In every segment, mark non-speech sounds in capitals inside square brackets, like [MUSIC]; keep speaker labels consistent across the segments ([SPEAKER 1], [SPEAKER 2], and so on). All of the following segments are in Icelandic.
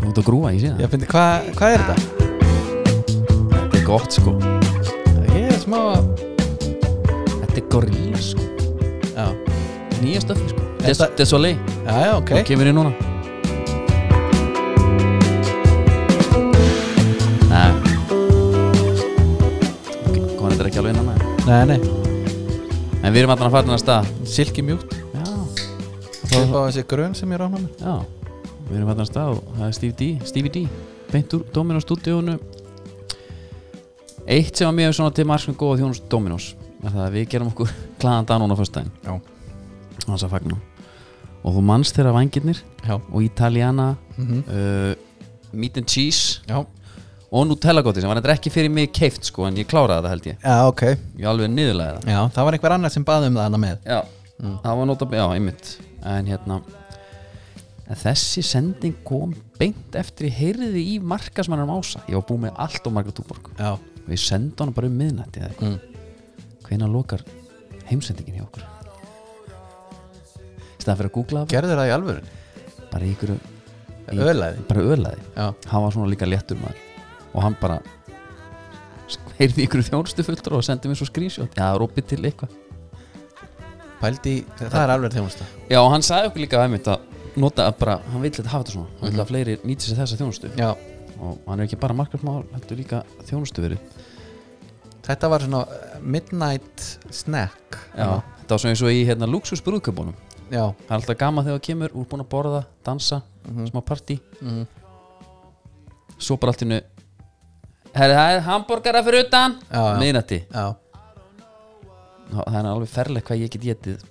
[SPEAKER 1] Þú ert að grúa, ég sé það
[SPEAKER 2] Ég finnir, hvað hva er þetta?
[SPEAKER 1] Þetta er gott sko
[SPEAKER 2] Ég er smá að
[SPEAKER 1] Þetta er gorilla sko
[SPEAKER 2] Já,
[SPEAKER 1] Nýja stöfi sko
[SPEAKER 2] Þetta-
[SPEAKER 1] Des- Desolé
[SPEAKER 2] já, já, ok
[SPEAKER 1] Þú kemur í núna Nei Ok, Komum þetta ekki alveg innan með
[SPEAKER 2] Nei, nei,
[SPEAKER 1] En við erum allan að fara þennan stað
[SPEAKER 2] silki mjúkt
[SPEAKER 1] Já
[SPEAKER 2] Það er bara þessi grun sem ég rána með
[SPEAKER 1] Já Við erum þarna af stað og það er Steve D Stevie D Beint úr Dominos stúdíónu Eitt sem var mjög svona til margum góða þjónust Dominos er það að við gerum okkur [LAUGHS] klæðan dag núna á föstudaginn
[SPEAKER 2] Já.
[SPEAKER 1] Og þess að fagna Og þú manst þeirra vangirnir
[SPEAKER 2] Já,
[SPEAKER 1] og Italiana
[SPEAKER 2] mhm
[SPEAKER 1] uh, Meat and Cheese
[SPEAKER 2] Já,
[SPEAKER 1] og Nutella goti sem var þetta ekki fyrir mig keift sko en ég kláraði þetta held ég
[SPEAKER 2] já, ok
[SPEAKER 1] Ég alveg niðurlega það
[SPEAKER 2] Já, það var einhver annar sem baði um það hana með
[SPEAKER 1] Já Mm. Það var nota Já, einmitt En hérna En þessi sending kom beint eftir ég heyrði í markasmannum ása Ég var búið með allt og marga túborg
[SPEAKER 2] Já,
[SPEAKER 1] Við senda hana bara um miðnætti eða eitthvað Hvenær lokar heimsendingin hjá okkur? Í Staðan fyrir að googla það
[SPEAKER 2] gerður það í alvörun?
[SPEAKER 1] Bara í ykkur
[SPEAKER 2] Ölaði
[SPEAKER 1] Bara ölaði
[SPEAKER 2] Já,
[SPEAKER 1] Hann var svona líka léttur maður Og hann bara Heyrði í ykkur þjónustu fulltur og sendi mér svo screenshot Já, rópið til eitthvað
[SPEAKER 2] pældi, í- það er alveg þjónusta
[SPEAKER 1] Já, og hann sagði okkur líka aðeimitt að nota að bara, hann vill þetta hafa þetta svona hann vill að fleiri nýti sér þessa þjónustu
[SPEAKER 2] Mhm. Já,
[SPEAKER 1] og hann er ekki bara markarsmál, heldur líka þjónustu verið
[SPEAKER 2] þetta var svona uh, midnight snack
[SPEAKER 1] Já, þetta var svona eins og í hérna Luxus brúðköpunum
[SPEAKER 2] Já,
[SPEAKER 1] það er alltaf gaman þegar það kemur, úr búin að borða dansa, smá partí
[SPEAKER 2] Mhm.
[SPEAKER 1] svo bara allt innu Herri, það er hambúrgara fyrir utan
[SPEAKER 2] Já, já.
[SPEAKER 1] miðnætti,
[SPEAKER 2] já,
[SPEAKER 1] Þá- það er alveg ferlegt hvað ég get getið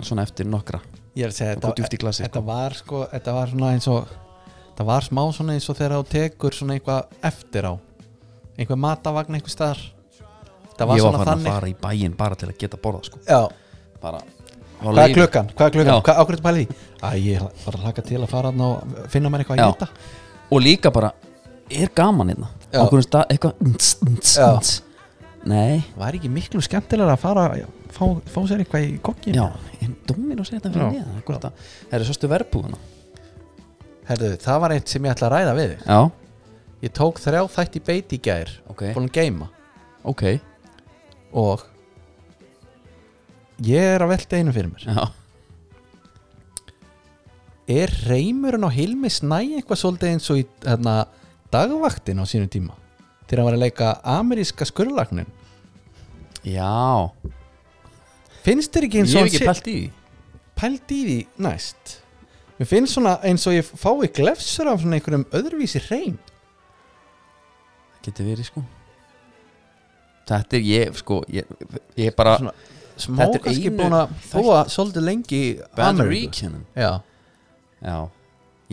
[SPEAKER 1] svona eftir nokkra
[SPEAKER 2] ég er að segja
[SPEAKER 1] Og góð djúpt í glasið,
[SPEAKER 2] þetta var sko, þetta var svona eins og þetta var smá svona eins og þegar þú tekur svona eitthvað eftir á einhver matavagn einhver staðar þetta var
[SPEAKER 1] Ég var
[SPEAKER 2] svona
[SPEAKER 1] farin að
[SPEAKER 2] þannig
[SPEAKER 1] fara í bæinn bara til að geta borða sko.
[SPEAKER 2] já,
[SPEAKER 1] bara,
[SPEAKER 2] hvað er klukkan, hvað er
[SPEAKER 1] Já.
[SPEAKER 2] klukkan, hvað ákveður pæli því Æ, ég var að hlaka til að fara þarna og finna mér eitthvað
[SPEAKER 1] Já.
[SPEAKER 2] að geta
[SPEAKER 1] og líka bara er gaman hérna
[SPEAKER 2] Já.
[SPEAKER 1] okkur er stað eitthvað nts, nts,
[SPEAKER 2] Já.
[SPEAKER 1] nts. nei,
[SPEAKER 2] var ekki miklu skemmtilega að fara já, fá, fá sér eitthvað í kokkin
[SPEAKER 1] já en dómin og segja þetta fyrir
[SPEAKER 2] Já.
[SPEAKER 1] neðan það er gott að- Herru, sástu verbúðuna
[SPEAKER 2] herðu, það var eitt sem ég ætla að ræða við þig.
[SPEAKER 1] já,
[SPEAKER 2] ég tók þrjá þætt í beit í gær
[SPEAKER 1] ok,
[SPEAKER 2] búin að geima
[SPEAKER 1] ok
[SPEAKER 2] og ég er að velta einu fyrir mér
[SPEAKER 1] já.
[SPEAKER 2] er reymurinn á Hilmi Snæ eitthvað svolítið eins og í hérna, dagvaktin á sínum tíma þegar hann var að leika ameríska skurlagnin
[SPEAKER 1] já,
[SPEAKER 2] finnst þér ekki
[SPEAKER 1] ég
[SPEAKER 2] eins og hann
[SPEAKER 1] hef ekki
[SPEAKER 2] sé-
[SPEAKER 1] pælt í því.
[SPEAKER 2] pælt í því næst mér finnst svona eins og ég fái glefsur af svona einhverjum öðruvísi reym
[SPEAKER 1] það getur verið sko þetta er ég sko ég, ég er bara
[SPEAKER 2] Svona smá
[SPEAKER 1] Þetta er
[SPEAKER 2] Ah, kannski
[SPEAKER 1] einu
[SPEAKER 2] búin að
[SPEAKER 1] þætt-
[SPEAKER 2] búa svolítið lengi í Ameríku
[SPEAKER 1] Bandaríkjunum.
[SPEAKER 2] já.
[SPEAKER 1] hérna. já,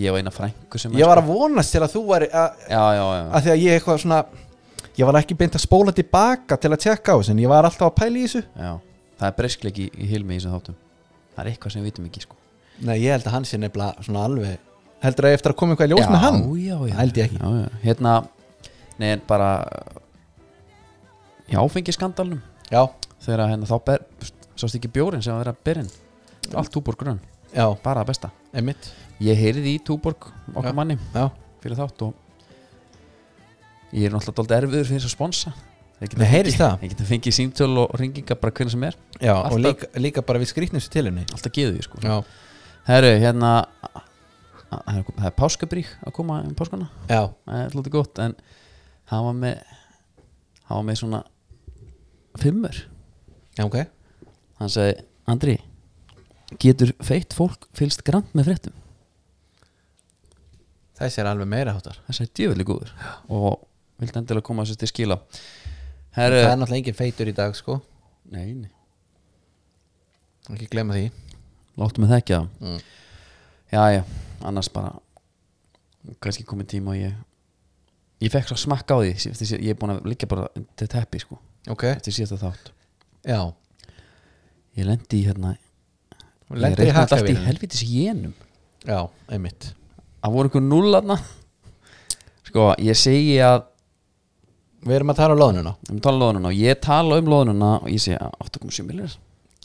[SPEAKER 1] ég var eina frængu sem sko-
[SPEAKER 2] ég var að vonast til að þú væri að
[SPEAKER 1] já, já, já,
[SPEAKER 2] að því að ég eitthvað svona ég var ekki beint að spóla tilbaka til að tjekka á þessu en ég var alltaf að pæla í þessu
[SPEAKER 1] já það er breskleiki í, í hilmi í þessum þáttum það er eitthvað sem við vitum ekki sko
[SPEAKER 2] Nei, ég held að hann sé nefnilega svona alveg heldur að eftir að koma eitthvað í ljós með hann
[SPEAKER 1] já, já,
[SPEAKER 2] Held ég ekki.
[SPEAKER 1] já, já. Hérna, nei en bara Í áfengiskandalnum
[SPEAKER 2] Já,
[SPEAKER 1] Þegar að hérna, þá ber Sást ekki bjórin sem að vera berinn Allt túborg grönn,
[SPEAKER 2] já,
[SPEAKER 1] bara að besta
[SPEAKER 2] emitt
[SPEAKER 1] Ég heyrði í túborg okkar
[SPEAKER 2] Já.
[SPEAKER 1] manni
[SPEAKER 2] Já,
[SPEAKER 1] Fyrir þátt og Ég er náttúrulega dálítið erfiður fyrir þess að sponsa Ég
[SPEAKER 2] Nei, heyrist það?
[SPEAKER 1] Ég geta fengið síntöl og ringinga bara hvernig sem er
[SPEAKER 2] já
[SPEAKER 1] Alltaf.
[SPEAKER 2] og líka, líka bara við skrýtnumstu til henni
[SPEAKER 1] Alltaf geðu ég sko
[SPEAKER 2] Já,
[SPEAKER 1] Herru, hérna Það er- það er páskabrík að koma um páskana
[SPEAKER 2] já,
[SPEAKER 1] það er lótið gott en hann var með hann var með svona fimmur
[SPEAKER 2] já, ok
[SPEAKER 1] hann sagði, Andri getur feitt fólk fylgst grann með fréttum
[SPEAKER 2] Þessi er alveg meira hátar
[SPEAKER 1] það sagði djöfulli góður og vildi endilega koma þessu til skila
[SPEAKER 2] Það
[SPEAKER 1] herru
[SPEAKER 2] er náttúrulega engin feitur í dag, sko
[SPEAKER 1] nei, nei,
[SPEAKER 2] Ekki glemma því
[SPEAKER 1] láttu mig þekkja það
[SPEAKER 2] Mm.
[SPEAKER 1] já, já, annars bara kannski komið tíma og ég ég fekk svo smakka á því sí- eftir, sí- ég er búin að liggja bara til teppi sko,
[SPEAKER 2] Ok,
[SPEAKER 1] eftir síðasta þátt
[SPEAKER 2] já
[SPEAKER 1] ég lendi í hérna ég
[SPEAKER 2] Lendir í
[SPEAKER 1] reiknaði allt í
[SPEAKER 2] hakkavílinu
[SPEAKER 1] helvitis jénum
[SPEAKER 2] Já, emitt
[SPEAKER 1] Það voru einhver null aðna Sko, ég segi að
[SPEAKER 2] Við erum að tala um loðnuna
[SPEAKER 1] um tala um loðununa og ég tala um loðununa og ég segi að 8,7 millir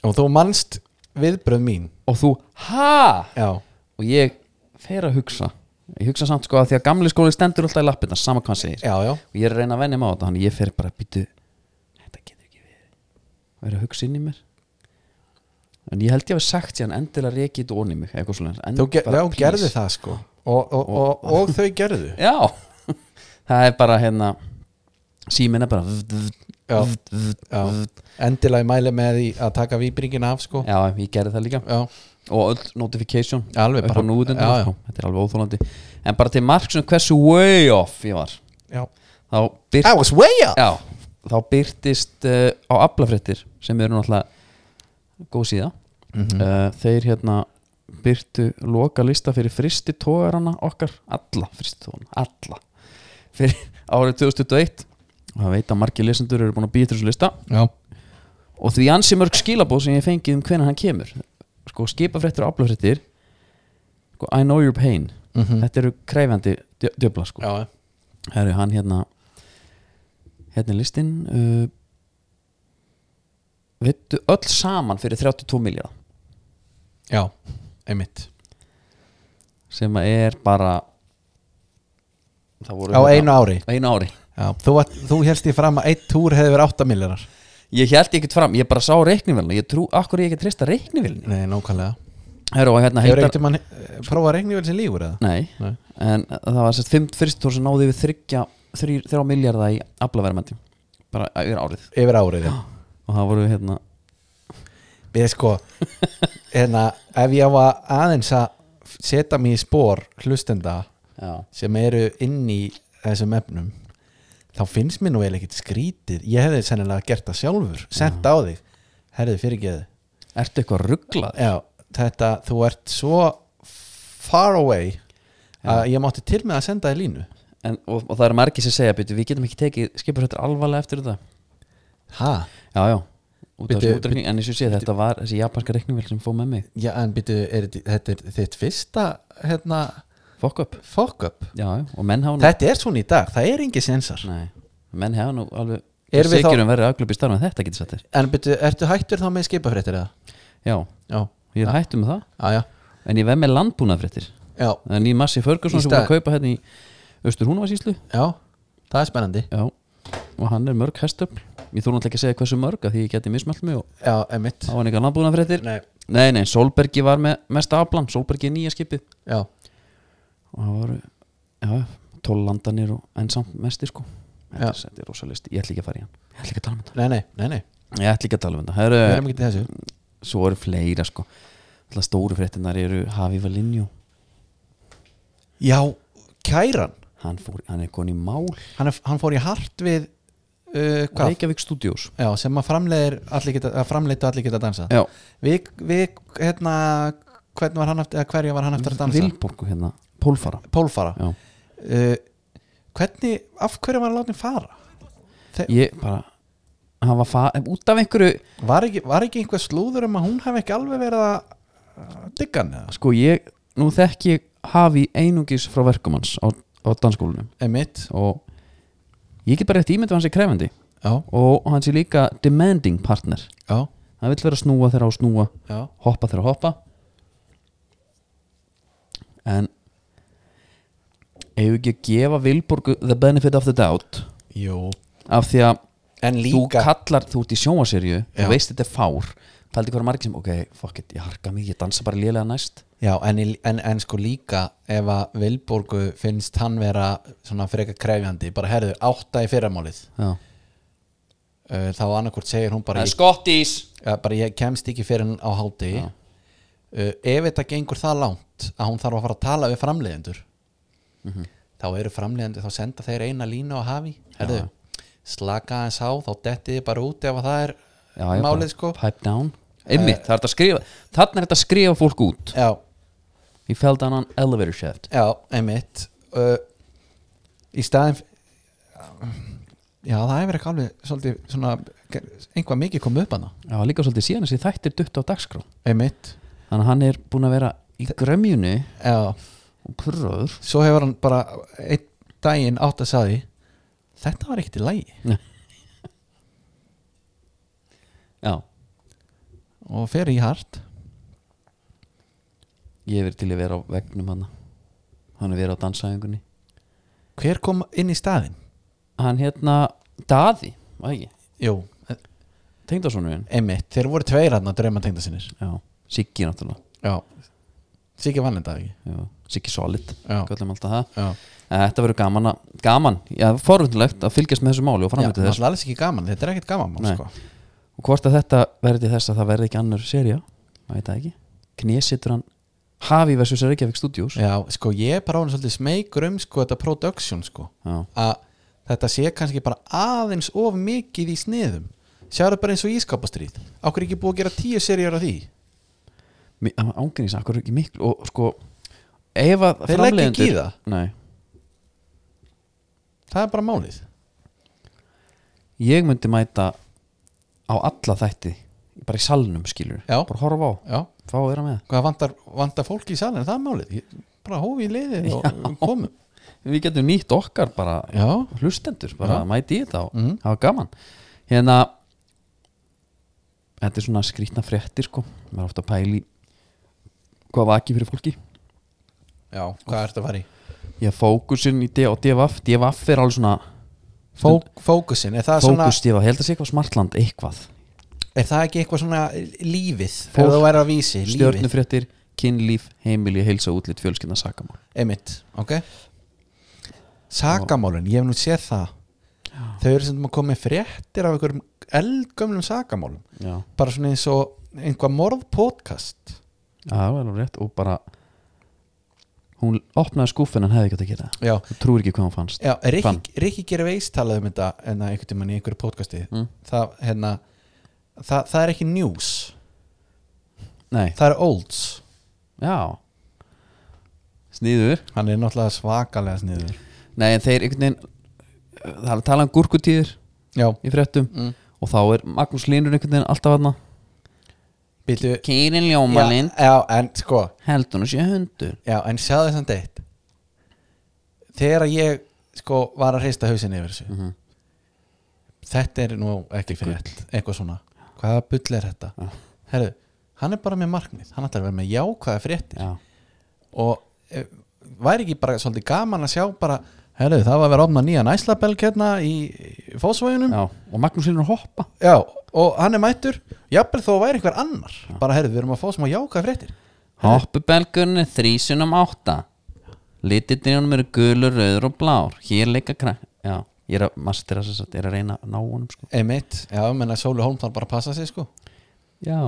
[SPEAKER 2] Og þú manst viðbröð mín
[SPEAKER 1] og þú, ha?
[SPEAKER 2] Já,
[SPEAKER 1] og ég fer að hugsa ég hugsa samt sko að því að gamli skóli stendur alltaf í lappirna sama hvað hann segir
[SPEAKER 2] já, já,
[SPEAKER 1] og ég er að reyna að venja mig á þetta þannig ég fer bara að býtu þetta getur ekki verið og er að hugsa inn í mér en ég held ég hafi sagt síðan endilega reikið þetta onni mig eitthvað svona
[SPEAKER 2] þú ger, já, gerði það sko og, og, og, og, þau gerðu
[SPEAKER 1] já, [LAUGHS] það er bara hérna síminn er bara vd, vd,
[SPEAKER 2] já,
[SPEAKER 1] vd, vd.
[SPEAKER 2] já. endilega ég mæli með því að taka výbringin af sko
[SPEAKER 1] já, ég gerði það líka
[SPEAKER 2] já,
[SPEAKER 1] og öll notification
[SPEAKER 2] alveg
[SPEAKER 1] upp á
[SPEAKER 2] bara
[SPEAKER 1] núðundur
[SPEAKER 2] já, já,
[SPEAKER 1] sko. þetta er alveg óþólandi en bara til marksum hversu way off ég var
[SPEAKER 2] já.
[SPEAKER 1] þá byrt,
[SPEAKER 2] was way up
[SPEAKER 1] já, þá byrtist uh, á aflafréttir sem eru náttúrulega góð síða
[SPEAKER 2] mm
[SPEAKER 1] uh, þeir hérna byrtu loka lista fyrir fristi tógarana okkar, alla fristi tógarana alla, fyrir árið 2021 og það veit að margir lesendur eru búin að býta þessu lista
[SPEAKER 2] já,
[SPEAKER 1] og því ansi mörg skilabóð sem ég hef fengið um hvenær hann kemur sko skipafréttir og aflafréttir sko, I know your pain
[SPEAKER 2] Mhm.
[SPEAKER 1] þetta eru kreifandi djö- djöfla sko
[SPEAKER 2] já,
[SPEAKER 1] Herri, hann hérna hérna er listinn uh, vittu öll saman fyrir 32 miljard
[SPEAKER 2] já, einmitt
[SPEAKER 1] sem að er bara það voru
[SPEAKER 2] á
[SPEAKER 1] hérna-
[SPEAKER 2] einu ári
[SPEAKER 1] á einu ári
[SPEAKER 2] já, þú, var- þú helst því fram að eitt túr hefði verið 8 milljarar
[SPEAKER 1] ég held ekkert fram, ég bara sá reiknivilna ég trú, akkur ég ekki trista reiknivilni
[SPEAKER 2] nei, nákvæmlega
[SPEAKER 1] Herru, og hérna
[SPEAKER 2] hefur
[SPEAKER 1] heitar
[SPEAKER 2] ekkert mann eh, prófað að regni vel sem lífur eða
[SPEAKER 1] nei,
[SPEAKER 2] Nei.
[SPEAKER 1] en það var sett 5 fyrstur sem náði við 3, 3, 3 miljardar í aflaverðmætti, bara yfir árið
[SPEAKER 2] yfir árið já.
[SPEAKER 1] og það voru hérna
[SPEAKER 2] [GASPS] við sko hérna, ef ég á að aðeins að setja mig í spór hlustenda
[SPEAKER 1] já,
[SPEAKER 2] sem eru inn í þessum efnum þá finnst mér nú eða ekkert skrítið ég hefði sennilega gert það sjálfur sent á þig, herðið fyrirgeði
[SPEAKER 1] ertu eitthvað rugglað
[SPEAKER 2] já, þetta, þú ert svo far away að ég mátti til með að senda þér línu
[SPEAKER 1] en, og, og það eru margir sem segja byrju, við getum ekki tekið skipurhættir alvarlega eftir þetta
[SPEAKER 2] ha?
[SPEAKER 1] já, já, út af
[SPEAKER 2] Bíddu,
[SPEAKER 1] þessum útreikning en eins og sé þetta var þessi japanska reikningvél sem fóð með mig
[SPEAKER 2] já, en býtu, er þetta- þetta er þitt fyrsta hérna,
[SPEAKER 1] fokk upp,
[SPEAKER 2] fuck up
[SPEAKER 1] já, já, og menn hafa nú
[SPEAKER 2] þetta er svona í dag, það er engin sensar
[SPEAKER 1] nei, menn hafa nú alveg um
[SPEAKER 2] Erum við þá-
[SPEAKER 1] segjum verið aðglöp í starfum þetta getur satt þér
[SPEAKER 2] En byrju, ertu hættur þá með skipafréttir eða?
[SPEAKER 1] já,
[SPEAKER 2] Já,
[SPEAKER 1] ég er hættu með það
[SPEAKER 2] já, já,
[SPEAKER 1] en ég veð með landbúnafréttir
[SPEAKER 2] já,
[SPEAKER 1] það er nýjum massi Ferguson
[SPEAKER 2] Í
[SPEAKER 1] sem búið
[SPEAKER 2] stað.
[SPEAKER 1] að kaupa hérna í Östur Húnavarsíslu
[SPEAKER 2] já, það er spennandi
[SPEAKER 1] já, og hann er mörg hestöfl ég þú náttúrulega ekki að segja hversu mörg að því ég geti mismælt mig og
[SPEAKER 2] Já, emitt
[SPEAKER 1] þá var hann eitthvað landbúnafréttir
[SPEAKER 2] Nei,
[SPEAKER 1] nei, nei, Solbergi var með mesta aflan Solbergi er nýja skipið
[SPEAKER 2] já,
[SPEAKER 1] og það voru já, 12 landanir og enn samt mestir sko
[SPEAKER 2] Já.
[SPEAKER 1] þetta er- þetta er rosa listi, ég ætla ekki að fara í hann ég ætla ekki að tala um þetta
[SPEAKER 2] nei, nei, nei, nei
[SPEAKER 1] ég ætla ekki að tala um þetta
[SPEAKER 2] Við
[SPEAKER 1] Heru,
[SPEAKER 2] erum ekki til þessu
[SPEAKER 1] svo eru fleira sko Alla stóru fréttinar eru Havi Valinjó
[SPEAKER 2] Já, kæran
[SPEAKER 1] hann, fór, hann er konið í mál
[SPEAKER 2] Hann, er, hann fór í hart við uh, Hvað?
[SPEAKER 1] Reykjavík Studios
[SPEAKER 2] Já, sem að framleiðir allir geta, að framleiðtu allir geta að dansa
[SPEAKER 1] já,
[SPEAKER 2] Við, við, hérna Hvernig var hann eftir, eða hverju var hann eftir að dansa?
[SPEAKER 1] Vilborgu hérna, Pólfara
[SPEAKER 2] Pólfara
[SPEAKER 1] já.
[SPEAKER 2] uh, Hvernig, af hverju var hann látið fara?
[SPEAKER 1] ég bara hann var fa- út af einhverju
[SPEAKER 2] Var ekki, var ekki einhver slúður um að hún hef ekki alveg verið að digga hann eða?
[SPEAKER 1] sko ég, nú þekki ég Havi einungis frá verkumanns á, á danskólunum
[SPEAKER 2] Emitt,
[SPEAKER 1] og ég get bara rétt ímyndið hans er krefandi
[SPEAKER 2] já,
[SPEAKER 1] og hann sé líka demanding partner
[SPEAKER 2] já,
[SPEAKER 1] hann vill vera að snúa þegar á að snúa
[SPEAKER 2] já
[SPEAKER 1] hoppa þegar á að hoppa en ef við ekki að gefa Vilborgu the benefit of the doubt
[SPEAKER 2] Jú,
[SPEAKER 1] af því að
[SPEAKER 2] en
[SPEAKER 1] þú
[SPEAKER 2] líka
[SPEAKER 1] kallar, þú ert í sjónvaserju
[SPEAKER 2] Já.
[SPEAKER 1] og veist þetta er fár taldi hverja margir sem, ok, fuck it, ég harka mig ég dansa bara lélega næst
[SPEAKER 2] Já, en, í- en, en sko líka ef að Vilborgu finnst hann vera svona frekar krefjandi, bara herðu átta í fyrramálið,
[SPEAKER 1] já.
[SPEAKER 2] uh, þá annarkvort segir hún bara,
[SPEAKER 1] það er
[SPEAKER 2] ég,
[SPEAKER 1] skottís
[SPEAKER 2] ja, bara ég kemst ekki fyrir hann á háti uh, ef þetta gengur það langt að hún þarf að fara að tala við framleiðendur þá eru framleiðendur, þá senda þeir eina línu á hafi, herðu slaka hans á, þá detti þið bara út ef að það er
[SPEAKER 1] já, já, bara
[SPEAKER 2] málið sko
[SPEAKER 1] pipe down Eh, einmitt, það er þetta að skrifa þannig er þetta að skrifa fólk út
[SPEAKER 2] Já,
[SPEAKER 1] ég fell down on elevator shaft
[SPEAKER 2] Já, einmitt uh, Í staðin Já, það hefur ekki alveg svolítið svona einhvað mikið kom upp hana
[SPEAKER 1] það var líka svolítið síðan þessi þættir dutt á dagskrá
[SPEAKER 2] Einmitt
[SPEAKER 1] Þannig að hann er búin að vera í grömjunni
[SPEAKER 2] Já,
[SPEAKER 1] og purraður
[SPEAKER 2] svo hefur hann bara einn daginn átt að sagði Þetta var ekkert í lægi
[SPEAKER 1] Já,
[SPEAKER 2] og fer í hart
[SPEAKER 1] ég hef verið til að vera á vegnum hann hann er verið á dansæðingunni
[SPEAKER 2] hver kom inn í staðin?
[SPEAKER 1] hann hérna, Daði var það ekki,
[SPEAKER 2] Jú,
[SPEAKER 1] tengdarsonurinn
[SPEAKER 2] einmitt, þeir voru tveir hann að drauma tengda sinir
[SPEAKER 1] já, Siggi náttúrulega
[SPEAKER 2] Já, Siggi vann þetta ekki
[SPEAKER 1] já, Siggi Solid,
[SPEAKER 2] Já,
[SPEAKER 1] kallum alltaf það
[SPEAKER 2] já
[SPEAKER 1] en þetta verður gaman, að, gaman já, forvindulegt að fylgjast með þessu máli og
[SPEAKER 2] Já,
[SPEAKER 1] framvitið þess
[SPEAKER 2] náttúrulega alls ekki gaman, þetta er ekkert gaman mál,
[SPEAKER 1] Nei.
[SPEAKER 2] sko.
[SPEAKER 1] og hvort að þetta verði þess að það verði ekki annar seria, maður veit það ekki knesitur hann Hafi versus Reykjavík Studios
[SPEAKER 2] Já, sko, ég er bara án svolítið smeykur um sko, þetta production, sko
[SPEAKER 1] Já.
[SPEAKER 2] að þetta sé kannski bara aðeins of mikið í sniðum sjáðu bara eins og ískapastríð okkur ekki búið að gera tíu serjur af því
[SPEAKER 1] Mi- það var ángríns, akkur er ekki miklu og sko, ef að
[SPEAKER 2] Þeir leggja ekki í það.
[SPEAKER 1] Nei,
[SPEAKER 2] það er bara málið
[SPEAKER 1] ég myndi mæta á alla þætti bara í salnum skilur,
[SPEAKER 2] Já.
[SPEAKER 1] bara horfa á
[SPEAKER 2] Já,
[SPEAKER 1] fá að vera með,
[SPEAKER 2] hvað vantar, vantar fólki í salin, það er málið Ég- bara hófi í liðið og komum
[SPEAKER 1] við getum nýtt okkar bara
[SPEAKER 2] Já,
[SPEAKER 1] hlustendur, bara
[SPEAKER 2] Já.
[SPEAKER 1] mæti í þetta og
[SPEAKER 2] Mhm.
[SPEAKER 1] hafa gaman hérna þetta er svona skrýtna fréttir sko maður er ofta að pæli hvað vakið fyrir fólki
[SPEAKER 2] já, hvað ertu að fara í?
[SPEAKER 1] ég fókusin í D og DVF DVF er alveg svona
[SPEAKER 2] Fók, fókusin, er það, svona,
[SPEAKER 1] fókus DVF, ég held að sé eitthvað smartland eitthvað
[SPEAKER 2] er það ekki eitthvað svona lífið ef
[SPEAKER 1] Fólk-
[SPEAKER 2] þú væri að vísi, lífið
[SPEAKER 1] stjörnufréttir, kynlíf, heimili, heilsa, útlit, fjölskynna, sakamál
[SPEAKER 2] Einmitt, ok Sakamálin, ég hef nú séð það Þau eru sem að koma með fréttir af einhverjum eldgömlum sakamálum
[SPEAKER 1] Já,
[SPEAKER 2] Bara svona eins og einhvað morðpodcast
[SPEAKER 1] það var alveg rétt og bara hún opnaði skúfin en hefði ekki átt að gera það
[SPEAKER 2] Já,
[SPEAKER 1] þú trúir ekki hvað hún fannst
[SPEAKER 2] já
[SPEAKER 1] Fann.
[SPEAKER 2] Rikki, Rikki gerir veist talað um þetta en að einhvern tímann í einhverju podcasti
[SPEAKER 1] Mm.
[SPEAKER 2] það, hérna, það, það er ekki news
[SPEAKER 1] Nei,
[SPEAKER 2] Það er olds
[SPEAKER 1] já Sniður
[SPEAKER 2] Hann er náttúrulega svakalega sniður
[SPEAKER 1] Nei, en þeir einhvern veginn það er að tala um gúrkutíðir
[SPEAKER 2] Já,
[SPEAKER 1] í fréttum
[SPEAKER 2] mm.
[SPEAKER 1] og þá er Magnús Línur einhvern veginn alltaf aðna
[SPEAKER 2] býtu
[SPEAKER 1] Kýrin
[SPEAKER 2] já, já, en sko
[SPEAKER 1] heldur hún sé hundur
[SPEAKER 2] Já, en sjáðu þessan deitt Þegar ég sko var að hreista hausin yfir þessu
[SPEAKER 1] Mhm.
[SPEAKER 2] Þetta er nú ekki fyrir eitthvað svona Hvaða bull er þetta?
[SPEAKER 1] Já.
[SPEAKER 2] Herðu, hann er bara með markmið Hann ætlar að vera með jákvæða fréttir
[SPEAKER 1] Já,
[SPEAKER 2] Og e, væri ekki bara svolítið gaman að sjá bara Herðu, það var að vera opna nýja næslabelg hérna í í Fossvoginum
[SPEAKER 1] já, og Magnús Línur hoppa
[SPEAKER 2] Já, og hann er mættur Jafnvel þó væri einhver annar Bara herðu, við erum að fá smá jákvæða fréttir
[SPEAKER 1] Hoppubelgurinn er þrísunum átta Lititrjónum eru gulur, rauður og blár Hér leika krakk Já, ég er að mastera þess að ég er að reyna að ná honum sko.
[SPEAKER 2] Einmitt, já, menna Sólu Holm þarf bara að passa sig sko
[SPEAKER 1] Já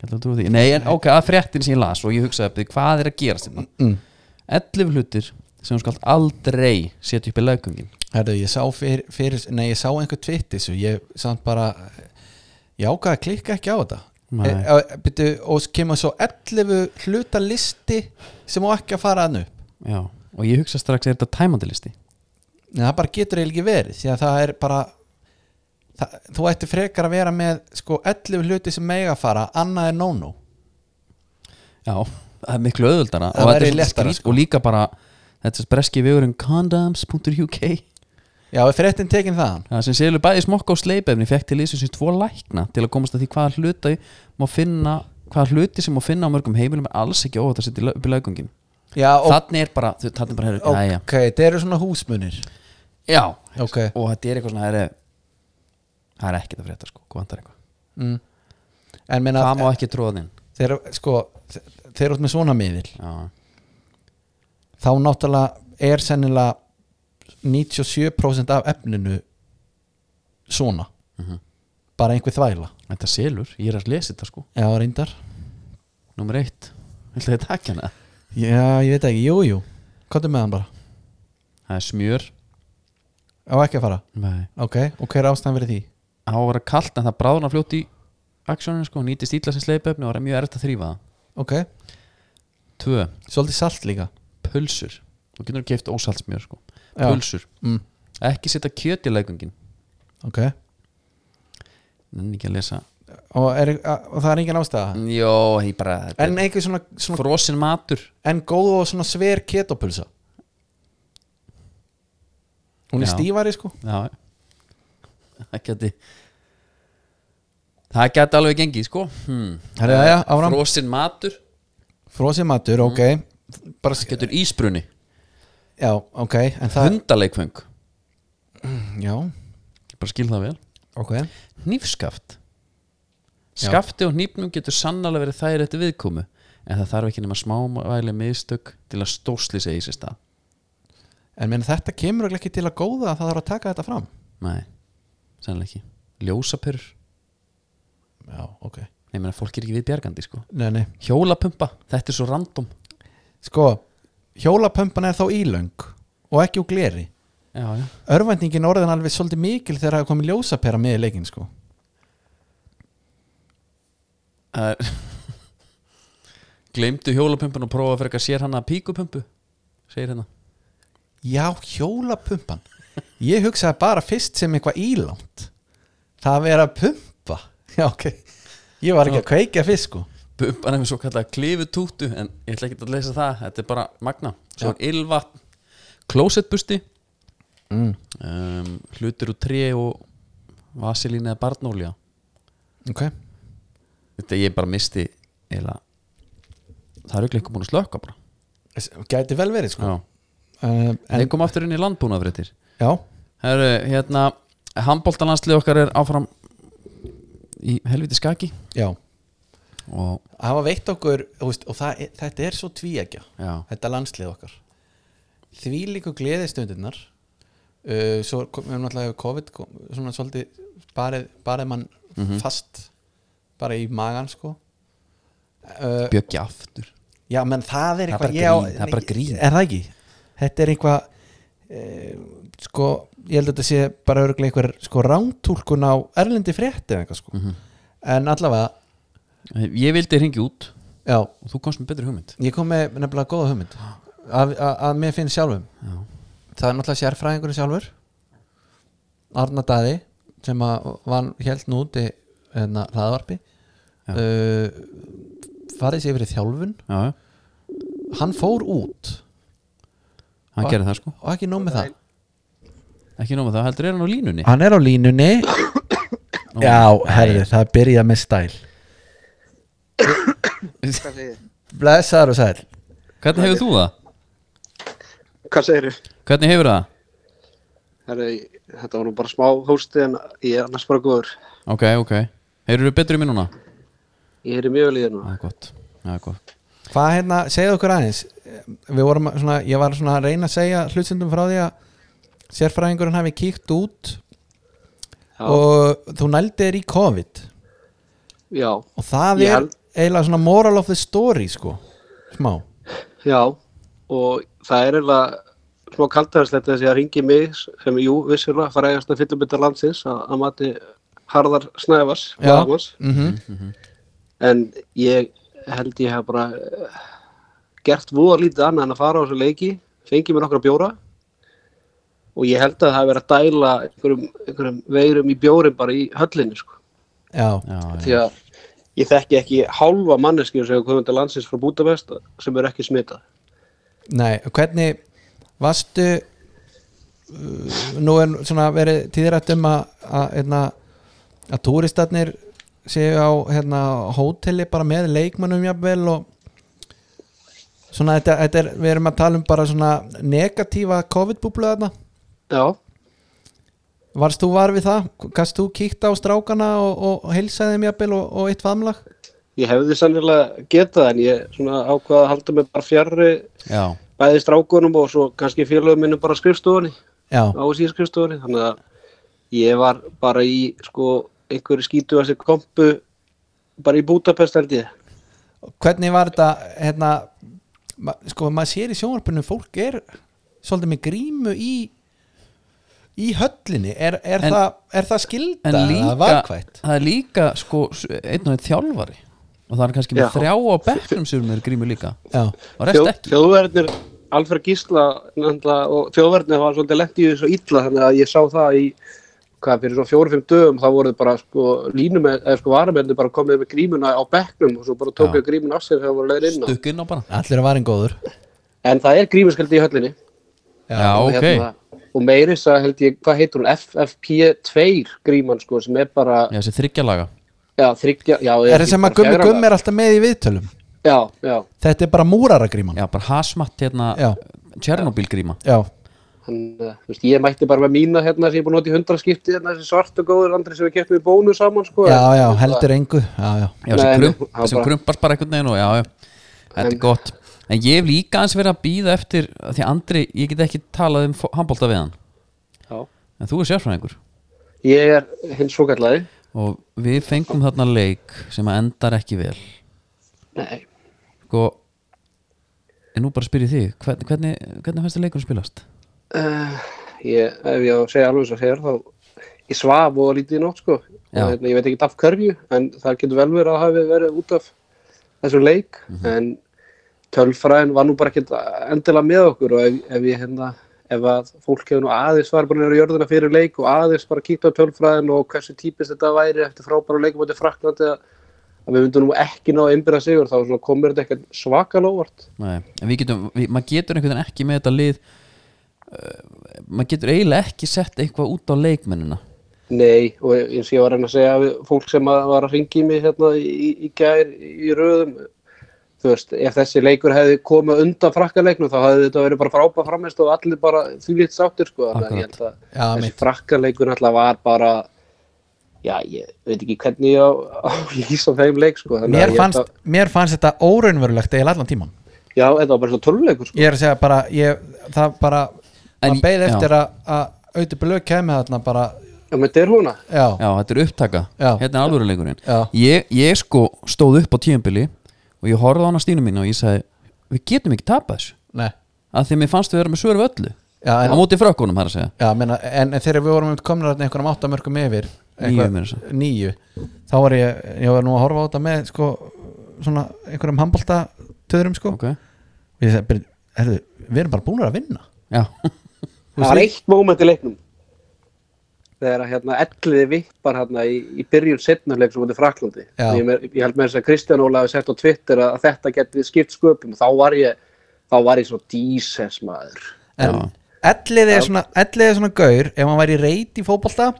[SPEAKER 1] Gætla að trú því Nei, en ok, að fréttin sem ég las og ég hugsaði upp því hvað er að gera sérna
[SPEAKER 2] mm.
[SPEAKER 1] 11 hlutir sem hún skalt aldrei setja upp í leggungin
[SPEAKER 2] Herðu, ég sá fyrir, fyrir nei, ég sá einhver tvitt þessu, ég samt bara ég ákvað að klikka ekki á þetta
[SPEAKER 1] Nei.
[SPEAKER 2] e, e, byrju, og s- kemur svo 11 hluta listi sem á ekki að fara hann upp
[SPEAKER 1] Já, og ég hugsa strax er þetta tæmandi listi
[SPEAKER 2] en það bara getur eiginlega ekki verið því að það er bara það, þú ætti frekar að vera með sko 11 hluti sem mega fara, annað er no-no
[SPEAKER 1] Já, það er miklu öðuldara
[SPEAKER 2] Það væri léttara, sko.
[SPEAKER 1] Og líka bara, þetta er breski vegurinn condoms.uk
[SPEAKER 2] já, er fréttin tekin þaðan
[SPEAKER 1] Það sem selur bæði smokka og sleipefni fekk til þessu sem tvo lækna til að komast að því hvaða hluti má finna hvaða hluti sem má finna á mörgum heimilum er alls ekki óvægt að setja í lau- upp í laugungin
[SPEAKER 2] já, og,
[SPEAKER 1] Þannig er bara, þú- þannig er bara,
[SPEAKER 2] ok,
[SPEAKER 1] herri,
[SPEAKER 2] það eru svona húsmunir
[SPEAKER 1] já, já
[SPEAKER 2] ok,
[SPEAKER 1] og þetta er eitthvað svona, herri það er ekkert að frétta sko, hvað vantar eitthvað
[SPEAKER 2] mm. en meina
[SPEAKER 1] Það má ekki tróða þinn
[SPEAKER 2] þeir, sko, þe- þeir eru með svona miðil
[SPEAKER 1] Já,
[SPEAKER 2] þá náttúrulega er sennilega 97% af efninu svona
[SPEAKER 1] Mhm.
[SPEAKER 2] bara einhver þvæla
[SPEAKER 1] þetta selur, ég er að lesa þetta sko
[SPEAKER 2] já, reyndar
[SPEAKER 1] Númer eitt, ætlaði að taka hana
[SPEAKER 2] já, ég veit ekki, jú, jú, hvað er með hann bara
[SPEAKER 1] Það er smjör
[SPEAKER 2] á ekki að fara,
[SPEAKER 1] Nei.
[SPEAKER 2] ok, og hver er ástæðan verið því
[SPEAKER 1] Það á að vera kalt en það bráðna fljótt í aksjóninu sko, nýtist ítla sem sleipefni og það er mjög erft að þrýfa það
[SPEAKER 2] ok,
[SPEAKER 1] Tvö,
[SPEAKER 2] svolítið salt líka
[SPEAKER 1] pulsur þú getur keift ósaltsmjör sko
[SPEAKER 2] Já.
[SPEAKER 1] pulsur,
[SPEAKER 2] mm.
[SPEAKER 1] ekki setja kjöt í leggungin
[SPEAKER 2] ok,
[SPEAKER 1] en ekki að lesa
[SPEAKER 2] og, er, a- og það er engin ástæða
[SPEAKER 1] jó, ég bara þetta
[SPEAKER 2] en einhver svona,
[SPEAKER 1] er
[SPEAKER 2] svona
[SPEAKER 1] frosin matur
[SPEAKER 2] en góð og svona sver ketopulsa hún er
[SPEAKER 1] Já.
[SPEAKER 2] stífari sko
[SPEAKER 1] já það geti það geti alveg gengið sko hmm.
[SPEAKER 2] Herra, já, áfram. Mm.
[SPEAKER 1] frosin matur
[SPEAKER 2] Frósimatur, ok bara sk-
[SPEAKER 1] Getur ísbruni,
[SPEAKER 2] já, ok, en það
[SPEAKER 1] hundaleikfeng
[SPEAKER 2] já,
[SPEAKER 1] Bara skil það vel
[SPEAKER 2] ok
[SPEAKER 1] Hnífskaft
[SPEAKER 2] Já.
[SPEAKER 1] Skafti og hnífnum getur sannlega verið þær eftir viðkomu En það þarf ekki nema smávæli miðstök til að stósli segi sér stað
[SPEAKER 2] en meina þetta kemur örugglega ekki til að góða að það þarf að taka þetta fram
[SPEAKER 1] Nei, sannlega ekki Ljósapyrr,
[SPEAKER 2] já, ok,
[SPEAKER 1] nei, ég meina fólk er ekki við bjargandi sko
[SPEAKER 2] nei, nei
[SPEAKER 1] Hjólapumpa, þetta er svo random
[SPEAKER 2] sko, hjólapömpan er þá ílöng og ekki úr gleri
[SPEAKER 1] Já, já,
[SPEAKER 2] örvæntingin orðin alveg svolítið mikil þegar það er komið ljósapera með í leikin sko
[SPEAKER 1] Það er [LAUGHS] Gleimdu hjólapumpan og prófa að fyrir að sér hana píkupumpu Segir hérna
[SPEAKER 2] já, hjólapumpan ég hugsaði bara fyrst sem eitthvað ílangt það að vera að pumpa [LAUGHS] já, ok, ég var ekki að kveikja fyrst sko
[SPEAKER 1] Pumpan er með svo kallega klifutúttu En ég ætla ekki að lesa það, þetta er bara magna Svo er ylvatn Klósettbusti
[SPEAKER 2] mm.
[SPEAKER 1] um, Hlutir úr tré og vasilín eða barnólja
[SPEAKER 2] ok,
[SPEAKER 1] Þetta ég bara misti eða Það er auðvitað einhver búin að slökka bara
[SPEAKER 2] S- gæti vel verið sko
[SPEAKER 1] Já,
[SPEAKER 2] uh, en,
[SPEAKER 1] en kom aftur inn í landbúnaðfréttir
[SPEAKER 2] já,
[SPEAKER 1] Herru, hérna Handbóltalandslið okkar er áfram í helviti skaki
[SPEAKER 2] já
[SPEAKER 1] og
[SPEAKER 2] hafa veitt okkur, þú veist, og það, er- þetta er svo tvíækja
[SPEAKER 1] já,
[SPEAKER 2] þetta landslið okkar því líku gleðistundirnar uh, svo kom- við erum náttúrulega hefur COVID kom, svona svolítið barið, barið mann
[SPEAKER 1] Mhm.
[SPEAKER 2] fast bara í magan sko uh,
[SPEAKER 1] bjöggi aftur
[SPEAKER 2] já menn það er
[SPEAKER 1] Það er
[SPEAKER 2] eitthvað
[SPEAKER 1] bara
[SPEAKER 2] ég á-
[SPEAKER 1] grín, það er bara grín.
[SPEAKER 2] er það ekki þetta er eitthvað uh, sko ég held að þetta sé bara örgulega einhver sko rántúlkun á erlendi frétti eða eitthvað sko
[SPEAKER 1] Mhm.
[SPEAKER 2] en allavega
[SPEAKER 1] Ég vildi hringi út
[SPEAKER 2] já
[SPEAKER 1] og þú komst með betri hugmynd
[SPEAKER 2] Ég kom með nefnilega góða hugmynd að, að, að mér finnst sjálfum
[SPEAKER 1] Já.
[SPEAKER 2] Það er náttúrulega sérfræðingurinn sjálfur Arna Daði sem að var held nú úti hérna, hlaðvarpi
[SPEAKER 1] Já.
[SPEAKER 2] uh, farið sér yfir í þjálfun
[SPEAKER 1] Já, já,
[SPEAKER 2] hann fór út
[SPEAKER 1] hann
[SPEAKER 2] Hva?
[SPEAKER 1] gerði það sko
[SPEAKER 2] og ekki nóg með það
[SPEAKER 1] Ekki nóma það, heldur er hann á línunni
[SPEAKER 2] hann er á línunni já, herri, það byrja með stæl
[SPEAKER 3] Hvað segir þið?
[SPEAKER 2] blessaður og sæl
[SPEAKER 1] Hvernig hefur þú það?
[SPEAKER 3] Hvað segir þið?
[SPEAKER 1] Hvernig hefur það?
[SPEAKER 3] Þetta var nú bara smá hósti en ég er annars bara góður.
[SPEAKER 1] Ok, ok Hefur þú betri minn núna?
[SPEAKER 3] Ég er í mjög líðið nú.
[SPEAKER 1] Það er gott, það er gott
[SPEAKER 2] Hvað hérna, segðu okkur aðeins Við vorum að- svona, ég var svona að reyna að segja hlutstundum frá því að sérfræðingurinn hafi kíkt út
[SPEAKER 3] Já,
[SPEAKER 2] og þú nældi þér í COVID
[SPEAKER 3] já,
[SPEAKER 2] og það
[SPEAKER 3] Ég
[SPEAKER 2] er
[SPEAKER 3] held-
[SPEAKER 2] eiginlega svona moral of the story sko, smá
[SPEAKER 3] já. Og það er eiginlega smá kaldaðarslegt þessi að ringi mig sem, jú, vissulega, fræðast að fyllum þetta landsins að, að mati Harðar Snæfars,
[SPEAKER 2] Já.
[SPEAKER 3] Blaðamanns.
[SPEAKER 2] mm
[SPEAKER 3] En ég held ég hef bara eh, gert voða lítið annað en að fara á þessu leiki, fengið mér nokkra bjóra og ég held að það hef verið að dæla einhverjum, einhverjum veirum í bjórin bara í höllinni, sko.
[SPEAKER 2] Já,
[SPEAKER 1] Já, já,
[SPEAKER 3] því að ég þekki ekki hálfa manneskjum sem hefur komið til landsins frá Budapest sem eru ekki smitað.
[SPEAKER 2] nei, hvernig varstu uh, nú er svona verið tíðrætt um að að, hérna, að túristarnir séu á hérna, hóteli bara með leikmannum jafnvel og svona þetta, þetta er, við erum að tala um bara svona negatífa COVID-búblu þarna
[SPEAKER 3] Já,
[SPEAKER 2] Varst þú var við það? Gast þú kíkt á strákana og, og, og heilsaði þeim jafnvel og, og eitt famlag?
[SPEAKER 3] ég hefði sannilega getað en ég svona ákvaða að halda mig bara fjarrri
[SPEAKER 1] já,
[SPEAKER 3] bæði strákunum og svo kannski félögum minnum bara á skrifstofunni,
[SPEAKER 2] Já,
[SPEAKER 3] á síðan skrifstofunni, þannig að ég var bara í sko einhverju skítu að sér kompu bara í Budapest held ég.
[SPEAKER 2] hvernig var þetta hérna, ma, sko maður sér í sjónvarpinu fólk er svolítið með grímu í í höllinni, er, er,
[SPEAKER 1] En-
[SPEAKER 2] það, er það skilda
[SPEAKER 1] En
[SPEAKER 2] eða
[SPEAKER 1] líka,
[SPEAKER 2] valkvætt?
[SPEAKER 1] það er líka sko, s- einn og einn þjálfari og það er kannski með
[SPEAKER 3] Já.
[SPEAKER 1] þrjá á bekknum sem er grímur líka
[SPEAKER 2] Já,
[SPEAKER 1] og rest ekki
[SPEAKER 3] Þjóðverðnir, Alfred Gísla nefnda, og þjóðverðnir var svolítið lent í þessu illa þannig að ég sá það í hvað fyrir svo fjórum-fimm dögum þá voru bara sko línum eða sko varumennir bara komið með grímuna á bekknum og svo bara tókuðu grímuna af sér þegar voru leiðin inn á
[SPEAKER 1] Dukk inn á bara
[SPEAKER 2] allir að varin góður
[SPEAKER 3] en það er grímuskeldi í höllinni
[SPEAKER 1] Já,
[SPEAKER 3] og, hérna,
[SPEAKER 1] ok,
[SPEAKER 3] og meiris að held ég, hvað heitur hún FFP2 E gríman sko sem er bara,
[SPEAKER 1] já þessi þryggjalaga
[SPEAKER 3] já, þryggja já,
[SPEAKER 2] Er það sem að gummi gummi er alltaf með í viðtölum?
[SPEAKER 3] já, já,
[SPEAKER 2] Þetta er bara múraragríman
[SPEAKER 1] Já, bara hasmatt hérna
[SPEAKER 2] Já.
[SPEAKER 1] Tjernobyl gríma
[SPEAKER 2] Já,
[SPEAKER 3] hann, eh, þú veist, ég mætti bara með mína hérna sem ég er búin að nota í hundra skipti hérna þessi svart og góður andri sem við keftum í bónu saman sko,
[SPEAKER 2] já,
[SPEAKER 3] en-
[SPEAKER 2] já, heldur engu Já, já,
[SPEAKER 1] Já,
[SPEAKER 3] Nei,
[SPEAKER 1] sem,
[SPEAKER 3] nei,
[SPEAKER 1] krump,
[SPEAKER 3] hann
[SPEAKER 1] sem
[SPEAKER 3] bara-
[SPEAKER 1] krumpast bara einhvern veginn og já, já, þetta er gott En ég hef líka aðeins verið að býða eftir af Því að Andri, ég get ekki talað um handbólta við hann
[SPEAKER 3] já.
[SPEAKER 1] En þú er sérfræðingur
[SPEAKER 3] ég er hins svo kallaði
[SPEAKER 1] Og við fengum þarna leik sem að endar ekki vel
[SPEAKER 3] nei,
[SPEAKER 1] Sko En nú bara spyr ég þig, hvernig, hvernig, hvernig fannst þér leikurinn spilast?
[SPEAKER 3] uh, ég, ef ég á að segja alveg svo segir þá ég svaf og lítið í nótt sko
[SPEAKER 1] Já.
[SPEAKER 3] en, ég veit ekki af hverju en það getur vel verið að hafi verið út af þessu leik en tölfræðin var nú bara ekki endilega með okkur og ef, ef ég hérna ef að fólk hefur nú aðeins var bara nýra jörðina fyrir leik og aðeins bara kíkt á tölfræðin og hversu típist þetta væri eftir frábæra leikum átti Fraklandi að að við myndum nú ekki ná að einbyrða sigur þá svona komur þetta eitthvað svakal óvart
[SPEAKER 1] Nei, en við getum, við, maður getur einhvern veginn ekki með þetta lið uh, maður getur eiginlega ekki sett eitthvað út á leikmennina
[SPEAKER 3] Nei, og eins og ég var að reyna að segja við fólk sem að var að ringi mig hérna í, í gær í röðum þú veist, ef þessi leikur hefði komið undan frakkaleiknum þá hefði þetta verið bara frábæð framist og allir bara því lít sáttir sko, þannig að ég held að
[SPEAKER 2] Já,
[SPEAKER 3] þessi
[SPEAKER 2] mitt.
[SPEAKER 3] frakkaleikur alltaf var bara já, ég veit ekki hvernig ég á, á lýsa þeim leik sko, þannig að
[SPEAKER 2] Mér
[SPEAKER 3] ég held
[SPEAKER 2] fannst,
[SPEAKER 3] að,
[SPEAKER 2] mér fannst þetta óraunverulegt eða allan tíman
[SPEAKER 3] já, þetta var bara svo töluleikur sko.
[SPEAKER 2] Ég er að segja bara, ég, það bara
[SPEAKER 1] En-
[SPEAKER 2] maður beið
[SPEAKER 1] já.
[SPEAKER 2] eftir að, að auðvitað blöð kemur þarna bara
[SPEAKER 3] já, menn þetta er húna
[SPEAKER 2] Já,
[SPEAKER 1] Já, þetta er upptaka,
[SPEAKER 2] Já.
[SPEAKER 1] hérna er alvöru leikurinn
[SPEAKER 2] Já.
[SPEAKER 1] ég, ég sko stóð upp á tíumbili og ég horfði á hana stínu mín og ég sagði við getum ekki tapað þessu
[SPEAKER 2] nei
[SPEAKER 1] að því að mér fannst við vera með svör við öllu
[SPEAKER 2] Já, en-
[SPEAKER 1] á móti frökkunum, það er að segja
[SPEAKER 2] Já, meina, en, en þegar við vorum komin að einhverjum áttamörkum yfir
[SPEAKER 1] Níu meira að segja.
[SPEAKER 2] níu þá var ég, ég var nú að horfa á þetta með sko, svona einhverjum handbolta töðurum sko
[SPEAKER 1] okay.
[SPEAKER 2] og ég sagði, herðu, við erum bara búin að vinna
[SPEAKER 1] Já, [LAUGHS]
[SPEAKER 3] það var eitt móment í leiknum þegar að hérna elliði vippar hérna í, í byrjun setnuleik sem út í Fraklandi
[SPEAKER 2] Já.
[SPEAKER 3] ég, me- ég held með þess að Kristján Óla hafi sett á Twitter að þetta geti skipt sköpum þá var ég, þá var ég svo díses maður
[SPEAKER 2] en ellið er, svona, ellið er svona gaur ef hann væri reyt í fótbolta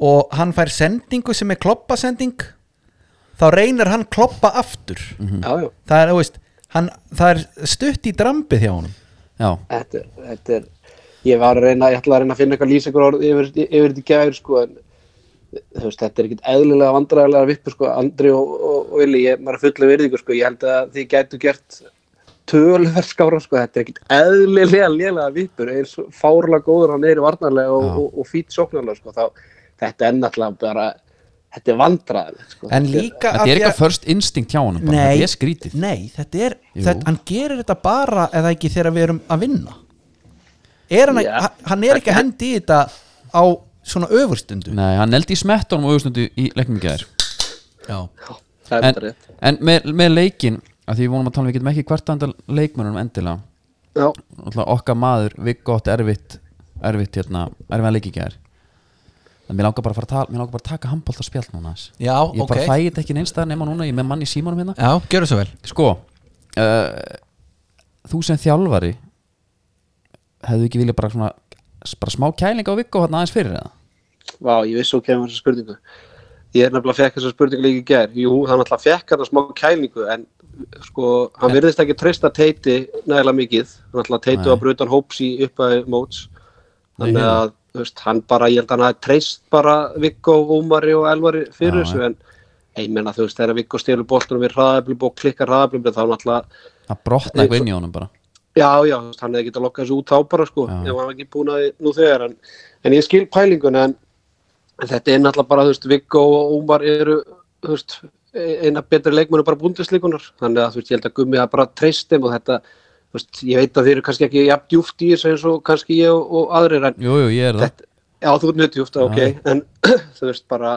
[SPEAKER 2] og hann fær sendingu sem er kloppasending þá reynir hann kloppa aftur
[SPEAKER 1] Mhm.
[SPEAKER 3] já, já,
[SPEAKER 2] það er, þú veist, hann, það er stutt í drambið hjá honum
[SPEAKER 1] já,
[SPEAKER 3] þetta, er- þetta er ég var að reyna, ég ætla að reyna að finna eitthvað lýsingur orð yfir, yfir þetta í gæður sko en þú veist, þetta er ekkert eðlilega vandræðilega vippu sko, Andri og, og, og Vili ég maður er fulla verðingu sko, ég held að þið gætu gert tölverð skára sko, þetta er ekkert eðlilega lélega vippur, eins og fárlega góður hann er í varnarlega og, og, og fýtt sóknarlega sko, þá, þetta er náttúrulega bara, þetta er vandræðilega sko.
[SPEAKER 2] en líka
[SPEAKER 1] þetta
[SPEAKER 2] af
[SPEAKER 1] er
[SPEAKER 2] því að-
[SPEAKER 1] eitthvað first instinct hjá honum bara.
[SPEAKER 2] Nei,
[SPEAKER 1] þetta er skrítið
[SPEAKER 2] Nei, þetta er,
[SPEAKER 1] Jú.
[SPEAKER 2] þetta, hann gerir þetta bara eða ekki þegar við erum að vinna er hann,
[SPEAKER 3] Já.
[SPEAKER 2] yeah. hann er ekki að hendi í þetta á svona öfurstundu
[SPEAKER 1] Nei, hann eldi í smettunum og auðvitað í leiknum gæðir
[SPEAKER 2] Já,
[SPEAKER 3] það er
[SPEAKER 1] en,
[SPEAKER 3] bara rétt
[SPEAKER 1] en með, með leikin að því við vonum að tala um, við getum ekki hvert andal leikmönunum endilega
[SPEAKER 3] Já,
[SPEAKER 1] Náttúrulega okkar maður Viggo átti erfitt erfitt hérna, erfitt að leiki gæðir en mér langar bara að fara að tala mér langar bara að taka handbólt spjall núna aðeins.
[SPEAKER 2] Já,
[SPEAKER 1] ég bara
[SPEAKER 2] ok.
[SPEAKER 1] fæ þetta ekki neins staðar nema núna ég er með mann í símanum hérna
[SPEAKER 2] Já gjörðu svo vel
[SPEAKER 1] sko uh, þú sem þjálfari hefðu ekki viljað bara svona bara smá kæling á Viggo hérna aðeins fyrir eða
[SPEAKER 3] Vá, ég vissi hún kemur þessa spurningu. Ég er nefnilega fekk þessa spurningu líka í gær. Jú, hann alltaf fekk hann að smá kælingu, en sko, hann virðist ekki treysta teiti nægilega mikið. Hann alltaf teitu
[SPEAKER 1] Nei.
[SPEAKER 3] að brutan hóps í uppaði móts.
[SPEAKER 1] Nei,
[SPEAKER 3] Þannig að, þú veist, hann bara, ég held að hann að treyst bara Viggo, Ómari og Elvari fyrir
[SPEAKER 1] Já,
[SPEAKER 3] þessu, en ég menna, þú veist, þegar Viggo stelur boltunum við hraðablum og klikkar hraðablum, þá náttúrulega
[SPEAKER 1] það brotna eitthvað inn í honum bara
[SPEAKER 3] Já, já, þú veist, hann hefði getað lokkað þessu út þá bara sko,
[SPEAKER 1] Já.
[SPEAKER 3] ef hann var ekki búin að því nú þegar en, en ég skil pælingun en, en þetta er náttúrulega bara, þú veist, Viggo og Ómar eru, þú veist e, eina betri leikmennu bara búndisleikunar þannig að þú veist, ég held að gummi að bara treyst þeim og þetta, þú veist, ég veit að þeir eru kannski ekki jafn djúft í þessu eins og kannski ég og, og aðrir en
[SPEAKER 1] jú, jú, ég er það
[SPEAKER 3] þetta, já, þú ert nöttjúft, ok en [CLEARS THROAT] þú veist, bara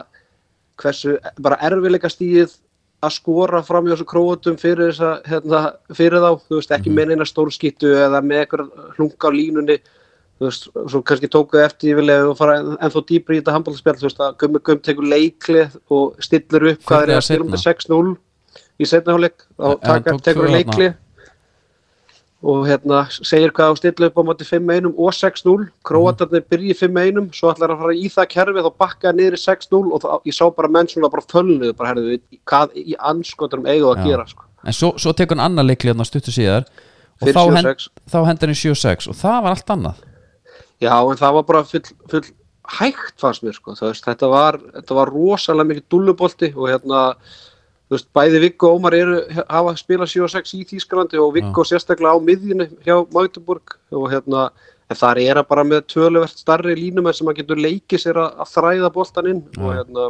[SPEAKER 3] hversu, bara erfilega stíð að skora fram í þessu króatum fyrir þess að, hérna, fyrir þá þú veist,
[SPEAKER 1] Mhm.
[SPEAKER 3] ekki með eina stórskittu eða með eitthvað hlunga á línunni þú veist, svo kannski tóku eftir ég vilja og fara ennþá dýpri í þetta handbóltaspjall þú veist, að gummi gum tekur leikli og stillir upp hvað er
[SPEAKER 1] Fyrir
[SPEAKER 3] að
[SPEAKER 1] að
[SPEAKER 3] skilum
[SPEAKER 1] seinna.
[SPEAKER 3] með 6-0 í setna hálfleik
[SPEAKER 1] En- en
[SPEAKER 3] og
[SPEAKER 1] hann
[SPEAKER 3] taka,
[SPEAKER 1] tók
[SPEAKER 3] tekur
[SPEAKER 1] tvö
[SPEAKER 3] leikli og hérna segir hvað á stilla upp á móti 5-1 og 6-0 Króatarnir byrji 5-1 svo ætlar að fara í það kerfið og bakka niður í 6-0 og þá, ég sá bara menn svona bara fölnuðu bara herðu við hvað í anskotum eigum við að
[SPEAKER 1] Já.
[SPEAKER 3] gera sko.
[SPEAKER 1] en svo, svo tekur hann annar leikli hérna stuttu síðar og
[SPEAKER 3] Fyrir
[SPEAKER 1] þá,
[SPEAKER 3] 7-6.
[SPEAKER 1] þá hendur hann 7-6 og það var allt annað
[SPEAKER 3] já en það var bara full, full hægt fannst mér sko þú veist, þetta, var, þetta var rosalega mikið dullubolti og hérna þú veist, bæði Viggo og Ómar eru, hafa spilað 7-6 í Þýskalandi og Viggo sérstaklega á miðjunni hjá Magdeburg og hérna en þar er hann bara með töluvert starri línumenn sem að getur leikið sér að, að þræða boltan inn og hérna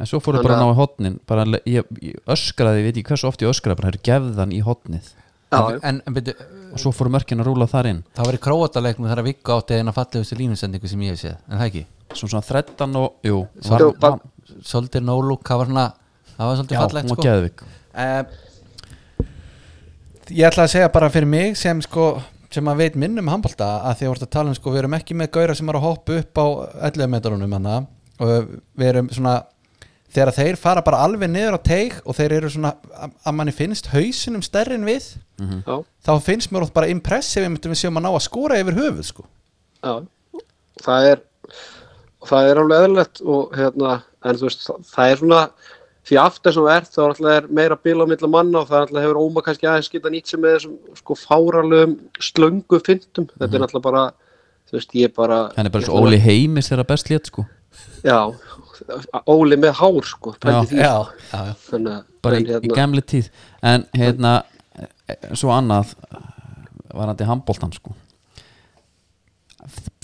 [SPEAKER 1] en svo fóruðu bara að ná í hotnin bara, le- ég, ég öskraði, ég veit ekki hversu oft ég öskraði bara hefur gefð hann í hotnið
[SPEAKER 3] já,
[SPEAKER 2] en, en byrju,
[SPEAKER 1] og svo fóru mörkin að rúla þar inn
[SPEAKER 2] það var í króataleiknum þar að vikka átti eina fallegustu línusendingu sem ég hef séð en það ekki,
[SPEAKER 1] svona svona 13 og jú,
[SPEAKER 3] Jú, bara-
[SPEAKER 2] svolítið nólúk það var svona, það var svolítið
[SPEAKER 1] já, hún
[SPEAKER 2] fallegt
[SPEAKER 1] var
[SPEAKER 2] sko.
[SPEAKER 1] geðvik
[SPEAKER 2] Eh, Ég ætla að segja bara fyrir mig sem sko sem að veit minn um handbólta að því að voru að tala um sko við erum ekki með gauðra sem eru að hoppa upp á 11 metrunum hana og við erum svona þegar þeir fara bara alveg niður á teig og þeir eru svona að að manni finnst hausinum stærri en við
[SPEAKER 3] já,
[SPEAKER 2] þá finnst mér oft bara impressið við myndum við séum að ná að skora yfir höfuð sko
[SPEAKER 3] já það er það er alveg eðlilegt og hérna en þú veist, það, það er svona því aftur sem þú ert þá er alltaf meira bíl á milla manna og það er alltaf hefur óma kannski aðeins geta nýtt sem með þessum sko fáralögum slöngu fyndum, þetta er alltaf bara þú veist, ég er bara
[SPEAKER 1] hann er bara
[SPEAKER 3] ég
[SPEAKER 1] svo Mhm. Óli Heimis þegar best lét sko
[SPEAKER 3] já, Óli með hár sko pældi því,
[SPEAKER 2] Já, já, já.
[SPEAKER 3] þannig að
[SPEAKER 1] bara í,
[SPEAKER 3] en hérna-
[SPEAKER 1] í gamli tíð en hérna, eh, svo annað var hann til handbóltan sko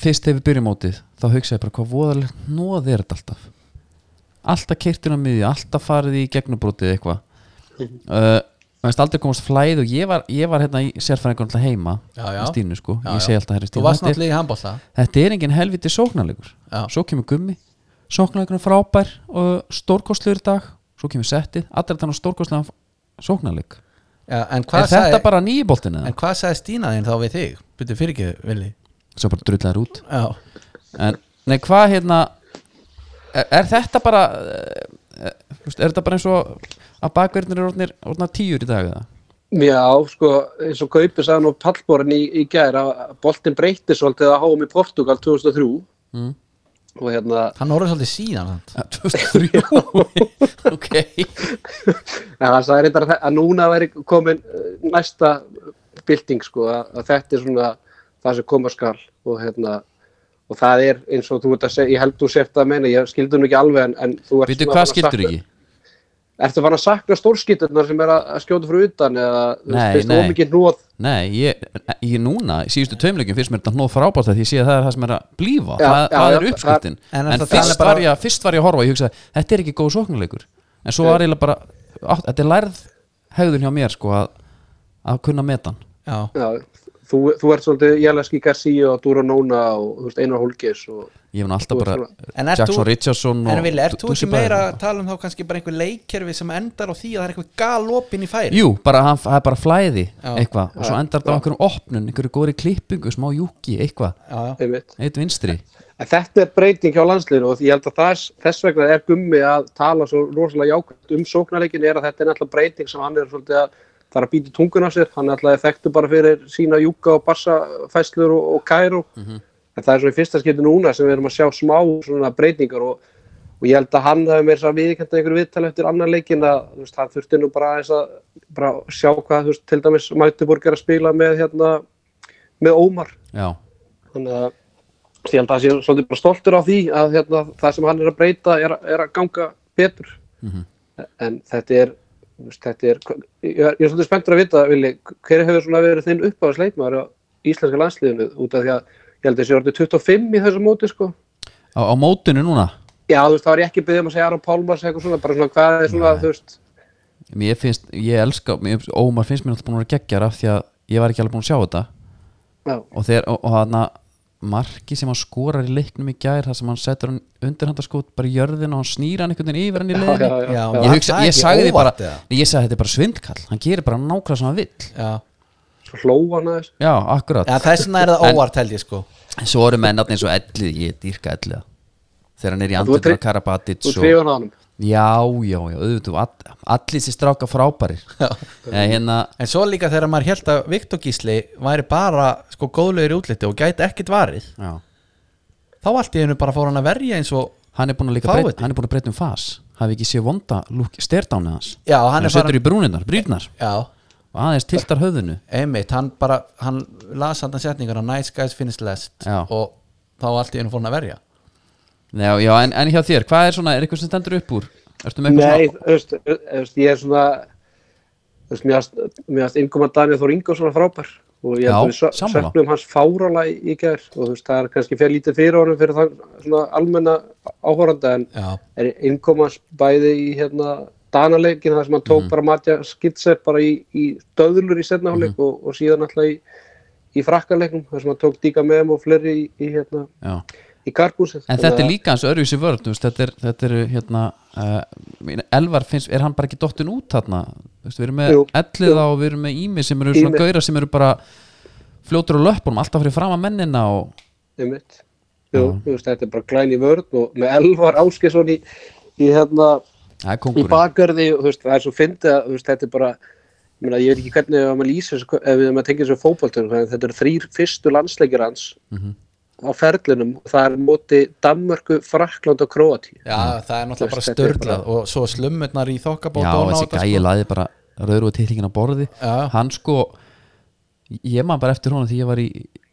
[SPEAKER 1] fyrst þegar við byrjum mótið þá hugsa ég bara hvað voðalegt nóð er þetta alltaf alltaf keirtin á miðju, alltaf farið í gegnubrótið eitthvað uh, Mér finnst aldrei komast flæð og ég var, ég var hérna í sérfræðingur alltaf heima
[SPEAKER 2] Já, já.
[SPEAKER 1] með Stínu sko,
[SPEAKER 2] Já,
[SPEAKER 1] ég
[SPEAKER 2] já.
[SPEAKER 1] segi alltaf herri
[SPEAKER 2] Þú
[SPEAKER 1] Stínu
[SPEAKER 2] varst
[SPEAKER 1] þetta er-
[SPEAKER 2] náttúrulega í handbólta
[SPEAKER 1] þetta er enginn helviti sóknarleikur
[SPEAKER 2] Já.
[SPEAKER 1] svo kemur gummi sóknarleikurinn frábær og stórkostlegur í dag svo kemur settið, allir þannig stórkostlegan sóknarleik
[SPEAKER 2] En
[SPEAKER 1] er
[SPEAKER 2] hvað
[SPEAKER 1] þetta
[SPEAKER 2] sagði-
[SPEAKER 1] bara nýjiboltin eða?
[SPEAKER 2] en hvað sagði Stína þín þá við þig? Byrju fyrir ekki, Vili
[SPEAKER 1] svo bara drullar út
[SPEAKER 2] Já,
[SPEAKER 1] en, nei hvað hérna er, er þetta bara eh, er, er þetta bara eins og að bakverðnir er orðnir, orðnar tíur í
[SPEAKER 2] [LAUGHS]
[SPEAKER 1] dag eða?
[SPEAKER 3] Já, sko, eins og Kaupi sagði nú pallborinn í, í gær að boltin breytti svolítið að háum í Portugal 2003
[SPEAKER 1] Mhm.
[SPEAKER 3] og hérna,
[SPEAKER 2] hann orðið svolítið síðan samt.
[SPEAKER 1] 2003 [LAUGHS] ok
[SPEAKER 3] ja, það sagði reyndar að þe- að núna væri komin eh, næsta bylting, sko, að, að þetta er svona það sem koma skal og hérna, og það er eins og þú ert að segja, ég held þú sért að meina, ég skildur nú ekki alveg en, en þú ert
[SPEAKER 1] veitu
[SPEAKER 3] svona
[SPEAKER 1] hvað
[SPEAKER 3] farin að
[SPEAKER 1] skildur
[SPEAKER 3] sakna-
[SPEAKER 1] ekki?
[SPEAKER 3] Ertu fann að sakna stórskildunar sem er að að skjóta frá utan eða þú
[SPEAKER 1] Nei,
[SPEAKER 3] veist,
[SPEAKER 1] nei.
[SPEAKER 3] þú mikið nóð
[SPEAKER 1] Nei, ég, ég núna, í síðustu taumleikin finnst mér þetta hnóð frábært að því ég sé að það er það sem er að blífa,
[SPEAKER 3] Já,
[SPEAKER 1] það,
[SPEAKER 3] já,
[SPEAKER 1] það
[SPEAKER 3] já,
[SPEAKER 1] er uppskriftin
[SPEAKER 2] það- en
[SPEAKER 1] en,
[SPEAKER 2] það- það
[SPEAKER 1] fyrst,
[SPEAKER 2] er bara-
[SPEAKER 1] var ég, fyrst var ég að horfa, ég hugsaði þetta er ekki góð sóknuleikur en svo
[SPEAKER 3] Mm.
[SPEAKER 1] var ég bara, átt, þetta er lærð hegðun hjá mér sko að, að kunna metan
[SPEAKER 2] Já,
[SPEAKER 3] Já, þú, þú ert svolítið Jæleski Garcia og Dúra Nóna og þú veist, Einar Holgis og
[SPEAKER 1] ég hef nú alltaf
[SPEAKER 3] Þú
[SPEAKER 1] bara
[SPEAKER 3] ert
[SPEAKER 2] En ert
[SPEAKER 1] Jackson
[SPEAKER 2] þú-
[SPEAKER 1] Richardson
[SPEAKER 2] En Vili, ert þú
[SPEAKER 1] Dussi
[SPEAKER 2] ekki
[SPEAKER 1] Bæði.
[SPEAKER 2] meira að tala um þá kannski bara einhver leikkerfi sem endar á því að það er eitthvað galopin í færi?
[SPEAKER 1] Jú, bara hann, það er bara flæði
[SPEAKER 2] Já.
[SPEAKER 1] eitthvað og svo endar þetta á einhverjum opnun einhverju góðri klippingu, smá júki, eitthvað
[SPEAKER 2] Já, já.
[SPEAKER 3] einmitt.
[SPEAKER 1] eitt vinstri,
[SPEAKER 3] En þetta er breyting hjá landsliðinu og ég held að þess, þess vegna er gummi að tala svo rosalega jákvæmt um sóknarleikin er að þetta er náttúrulega breyting sem hann er svolítið að þarf að býta tungun á sér, hann er alltaf þekktu bara fyrir sína júka og bassafæslur og, og kæru, en það er svo í fyrsta skipti núna sem við erum að sjá smá svona breytingar og, og ég held að hann hafi meira svo viðkendað einhverju viðtal eftir annan leikin að þú veist, það þurfti nú bara aðeins að bara sjá hvað, þú veist, til dæmis Magdeburg er að spila með hérna, með Ómar
[SPEAKER 1] já
[SPEAKER 3] þannig að ég held að það sé svolítið bara stoltur á því að hérna, það sem hann er að breyta er, að- er að ganga betur en þetta er, þú veist, þetta er ég er, ég er svolítið spenntur að vita Vili, hver hefur svona verið þinn uppáðsleikmaður á íslenska landsliðinu út af því að ég held að þessi orðið 25 í þessu móti sko
[SPEAKER 1] á, á mótinu núna
[SPEAKER 3] já þú veist þá er ég ekki byggðið um að segja Aron Pálmars eitthvað svona bara svona hvað er svona þú veist
[SPEAKER 1] Mér finnst, ég elska mér, Ómar finnst mér alltaf búin að vera geggjar af því að ég var ekki alveg búin að sjá þetta
[SPEAKER 3] já,
[SPEAKER 1] og þegar, og, og hann marki sem hann skorar í leiknum í gær þar sem hann setur hann undirhandaskot bara í jörðin og hann snýr hann einhvern veginn yfir
[SPEAKER 3] [LAUGHS]
[SPEAKER 1] hann í
[SPEAKER 3] já,
[SPEAKER 1] leðinni
[SPEAKER 3] já, já,
[SPEAKER 2] Já.
[SPEAKER 3] já.
[SPEAKER 1] ég, hugsa,
[SPEAKER 2] Var það
[SPEAKER 1] ég
[SPEAKER 2] ekki
[SPEAKER 1] sagði því bara
[SPEAKER 2] óvart eða?
[SPEAKER 1] ég sagði þetta er bara svindkall, hann gerir bara nákvæmlega sem hann vill
[SPEAKER 2] Já.
[SPEAKER 3] svo hló hann aðeins
[SPEAKER 1] já, akkurat,
[SPEAKER 2] Já, þess vegna er það óvart held ég sko
[SPEAKER 1] en svo eru mennarnir eins og ellið, ég dýrka ellið þegar hann er í
[SPEAKER 3] þú ert
[SPEAKER 1] andlutur
[SPEAKER 3] hrif-
[SPEAKER 1] á Karabatic
[SPEAKER 3] þú
[SPEAKER 1] og,
[SPEAKER 3] trefur hann á hann
[SPEAKER 1] Já, já, já, auðvitað all, Allir sér stráka frábærir Eða, hérna,
[SPEAKER 2] En svo líka þegar maður held að Viktor Gísli væri bara sko góðlegur í útliti og gæti ekkit varið
[SPEAKER 1] já.
[SPEAKER 2] þá allt í einu bara fór hann að verja eins og
[SPEAKER 1] Hann er búin að líka
[SPEAKER 2] Fáviti.
[SPEAKER 1] breyta, Hann er búin að breyta um fas Hafi ekki séð vonda lúk sterdánið hans
[SPEAKER 2] Já, hann
[SPEAKER 1] Hann
[SPEAKER 2] er
[SPEAKER 1] setur
[SPEAKER 2] bara
[SPEAKER 1] í brúnirnar, brýrnar
[SPEAKER 2] Já,
[SPEAKER 1] Og aðeins tiltar höfðinu
[SPEAKER 2] einmitt, hann bara hann las hann setningur að nice guys finish last
[SPEAKER 1] Já.
[SPEAKER 2] og þá allt í einu fór hann að verja
[SPEAKER 1] Já, já, en, en hjá þér, hvað er svona, er eitthvað sem stendur upp úr? Ertu með
[SPEAKER 3] Nei,
[SPEAKER 1] eitthvað
[SPEAKER 3] þú veist, þú veist, ég er svona þú veist, mér varst- mér varst innkoma Daniel Þór Ingolson frábær og ég
[SPEAKER 1] Já,
[SPEAKER 3] held að við sö-
[SPEAKER 1] sammála.
[SPEAKER 3] söknum hans fárála í í gær og þú veist, það er kannski fyrir lítið fyrir honum fyrir það svona almenna áhoranda en
[SPEAKER 2] Já,
[SPEAKER 3] er innkoma hans bæði í hérna Danaleikin þar sem hann
[SPEAKER 1] Mhm.
[SPEAKER 3] tók bara matja skitse bara í, í stöðlur í setnaháleik
[SPEAKER 1] Mhm.
[SPEAKER 3] og, og síðan alltaf í, í frakkaleiknum þar sem hann tók díka með og fleiri í, í hérna
[SPEAKER 1] svona? Já.
[SPEAKER 3] í karpúsið
[SPEAKER 1] En þetta er líka hans öruvísi vörð þú veist, Þetta er, þetta er hérna uh, meina, Elvar finnst, er hann bara ekki dottin út þarna Þú veist, Við erum með
[SPEAKER 3] Jú,
[SPEAKER 1] elliða og við erum með ími sem eru svona
[SPEAKER 3] Ými.
[SPEAKER 1] gauðra sem eru bara fljótur á löppunum, alltaf fyrir fram að mennina og
[SPEAKER 3] einmitt Jú, þú veist, þetta er bara glæni vörð og með Elvar Áskesson í, í hérna
[SPEAKER 1] það er
[SPEAKER 3] í
[SPEAKER 1] kongurinn
[SPEAKER 3] bakgarði, og, þú veist, það er svo fyndið að þú veist, þetta er bara, ég, meina, ég veit ekki hvernig ef maður lýsir, þessu- ef maður tengir þessu fótboltur þetta eru þrýr fyrstu landsleikir hans á ferlinum það er móti Danmörku, Frakland og Kroati
[SPEAKER 2] Já það er náttúrulega bara
[SPEAKER 3] Þetta er
[SPEAKER 2] störlað og svo slumurnar í þokkabót
[SPEAKER 1] Mm. Já,
[SPEAKER 2] og sko.
[SPEAKER 1] þessi gæi laði bara rauður og tillingin á borði
[SPEAKER 2] Já.
[SPEAKER 1] Hann sko Ég maður bara eftir honum því ég var í,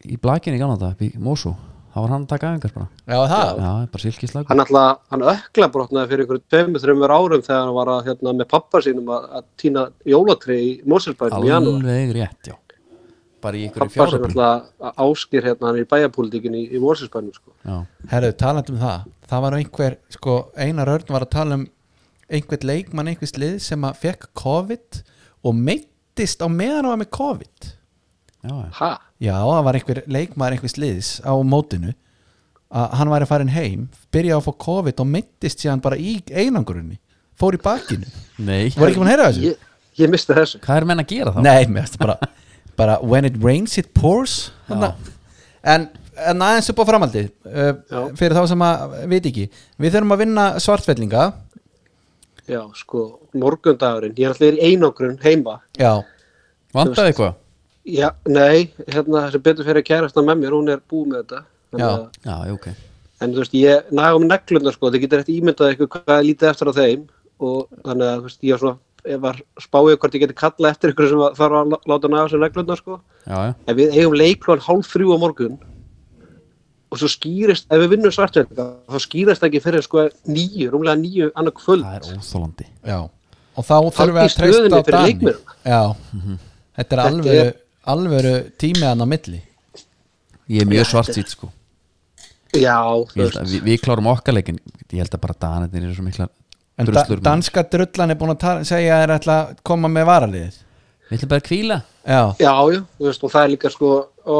[SPEAKER 1] í blakinu í gamla dag, í Mosú þá var hann að taka aðingar bara
[SPEAKER 2] Já, það,
[SPEAKER 1] Já, bara silkislag
[SPEAKER 3] hann alltaf, hann ökla brotnaði fyrir ykkur tveimur, þreimur árum þegar hann var að, hérna, með pappa sínum að, að týna jólatri í Moselbænum í janúar
[SPEAKER 1] Alveg rétt, já Bara í einhverju
[SPEAKER 3] pappa sem
[SPEAKER 1] fjáröflun
[SPEAKER 3] alltaf áskir hérna hann er í bæjapólitíkinni í, í Moselbænum sko.
[SPEAKER 1] Já,
[SPEAKER 2] herðu, talandi um það það var einhver, sko, Einar Örn var að tala um einhvert leikmann, einhvers lið sem að fekk COVID og meittist á meðan á að með COVID
[SPEAKER 1] já, já
[SPEAKER 3] ha,
[SPEAKER 2] Já, það var einhver leikmaður einhvers liðs á mótinu að hann væri farin heim byrjaði að fá COVID og meittist síðan bara í einangurunni fór í bakinu
[SPEAKER 1] Nei
[SPEAKER 2] Var ekki búin að heyra þessu?
[SPEAKER 3] ég, ég misti þessu
[SPEAKER 1] Hvað er menn að gera þá?
[SPEAKER 2] Nei, mér finnst bara, bara when it rains it pours þarna. en, en aðeins upp á framhaldið uh,
[SPEAKER 3] Já.
[SPEAKER 2] fyrir þá sem að veit ekki við þurfum að vinna svartfellinga
[SPEAKER 3] já, sko, morgundagurinn ég er alltaf í einangrun heima
[SPEAKER 2] Já,
[SPEAKER 1] Vandaði eitthvað?
[SPEAKER 3] já, nei, hérna, þessi betur fyrir að kærast með mér, hún er búið með þetta Þannig
[SPEAKER 2] Já.
[SPEAKER 3] að-
[SPEAKER 1] Já, já, ok
[SPEAKER 3] en þú veist, ég naga um neglunar sko, þið getur eftir ímyndað ykkur hvað er lítið eftir á þeim og þannig að, þú veist, ég var svona ef var spáið hvort ég geti kallað eftir ykkur sem að- þarf að lá- láta naga sér neglunar sko
[SPEAKER 1] Já, já
[SPEAKER 3] en við eigum leiklugan hálf þrjú á morgun og svo skýrist, ef við vinnum svartvelda þá skýrist það ekki fyrir sko nýju, rúmlega nýju annar kvöld
[SPEAKER 1] Það er óþólandi
[SPEAKER 2] já Og þá þurfum við
[SPEAKER 3] í
[SPEAKER 2] að treysta
[SPEAKER 3] stöðunni
[SPEAKER 2] á
[SPEAKER 3] fyrir
[SPEAKER 2] Dani
[SPEAKER 3] leikmennina. Mhm.
[SPEAKER 2] Já, þetta er
[SPEAKER 3] Þetta
[SPEAKER 2] alvöru,
[SPEAKER 3] er-
[SPEAKER 2] alvöru tímiðan á milli
[SPEAKER 1] Ég er mjög svart sýtt sko
[SPEAKER 3] já,
[SPEAKER 1] Ég
[SPEAKER 3] þú
[SPEAKER 1] held
[SPEAKER 3] veist,
[SPEAKER 1] að Við vi klárum okkar leikin Ég held að bara danetnir eru svo mikla
[SPEAKER 2] En da,
[SPEAKER 1] druslur maður.
[SPEAKER 2] danska drullan er búin að tala, segja að þeir ætla að koma með varaliðið
[SPEAKER 1] Við ætlum bara að kvíla
[SPEAKER 2] Já,
[SPEAKER 3] já, já, þú veist og það er líka sko ó,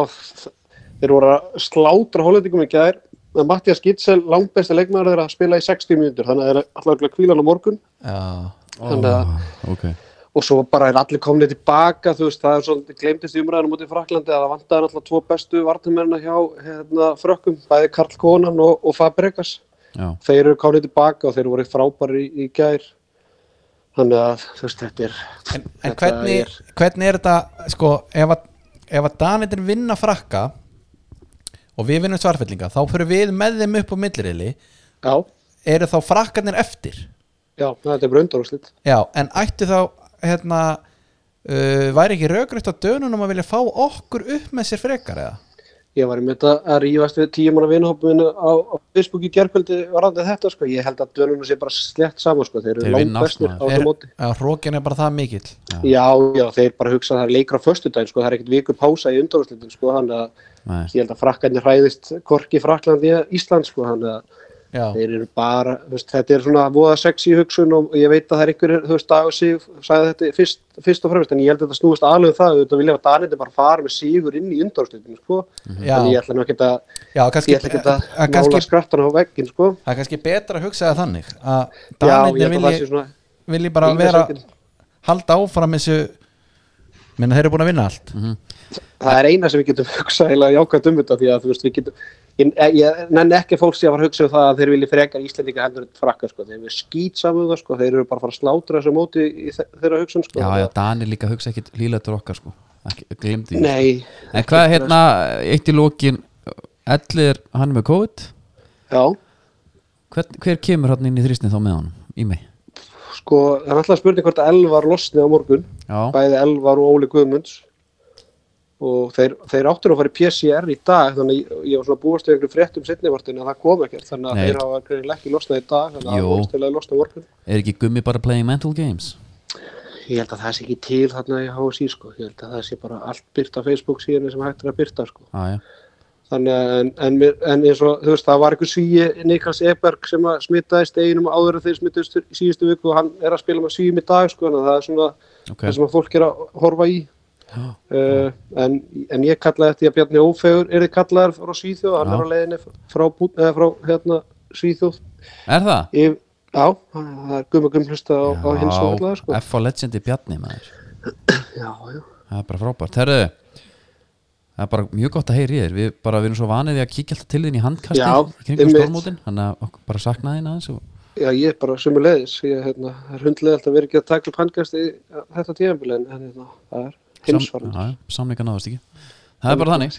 [SPEAKER 3] þeir voru að slátra hólendingum í gær en Mattias Gitzel, langbæsti leikmæður þeirra að spila í 60 mínútur, þannig að þeir eru alltaf að kvíla hann á morgun,
[SPEAKER 2] já,
[SPEAKER 3] þannig að
[SPEAKER 1] Ok
[SPEAKER 3] og svo bara er allir komnið tilbaka þú veist, það er svolítið gleymdist í umræðinu mútið Fraklandi að það vantaði náttúrulega tvo bestu vartamennina hjá hérna, frökkum, bæði Karl Konan og, og Fabregas
[SPEAKER 1] Já,
[SPEAKER 3] þeir eru komnið tilbaka og þeir voru frábæri í, í gær þannig að þú veist, þetta er
[SPEAKER 2] En, en
[SPEAKER 3] þetta
[SPEAKER 2] hvernig,
[SPEAKER 3] er,
[SPEAKER 2] hvernig er þetta sko, ef að, ef að Danitin vinna frakka og við vinnum svarfellinga, þá fyrir við með þeim upp á millirili,
[SPEAKER 3] já,
[SPEAKER 2] eru þá frakkanir eftir
[SPEAKER 3] já, þetta er bara undarúrslit
[SPEAKER 2] Já, en ættu þá hérna, uh, væri ekki rökrætt á dönunum að vilja fá okkur upp með sér frekar eða?
[SPEAKER 3] Ég var einmitt að að rífast við tíum manna vinahópuminu á, á Facebook í gerkvöldi varandi þetta sko, ég held að dölunum sé bara slett saman sko, þeir
[SPEAKER 1] Þeir
[SPEAKER 3] eru
[SPEAKER 1] vinna
[SPEAKER 3] langt bestir
[SPEAKER 1] allt,
[SPEAKER 3] á
[SPEAKER 1] maður.
[SPEAKER 3] þetta
[SPEAKER 2] Er,
[SPEAKER 3] móti.
[SPEAKER 2] að hrókin er bara það mikill
[SPEAKER 3] Já, já, þeir bara hugsa að það er leikur á föstudaginn sko, það er ekkert viku pása í undarúrslitin sko, hann að
[SPEAKER 1] nei
[SPEAKER 3] ég held að frakkarnir hræðist korki Frakland í Ísland sko, hann að
[SPEAKER 2] Já,
[SPEAKER 3] þeir eru bara, þú veist, þetta er svona voða sexy hugsun og ég veit að það er einhverjir, þú veist, Dag og Sif sagði þetta fyrst, fyrst og fremst, en ég held að þetta snúist alveg um það, þú veist, að vilja að Danindi bara fara með Sigur inn í undarúrslitinu sko,
[SPEAKER 2] Já.
[SPEAKER 3] en ég ætla nú ekki að
[SPEAKER 2] já kannski,
[SPEAKER 3] ég ætla ekki að,
[SPEAKER 2] að
[SPEAKER 3] mála
[SPEAKER 2] kannski,
[SPEAKER 3] skrattan á veggin sko.
[SPEAKER 2] það er kannski betra að hugsa það þannig að
[SPEAKER 3] já, ég
[SPEAKER 2] Danitin
[SPEAKER 3] held að það sé
[SPEAKER 2] vilji,
[SPEAKER 3] svona
[SPEAKER 2] vilji bara
[SPEAKER 3] Enga
[SPEAKER 2] vera
[SPEAKER 3] sökin.
[SPEAKER 2] halda áfram þessu menn að þeir eru búin að vinna allt
[SPEAKER 3] [LAUGHS] það er eina sem við getum hugsað heila jákvæmt um þetta því að þú veist, við getum ég, ég nenni ekki að fólk sé að fara að hugsa um það að þeir vilja frekar Íslendinga heldur en frakka sko. þeir eru skýt saman það sko. þeir eru bara að fara að slátra þessu móti í þe- þeirra hugsun sko.
[SPEAKER 1] já, já, Danir líka hugsa ekkit líla til okkar sko glimti
[SPEAKER 3] Nei,
[SPEAKER 1] en hvað er hérna, eitt í lókin Ellir, hann er með COVID
[SPEAKER 3] já,
[SPEAKER 1] hver, hver kemur hann inn í þrýstin þá með hann í mig
[SPEAKER 3] sko, það er alltaf spurning hvort að Elvar losni á morgun
[SPEAKER 1] já,
[SPEAKER 3] bæði Elvar og Óli Guðmunds og þeir, þeir áttur að fara í PCR í dag þannig að ég- ég var svona búast við einhverjum fréttum setnivartin að það kom ekkert þannig að
[SPEAKER 1] Nei.
[SPEAKER 3] þeir hafa greinilega ekki losnað í dag þannig að
[SPEAKER 1] Jú.
[SPEAKER 3] það voru stilaði losnað á morgun
[SPEAKER 1] er ekki gummi bara playing mental games
[SPEAKER 3] Ég held að það sé ekki til þarna í HSI sko, ég held að það sé bara allt byrta Facebook síðan sem hægt er að byrta sko.
[SPEAKER 1] já, já,
[SPEAKER 3] Þannig að, en, en, mér- en eins og, þú veist, það var einhver svíi Niklas Eberg sem að smitaðist einum áður en þeir smitaðist í síðustu viku og hann er að spila með svíum í dag sko, en það er svona
[SPEAKER 1] ok
[SPEAKER 3] það sem að fólk er að horfa í. Uh, en, en ég kallaði eftir að Bjarni Ófegur er þið kallaðar frá Svíþjóð, hann
[SPEAKER 1] Já.
[SPEAKER 3] er á leiðinni frá, Bú- eða frá hérna, Svíþjóð.
[SPEAKER 1] er það?
[SPEAKER 3] Ég, já, það er gummugum hlusta á, á hins og allavega sko.
[SPEAKER 1] F.A. Legendi Bjarni maður
[SPEAKER 3] Já, já.
[SPEAKER 1] það er bara frábært, herðu það er bara mjög gott að heyri þér við bara við erum svo vanið því að kíkja alltaf til þín í handkasti
[SPEAKER 3] Já,
[SPEAKER 1] kringum
[SPEAKER 3] einmitt.
[SPEAKER 1] stórmótin þannig að okkur bara sakna þín aðeins og,
[SPEAKER 3] Já, ég er bara sömu leiðis. Ég hérna, er hundlega alltaf verið ekki að taka upp handgast í þetta tíðanbíl en en, hérna, það er
[SPEAKER 1] sam,
[SPEAKER 3] hinsvarandi.
[SPEAKER 1] já, já, samninga náðast ekki það er bara þannig,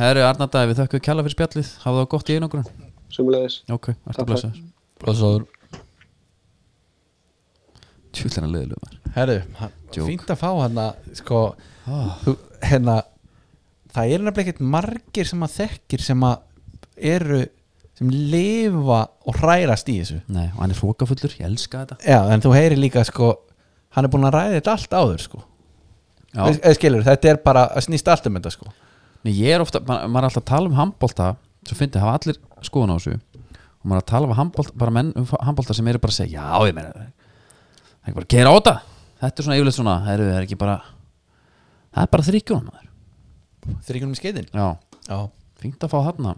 [SPEAKER 1] herru Arnardæði við þökkum kjalla fyrir spjallið, hafa það gott í einangrun
[SPEAKER 3] Sömu leiðis.
[SPEAKER 1] ok, ertu
[SPEAKER 3] Takk.
[SPEAKER 1] blessaður
[SPEAKER 2] Blessaður.
[SPEAKER 1] tjúllina leðilegu maður
[SPEAKER 2] Herru, hann-
[SPEAKER 1] Djók.
[SPEAKER 2] fínt að fá hérna sko, þú, hérna það eru nefnilega ekkert margir sem að þekkir sem að eru sem lifa og hrærast í þessu
[SPEAKER 1] Nei, og hann er hrókafullur, ég elska þetta
[SPEAKER 2] Já, en þú heyrir líka sko hann er búin að ræða þetta allt áður sko
[SPEAKER 1] Já.
[SPEAKER 2] eða skilur, þetta er bara að snýst allt um þetta sko
[SPEAKER 1] Nei, ég er ofta, ma maður er alltaf að tala um handbólta svo fyndi, hafa allir skoðun á þessu og maður er að tala um handbólta, bara menn um handbólta sem eru bara að segja, já, ég meina það er ekki bara að gera á þetta þetta er svona yfirleitt svona, það er, er ekki bara það er bara þryggjunum maður
[SPEAKER 2] þrýkunum í skeitin
[SPEAKER 1] já,
[SPEAKER 2] Já,
[SPEAKER 1] fengt að fá þarna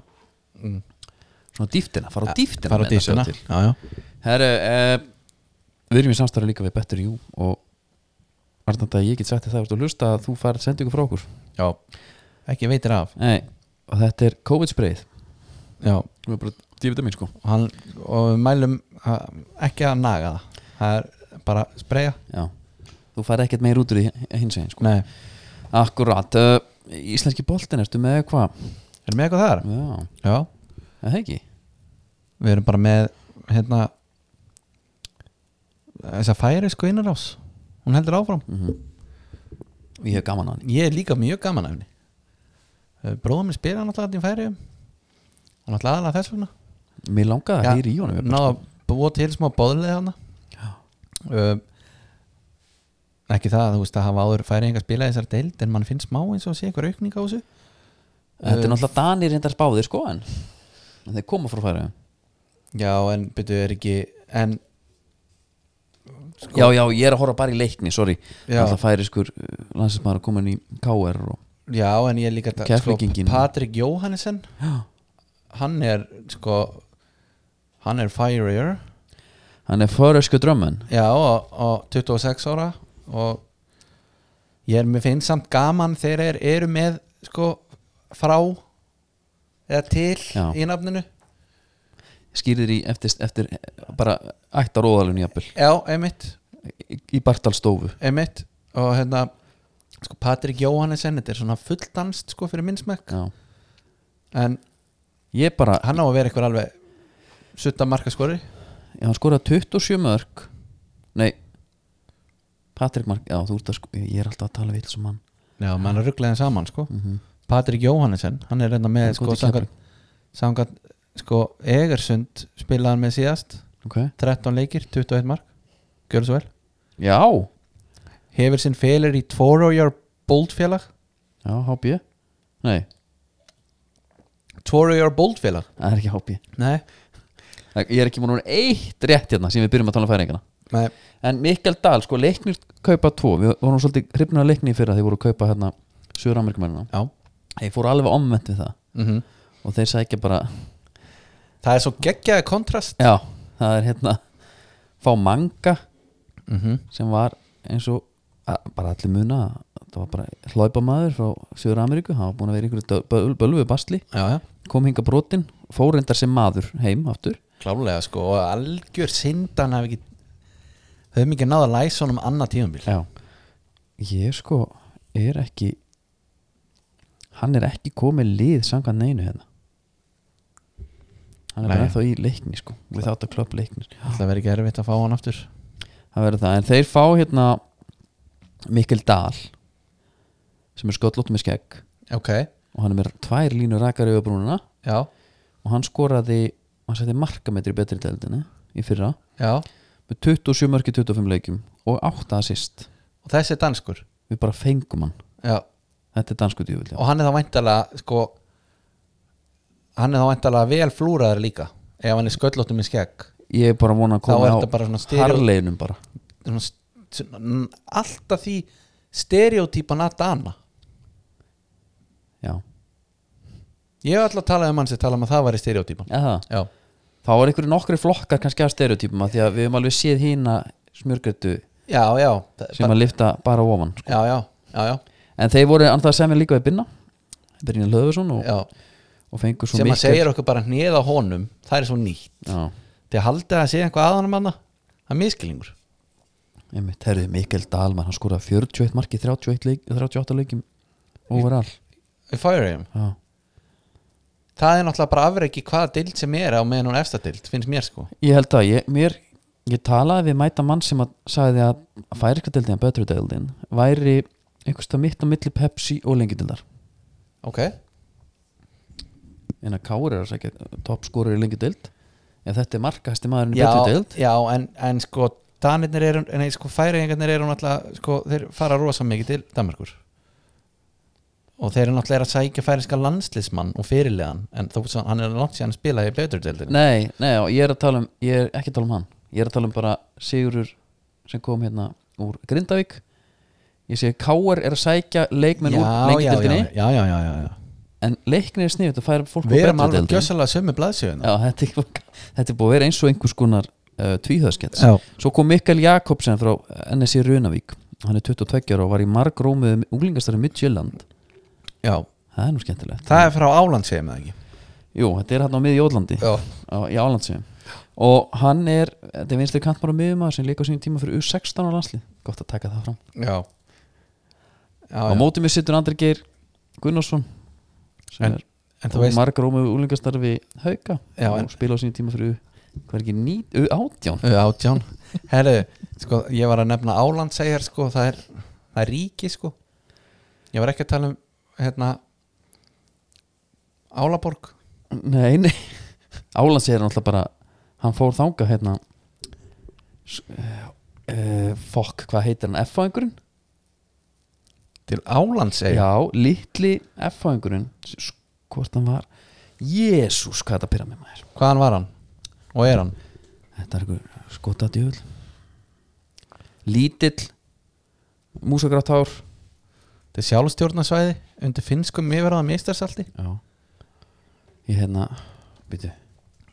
[SPEAKER 1] svona dýftina, fara á
[SPEAKER 2] Mm.
[SPEAKER 1] dýftina
[SPEAKER 2] fara á dýsuna Já, já
[SPEAKER 1] Herru, eh, við erum í samstarfi líka við Better You og Arnanda, ég get sagt þér það þú ert að hlusta að þú fær sendingu frá okkur
[SPEAKER 2] Já, ekki veitir af
[SPEAKER 1] Nei, og þetta er COVID-sprayð
[SPEAKER 2] Já, og
[SPEAKER 1] sem er bara dýfita mín sko
[SPEAKER 2] hann, og við mælum að, ekki að naga það það er bara að spreja
[SPEAKER 1] Já, þú fær ekkert meir út úr í hins veginn sko
[SPEAKER 2] Nei,
[SPEAKER 1] Akkurat, uh, íslenski boltin ertu með hvað?
[SPEAKER 2] erum við eitthvað þar?
[SPEAKER 1] Já,
[SPEAKER 2] Já,
[SPEAKER 1] er það ekki
[SPEAKER 2] við erum bara með hérna þess að færi sko innarás hún heldur áfram
[SPEAKER 1] Mhm. Ég hef gaman að hann
[SPEAKER 2] ég er líka mjög gaman af henni bróðum minn spila náttúrulega þarna í færi og náttúrulega aðalega þess vegna
[SPEAKER 1] Mér langaði að heyri í honum
[SPEAKER 2] Ná
[SPEAKER 1] bara,
[SPEAKER 2] að búa til smá bóðlega hana uh, Ekki það, þú veist að hafa áður færi enga spila í þessar deild en mann finnst smá eins og sé eitthvað aukning á þessu
[SPEAKER 1] sko. Þetta er náttúrulega Danir reyndar báðir sko en en þeir koma frá færa
[SPEAKER 2] Já, en byrju er ekki en
[SPEAKER 1] Já, já, ég er að horfa bara í leikni, sorry
[SPEAKER 2] Já.
[SPEAKER 1] Það færi skur landsinsmaður að koma inn í KR og
[SPEAKER 2] já, en ég er líka þetta-
[SPEAKER 1] Keflvíkingin.
[SPEAKER 2] Patrik Jóhannesen
[SPEAKER 1] Já.
[SPEAKER 2] hann er sko hann er firier
[SPEAKER 1] Hann er fórösku drömmen
[SPEAKER 2] já, og, og 26 ára og ég er mér finnst samt gaman þegar er, eru með sko frá eða til
[SPEAKER 1] Já.
[SPEAKER 2] í nafninu
[SPEAKER 1] skýrir í eftir, eftir eh, bara ættar óðalun í appil
[SPEAKER 2] Já, einmitt,
[SPEAKER 1] í, í Bartalstofu
[SPEAKER 2] einmitt og hérna sko Patrik Jóhannesen, þetta er svona fulldanst sko fyrir minn smekk
[SPEAKER 1] Já.
[SPEAKER 2] en
[SPEAKER 1] Ég bara,
[SPEAKER 2] hann á að vera eitthvað alveg sutta markaskori
[SPEAKER 1] Já, hann skoraði 27 mörg Nei Patrik Mark, já þú ert að sko Ég er alltaf að tala við sem Mhm. hann
[SPEAKER 2] Já, mann er rugglaðin saman sko mm Patrik Jóhannesen, hann er reynda með
[SPEAKER 1] er
[SPEAKER 2] sko
[SPEAKER 1] góð í
[SPEAKER 2] samkvæmt samkvæmt, sko Egersund spilaði hann með síðast
[SPEAKER 1] okay.
[SPEAKER 2] 13 leikir, 21 mark Gjörðu svo vel
[SPEAKER 1] Já,
[SPEAKER 2] Hefur sinn félir í Tvorojar Boldfélag
[SPEAKER 1] já, HB Nei,
[SPEAKER 2] Tvorojar Boldfélag
[SPEAKER 1] það er ekki HB
[SPEAKER 2] Nei,
[SPEAKER 1] Ég er ekki múin að vera eitt rétt hérna síðan við byrjum að tala um færingana
[SPEAKER 2] nei
[SPEAKER 1] En Mikkel Dahl, sko, leiknir kaupa tvo Við vorum svolítið hrifnir að leikni fyrir að þeir voru að kaupa hérna Suður-Amerikumennina
[SPEAKER 2] Já
[SPEAKER 1] Þeir fóru alveg omvend við það
[SPEAKER 2] mm
[SPEAKER 1] Og þeir sækja bara,
[SPEAKER 2] Það er svo geggjaði kontrast
[SPEAKER 1] já, það er hérna
[SPEAKER 2] Mhm.
[SPEAKER 1] Fá manga sem var eins og að, bara allir muna að það var bara hlaupamaður frá Suður Ameríku, hann var búin að vera í einhverju bölvu basli,
[SPEAKER 2] já, já,
[SPEAKER 1] kom hinga brotin fórendar sem maður heim aftur
[SPEAKER 2] klálega sko og algjör sindan hef ekki höfum ekki náða að læsa honum annað tíumbil
[SPEAKER 1] Já Ég sko er ekki hann er ekki komið lið samkvæmt neinu hérna hann er
[SPEAKER 2] Nei.
[SPEAKER 1] bara ennþá í leikni sko við þátt að klöp leikni
[SPEAKER 2] það verður ekki erfitt að fá hann aftur
[SPEAKER 1] það verður það en þeir fá hérna Mikkel Dahl sem er sköllótt með skegg
[SPEAKER 2] ok,
[SPEAKER 1] og hann er með tvær línur rakar yfir brúnuna
[SPEAKER 2] já,
[SPEAKER 1] og hann skoraði hann setti markametri í betri deildinni í fyrra
[SPEAKER 2] já
[SPEAKER 1] með 27 mörki 25 leikjum og 8 assist
[SPEAKER 2] og þessi er danskur
[SPEAKER 1] við bara fengum hann
[SPEAKER 2] já.
[SPEAKER 1] þetta er dansku djúvill
[SPEAKER 2] og hann er þá væntalega sko hann er þá væntalega vel flúraður líka ef hann er sköllóttum í skegg
[SPEAKER 1] ég er bara að vona að
[SPEAKER 2] Þá er
[SPEAKER 1] koma
[SPEAKER 2] þetta bara svona stereo-
[SPEAKER 1] harleginum bara
[SPEAKER 2] Svona s- svona- alltaf því stereotypan að dana
[SPEAKER 1] já,
[SPEAKER 2] ég hef alltaf talað um hann sem talað um að það væri stereotypan
[SPEAKER 1] eða það
[SPEAKER 2] já,
[SPEAKER 1] þá er einhverju nokkri flokkar kannski af stereotypum af því að við höfum alveg séð hína smjörgötu
[SPEAKER 2] já, já það-
[SPEAKER 1] sem að lifta bara ofan sko.
[SPEAKER 2] já, já, já, já,
[SPEAKER 1] en þeir voru annað sem er líka við binna Brynjan Hlöðursson og,
[SPEAKER 2] já.
[SPEAKER 1] og fengur svo
[SPEAKER 2] sem að
[SPEAKER 1] mikil
[SPEAKER 2] segja okkur bara hneð á honum það er svo nýtt
[SPEAKER 1] já,
[SPEAKER 2] til að halda að segja eitthvað að honum hann það er miskilningur
[SPEAKER 1] einmitt, herðu Mikkel Dalmann hann skoraði 41 marki í 31 leik, 38 leikum overall
[SPEAKER 2] við færa þeim
[SPEAKER 1] já,
[SPEAKER 2] það er náttúrulega bara afreiki hvaða dild sem er á meðan hún er efsta dild, finnst mér sko
[SPEAKER 1] ég held að ég, mér ég talaði við mæta mann sem að sagði að færika deildin, betru deildin væri einhverstað mitt á milli Pepsi og lengi
[SPEAKER 2] ok,
[SPEAKER 1] en að Kári er að segja toppskóri í lengi deild en þetta er markahæsti maðurinn í
[SPEAKER 2] já,
[SPEAKER 1] betri deild
[SPEAKER 2] já en, en sko Danirnir eru, nei sko færingarnir eru náttúrulega, sko þeir fara rosa mikið til Danmarkur og þeir eru náttúrulega að sækja færinska landslismann og fyrirlegan, en þó svo hann er langt síðan að spila í beturdeldinu
[SPEAKER 1] nei, nei, og ég er að tala um ég er ekki að tala um hann, ég er að tala um bara Sigurur sem kom hérna úr Grindavík ég segi Kári er að sækja leikmenn úr lengi
[SPEAKER 2] já, já,
[SPEAKER 1] deildinni
[SPEAKER 2] já, já, já, já, já.
[SPEAKER 1] en leikni er snið, þetta fær fólk úr
[SPEAKER 2] Við erum
[SPEAKER 1] betri
[SPEAKER 2] alveg
[SPEAKER 1] deildinni já, [LAUGHS]
[SPEAKER 2] gjössalega sömu blaðsjöðuna
[SPEAKER 1] þetta, er, þetta er búið að vera eins og einhvers konar uh, tvíhöðskets
[SPEAKER 2] Já.
[SPEAKER 1] svo kom Mikael Jakobsen frá NSI Runavík hann er 22 ára og var í margrómið úlingastari Midtjylland
[SPEAKER 2] Já,
[SPEAKER 1] það er nú skemmtilegt
[SPEAKER 2] það er frá Álandsheim eða ekki
[SPEAKER 1] Jú, þetta er hann á miðjólandi
[SPEAKER 2] Já.
[SPEAKER 1] í Álandsvegjum og hann er, þetta er vinstri kantmar á miðjumar sem líka á sínum tíma fyrir U16 á landslið gott að taka það fram
[SPEAKER 2] Já, já,
[SPEAKER 1] á
[SPEAKER 2] já.
[SPEAKER 1] móti mér sittur Andri Geir Gunnarsson sem
[SPEAKER 2] En-
[SPEAKER 1] er
[SPEAKER 2] En þú veist
[SPEAKER 1] margar ómögu úlingastarfi hauka
[SPEAKER 2] Já,
[SPEAKER 1] og
[SPEAKER 2] en-
[SPEAKER 1] spila á sínum tíma fyrir U hvað er ekki, ný, U18
[SPEAKER 2] Ö, Eh, Átján Herru, sko, ég var að nefna Álandseyjar sko, það er, það er ríki sko Ég var ekki að tala um hérna Álaborg
[SPEAKER 1] Nei, nei [LAUGHS] Álandsveig er náttúrulega bara hann fór þanga hérna s- eh, eh, fokk, hvað heitir hann, F-fæðingurinn?
[SPEAKER 2] til Álandseyjar
[SPEAKER 1] Já, litli F-fæðingurinn s- hvort hann var Jésús, hvað þetta pyrra með maður
[SPEAKER 2] Hvaðan var hann? Og er hann?
[SPEAKER 1] Þetta er einhver skotað djöfull Lítill Músagrátt hár
[SPEAKER 2] Þetta er sjálfstjórnarsvæði undir finnskum yfirraða mistarsalti
[SPEAKER 1] Já Ég hérna, byrju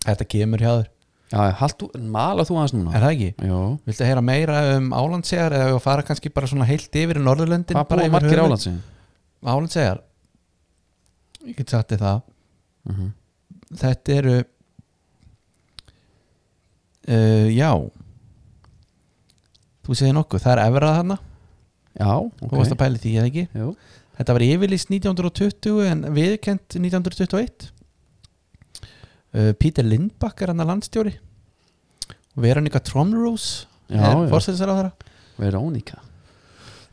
[SPEAKER 2] Þetta kemur hjá þér,
[SPEAKER 1] Já, halt þú, mala þú aðeins núna
[SPEAKER 2] er það ekki?
[SPEAKER 1] Jó
[SPEAKER 2] Viltu heyra meira um Álandsegjar eða við að fara kannski bara svona heilt yfir í Norðurlöndin
[SPEAKER 1] Hvað búið margir álandsinn?
[SPEAKER 2] Álandsegjar Ég get sagt þér það Mhm. Þetta eru uh, Já Þú segir nokkuð, það er efrað þarna
[SPEAKER 1] Já,
[SPEAKER 2] Þú varst að pæli því eða ekki
[SPEAKER 1] Jú,
[SPEAKER 2] Þetta var yfirlýst 1920 en viðkent 1921 uh, Peter Lindbach er hann að landstjóri og Veronica Tromrose
[SPEAKER 1] Já,
[SPEAKER 2] er
[SPEAKER 1] já.
[SPEAKER 2] fórsæðisar á
[SPEAKER 1] Verónika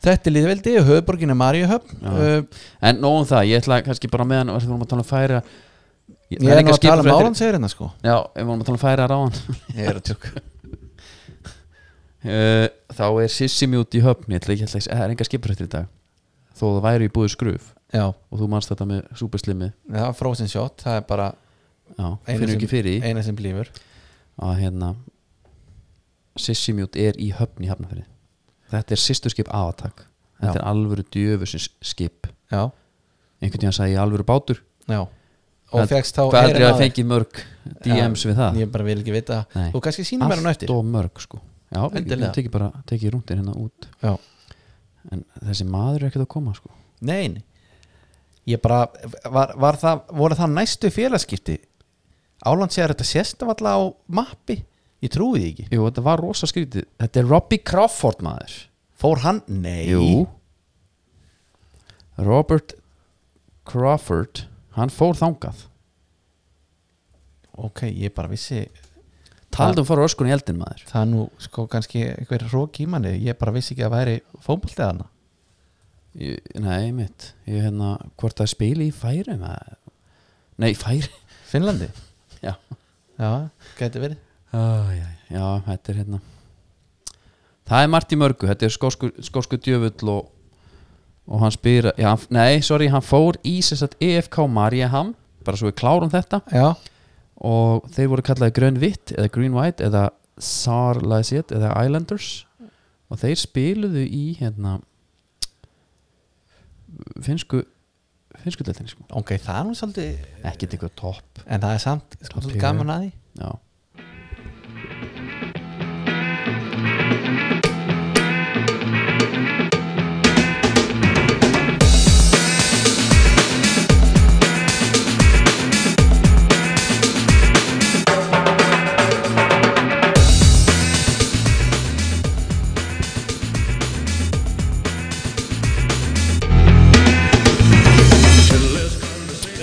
[SPEAKER 2] Þetta er liðveldi og höfuborgin er Maríuhöfn
[SPEAKER 1] Já.
[SPEAKER 2] uh,
[SPEAKER 1] En nógum það, ég ætla kannski bara meðan við vorum að tala um færa Ég
[SPEAKER 2] Ég
[SPEAKER 1] það
[SPEAKER 2] er
[SPEAKER 1] líka
[SPEAKER 2] nú að tala um
[SPEAKER 1] skipafréttir-
[SPEAKER 2] álandsegurina sko
[SPEAKER 1] Já, við vorum að tala um færa ráðan
[SPEAKER 2] Ég er að tjóka
[SPEAKER 1] Eh, Þá er Sissi mjút í höfn Ég ætla ekki að það er enga skiprættir í dag Þó það væri í búið skruf
[SPEAKER 2] Já,
[SPEAKER 1] og þú manst þetta með súperslimmi
[SPEAKER 2] það var frozen shot Það er bara
[SPEAKER 1] Já,
[SPEAKER 2] eina
[SPEAKER 1] finnum
[SPEAKER 2] sem-
[SPEAKER 1] ekki fyrir því
[SPEAKER 2] eina sem blífur
[SPEAKER 1] að hérna Sissi Mjút er í höfn í hafnafyrir Þetta er sýsturskip aðatak Þetta
[SPEAKER 2] Já.
[SPEAKER 1] er alvöru djöfusins skip
[SPEAKER 2] Já,
[SPEAKER 1] einhvern tíðan sagði ég alvöru bátur
[SPEAKER 2] já Og fegst þá
[SPEAKER 1] Það
[SPEAKER 2] heiðrin
[SPEAKER 1] er aldrei að
[SPEAKER 2] af þér.
[SPEAKER 1] fengið mörg DMs við það
[SPEAKER 2] Ég bara vil ekki vita
[SPEAKER 1] Nei.
[SPEAKER 2] Þú kannski sýnir mér hann á
[SPEAKER 1] Allt
[SPEAKER 2] eftir
[SPEAKER 1] og mörg sko Já,
[SPEAKER 2] Endilega.
[SPEAKER 1] ég teki bara teki rúndir hérna út
[SPEAKER 2] Já,
[SPEAKER 1] en þessi maður er ekkert að koma sko.
[SPEAKER 2] Nein Ég bara, var, var það, voru það næstu félagskipti Áland sér þetta séstavalla á mappi Ég trúi því ekki
[SPEAKER 1] Jú, þetta var rosa skrítið Þetta er Robbie Crawford maður
[SPEAKER 2] Fór hann? Nei
[SPEAKER 1] Jú Robert Crawford hann fór þangað
[SPEAKER 2] Ok, ég bara vissi
[SPEAKER 1] Taldum um fór öskun í eldin maður
[SPEAKER 2] Það er nú sko kannski einhver rók í manni Ég bara vissi ekki að væri fótboltið hana
[SPEAKER 1] ég, Nei, mitt Ég hérna, hvort það spili í færi maður. Nei, færi [LAUGHS]
[SPEAKER 2] Finnlandi?
[SPEAKER 1] Já,
[SPEAKER 2] Já, gæti verið
[SPEAKER 1] oh, já, já, þetta er hérna Það er margt í mörgu Þetta er skosku, skosku djöfull og, og hann spyr já, hann- Nei, sorry, hann fór í sem sagt EFK Mariehamn bara svo við klárum þetta
[SPEAKER 2] Já,
[SPEAKER 1] og þeir voru kallaði Grön Vitt eða Green White eða Sar Lysiet eða Islanders og þeir spiluðu í hérna finnsku finnsku deltinni sko
[SPEAKER 2] ok, það er nú svolítið
[SPEAKER 1] ekkert eitthvað topp
[SPEAKER 2] En það er samt sko,
[SPEAKER 1] Topp
[SPEAKER 2] svolítið
[SPEAKER 1] hér.
[SPEAKER 2] gaman að því
[SPEAKER 1] já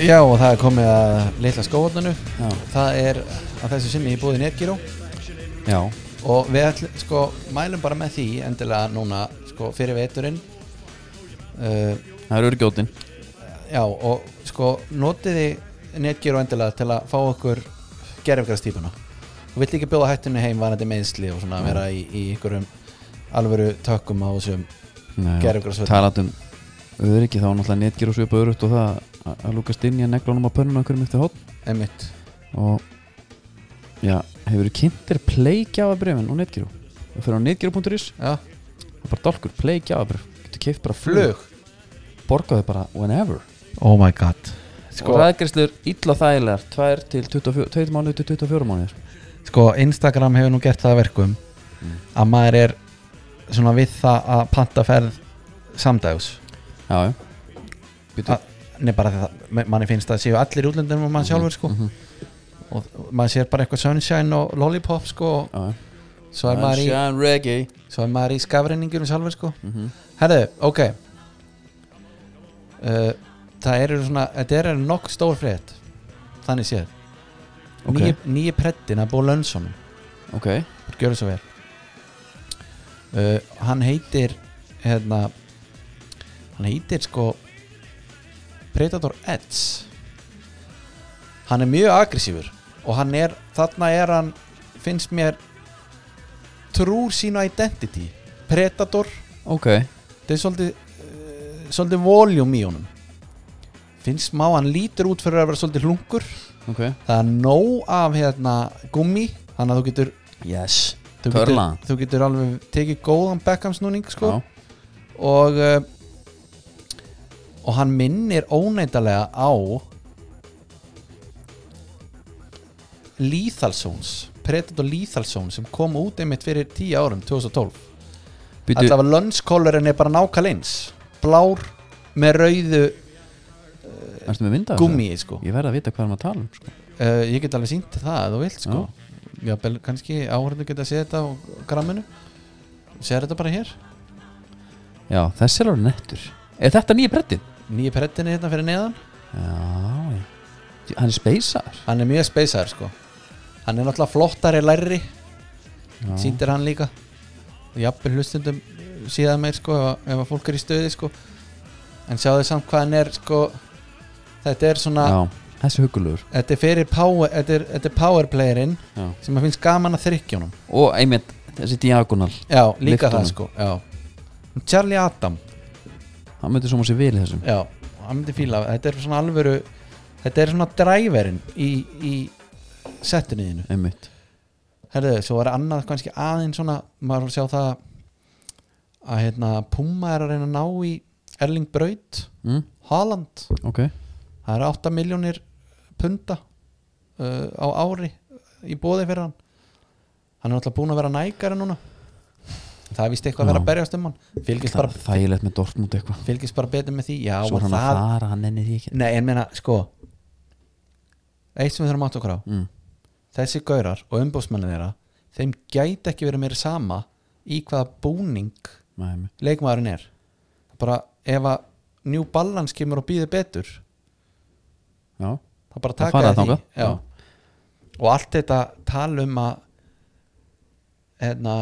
[SPEAKER 2] Já, og það er komið að litla skóvarninu
[SPEAKER 1] Já.
[SPEAKER 2] Það er að þessu sinni í búið Nergiró
[SPEAKER 1] já
[SPEAKER 2] og við ætlum, sko, mælum bara með því endilega núna, sko, fyrir veturinn uh,
[SPEAKER 1] það eru örgjótin
[SPEAKER 2] Já, og sko, notiði Nergiró endilega til að fá okkur gerfgrastýpuna og vill ekki bjóða hættunni heim varandi meinsli og svona vera í, í ykkurum alvöru tökum á þessum Gervigrasvöllur.
[SPEAKER 1] talandum um öryggi þá var náttúrulega netgir og svipa örugt og það að- að lúkast inn í að neglunum á pönnunum okkur um eftir hótt
[SPEAKER 2] emitt
[SPEAKER 1] og já hefur kynntir pleikjafa brefin og netgiru það fyrir á netgiru.is
[SPEAKER 2] Já,
[SPEAKER 1] það er bara dálkur, play gjafabrif getur keift bara
[SPEAKER 2] flug
[SPEAKER 1] flug, borgaðu bara whenever
[SPEAKER 2] Oh my god
[SPEAKER 1] Mm. sko. og ræðgreislur illa þægilegar 2 til 24, 2 mánuði til 24 mánuðir
[SPEAKER 2] sko Instagram hefur nú gert það að verkum
[SPEAKER 1] Mm.
[SPEAKER 2] að maður er svona við það að panta ferð samdægus
[SPEAKER 1] já, já Býtu,
[SPEAKER 2] Að- nefn bara því það, me- manni finnst það séu allir útlöndum og mann sjálfur
[SPEAKER 1] Mhm,
[SPEAKER 2] sko og og maður sér bara eitthvað sunshine og lollipop sko og
[SPEAKER 1] já, já.
[SPEAKER 2] svo er maður í,
[SPEAKER 1] Sunshine reggae
[SPEAKER 2] svo er maður í skafreiningur sjálfur sko
[SPEAKER 1] mm -hmm.
[SPEAKER 2] herðu, ok uh, það eru svona þetta eru nokk stór frétt þannig séð
[SPEAKER 1] Ok.
[SPEAKER 2] okay. nýji preddin að búa lönnsonum
[SPEAKER 1] ok,
[SPEAKER 2] Gjörðu svo vel uh, Hann heitir hérna Hann heitir sko Predator Edge Hann er mjög aggressífur og hann er, þarna er hann finnst mér trúr sína identity Predator,
[SPEAKER 1] ok
[SPEAKER 2] þetta er svolítið uh, svolítið voljum í honum finnst má, hann lítur út fyrir að vera svolítið hlungur,
[SPEAKER 1] ok
[SPEAKER 2] það er nóg af hérna gummi, þannig að þú getur
[SPEAKER 1] yes,
[SPEAKER 2] þú getur,
[SPEAKER 1] Körla.
[SPEAKER 2] þú getur alveg tekið góðan Beckham snúning sko,
[SPEAKER 1] já,
[SPEAKER 2] og uh, og hann minnir óneittalega á Lethal Zones Predator Lethal Zone sem kom út einmitt fyrir 10 árum 2012
[SPEAKER 1] býtu,
[SPEAKER 2] allavega lönnskolurinn er bara nákaleins blár með rauðu
[SPEAKER 1] erstu með mynda
[SPEAKER 2] gummi sko.
[SPEAKER 1] ég verð að vita hvað er maður að tala um sko.
[SPEAKER 2] uh, ég get alveg sínt það ef þú vilt sko. Já, bel, kannski áhörðu geta að segja þetta á gramminu segja þetta bara hér
[SPEAKER 1] já, þessi er alveg nettur er þetta nýja brettið?
[SPEAKER 2] nýju prettinni hérna fyrir neðan
[SPEAKER 1] já, já Djú, hann er speysar
[SPEAKER 2] hann er mjög speysaður sko hann er náttúrulega flottari lærri
[SPEAKER 1] Já.
[SPEAKER 2] síndir hann líka jafnvel hlustundum uh, síðan meir sko ef, ef að fólk er í stöði sko en sjáðu samt hvað hann er sko þetta er svona
[SPEAKER 1] já, þessi hugulegur
[SPEAKER 2] þetta er fyrir power, þetta er, þetta er powerplayerin
[SPEAKER 1] já
[SPEAKER 2] sem að finnst gaman að þrykkjónum
[SPEAKER 1] og einmitt þessi diagonal
[SPEAKER 2] já líka
[SPEAKER 1] Lyftunum.
[SPEAKER 2] það sko já. Charlie Adam
[SPEAKER 1] hann myndi svona sér vel í þessum
[SPEAKER 2] já hann myndi fíla þetta er svona alvöru þetta er svona driverinn í, í settinu þínu
[SPEAKER 1] einmitt
[SPEAKER 2] Herðu, svo var annað kannski aðeins svona maður var að sjá það að hérna, Puma er að reyna að ná í Erling Braut,
[SPEAKER 1] mm?
[SPEAKER 2] Haaland
[SPEAKER 1] ok,
[SPEAKER 2] það eru 8 miljónir punta uh, á ári í bóði fyrir hann hann er alltaf búin að vera nækara núna það er vist eitthvað að vera
[SPEAKER 1] Já.
[SPEAKER 2] að berjast um hann fylgist bara,
[SPEAKER 1] þægilegt með Dortmund eitthvað
[SPEAKER 2] fylgist bara betur með því já,
[SPEAKER 1] svo
[SPEAKER 2] og
[SPEAKER 1] er hann að
[SPEAKER 2] það,
[SPEAKER 1] fara, hann nenni því ekki
[SPEAKER 2] nei, en meina, sko eitt sem við þurfum að átta okkur á
[SPEAKER 1] mm.
[SPEAKER 2] þessi gaurar og umbúsmennir þeirra þeim gæti ekki verið meira sama í hvaða búning
[SPEAKER 1] nei, nei.
[SPEAKER 2] leikmaðurinn er bara ef að New Balance kemur og býður betur
[SPEAKER 1] já,
[SPEAKER 2] þá bara
[SPEAKER 1] Það
[SPEAKER 2] taka
[SPEAKER 1] fara
[SPEAKER 2] þeir því
[SPEAKER 1] þangað, já.
[SPEAKER 2] Já. og allt þetta tal um að hérna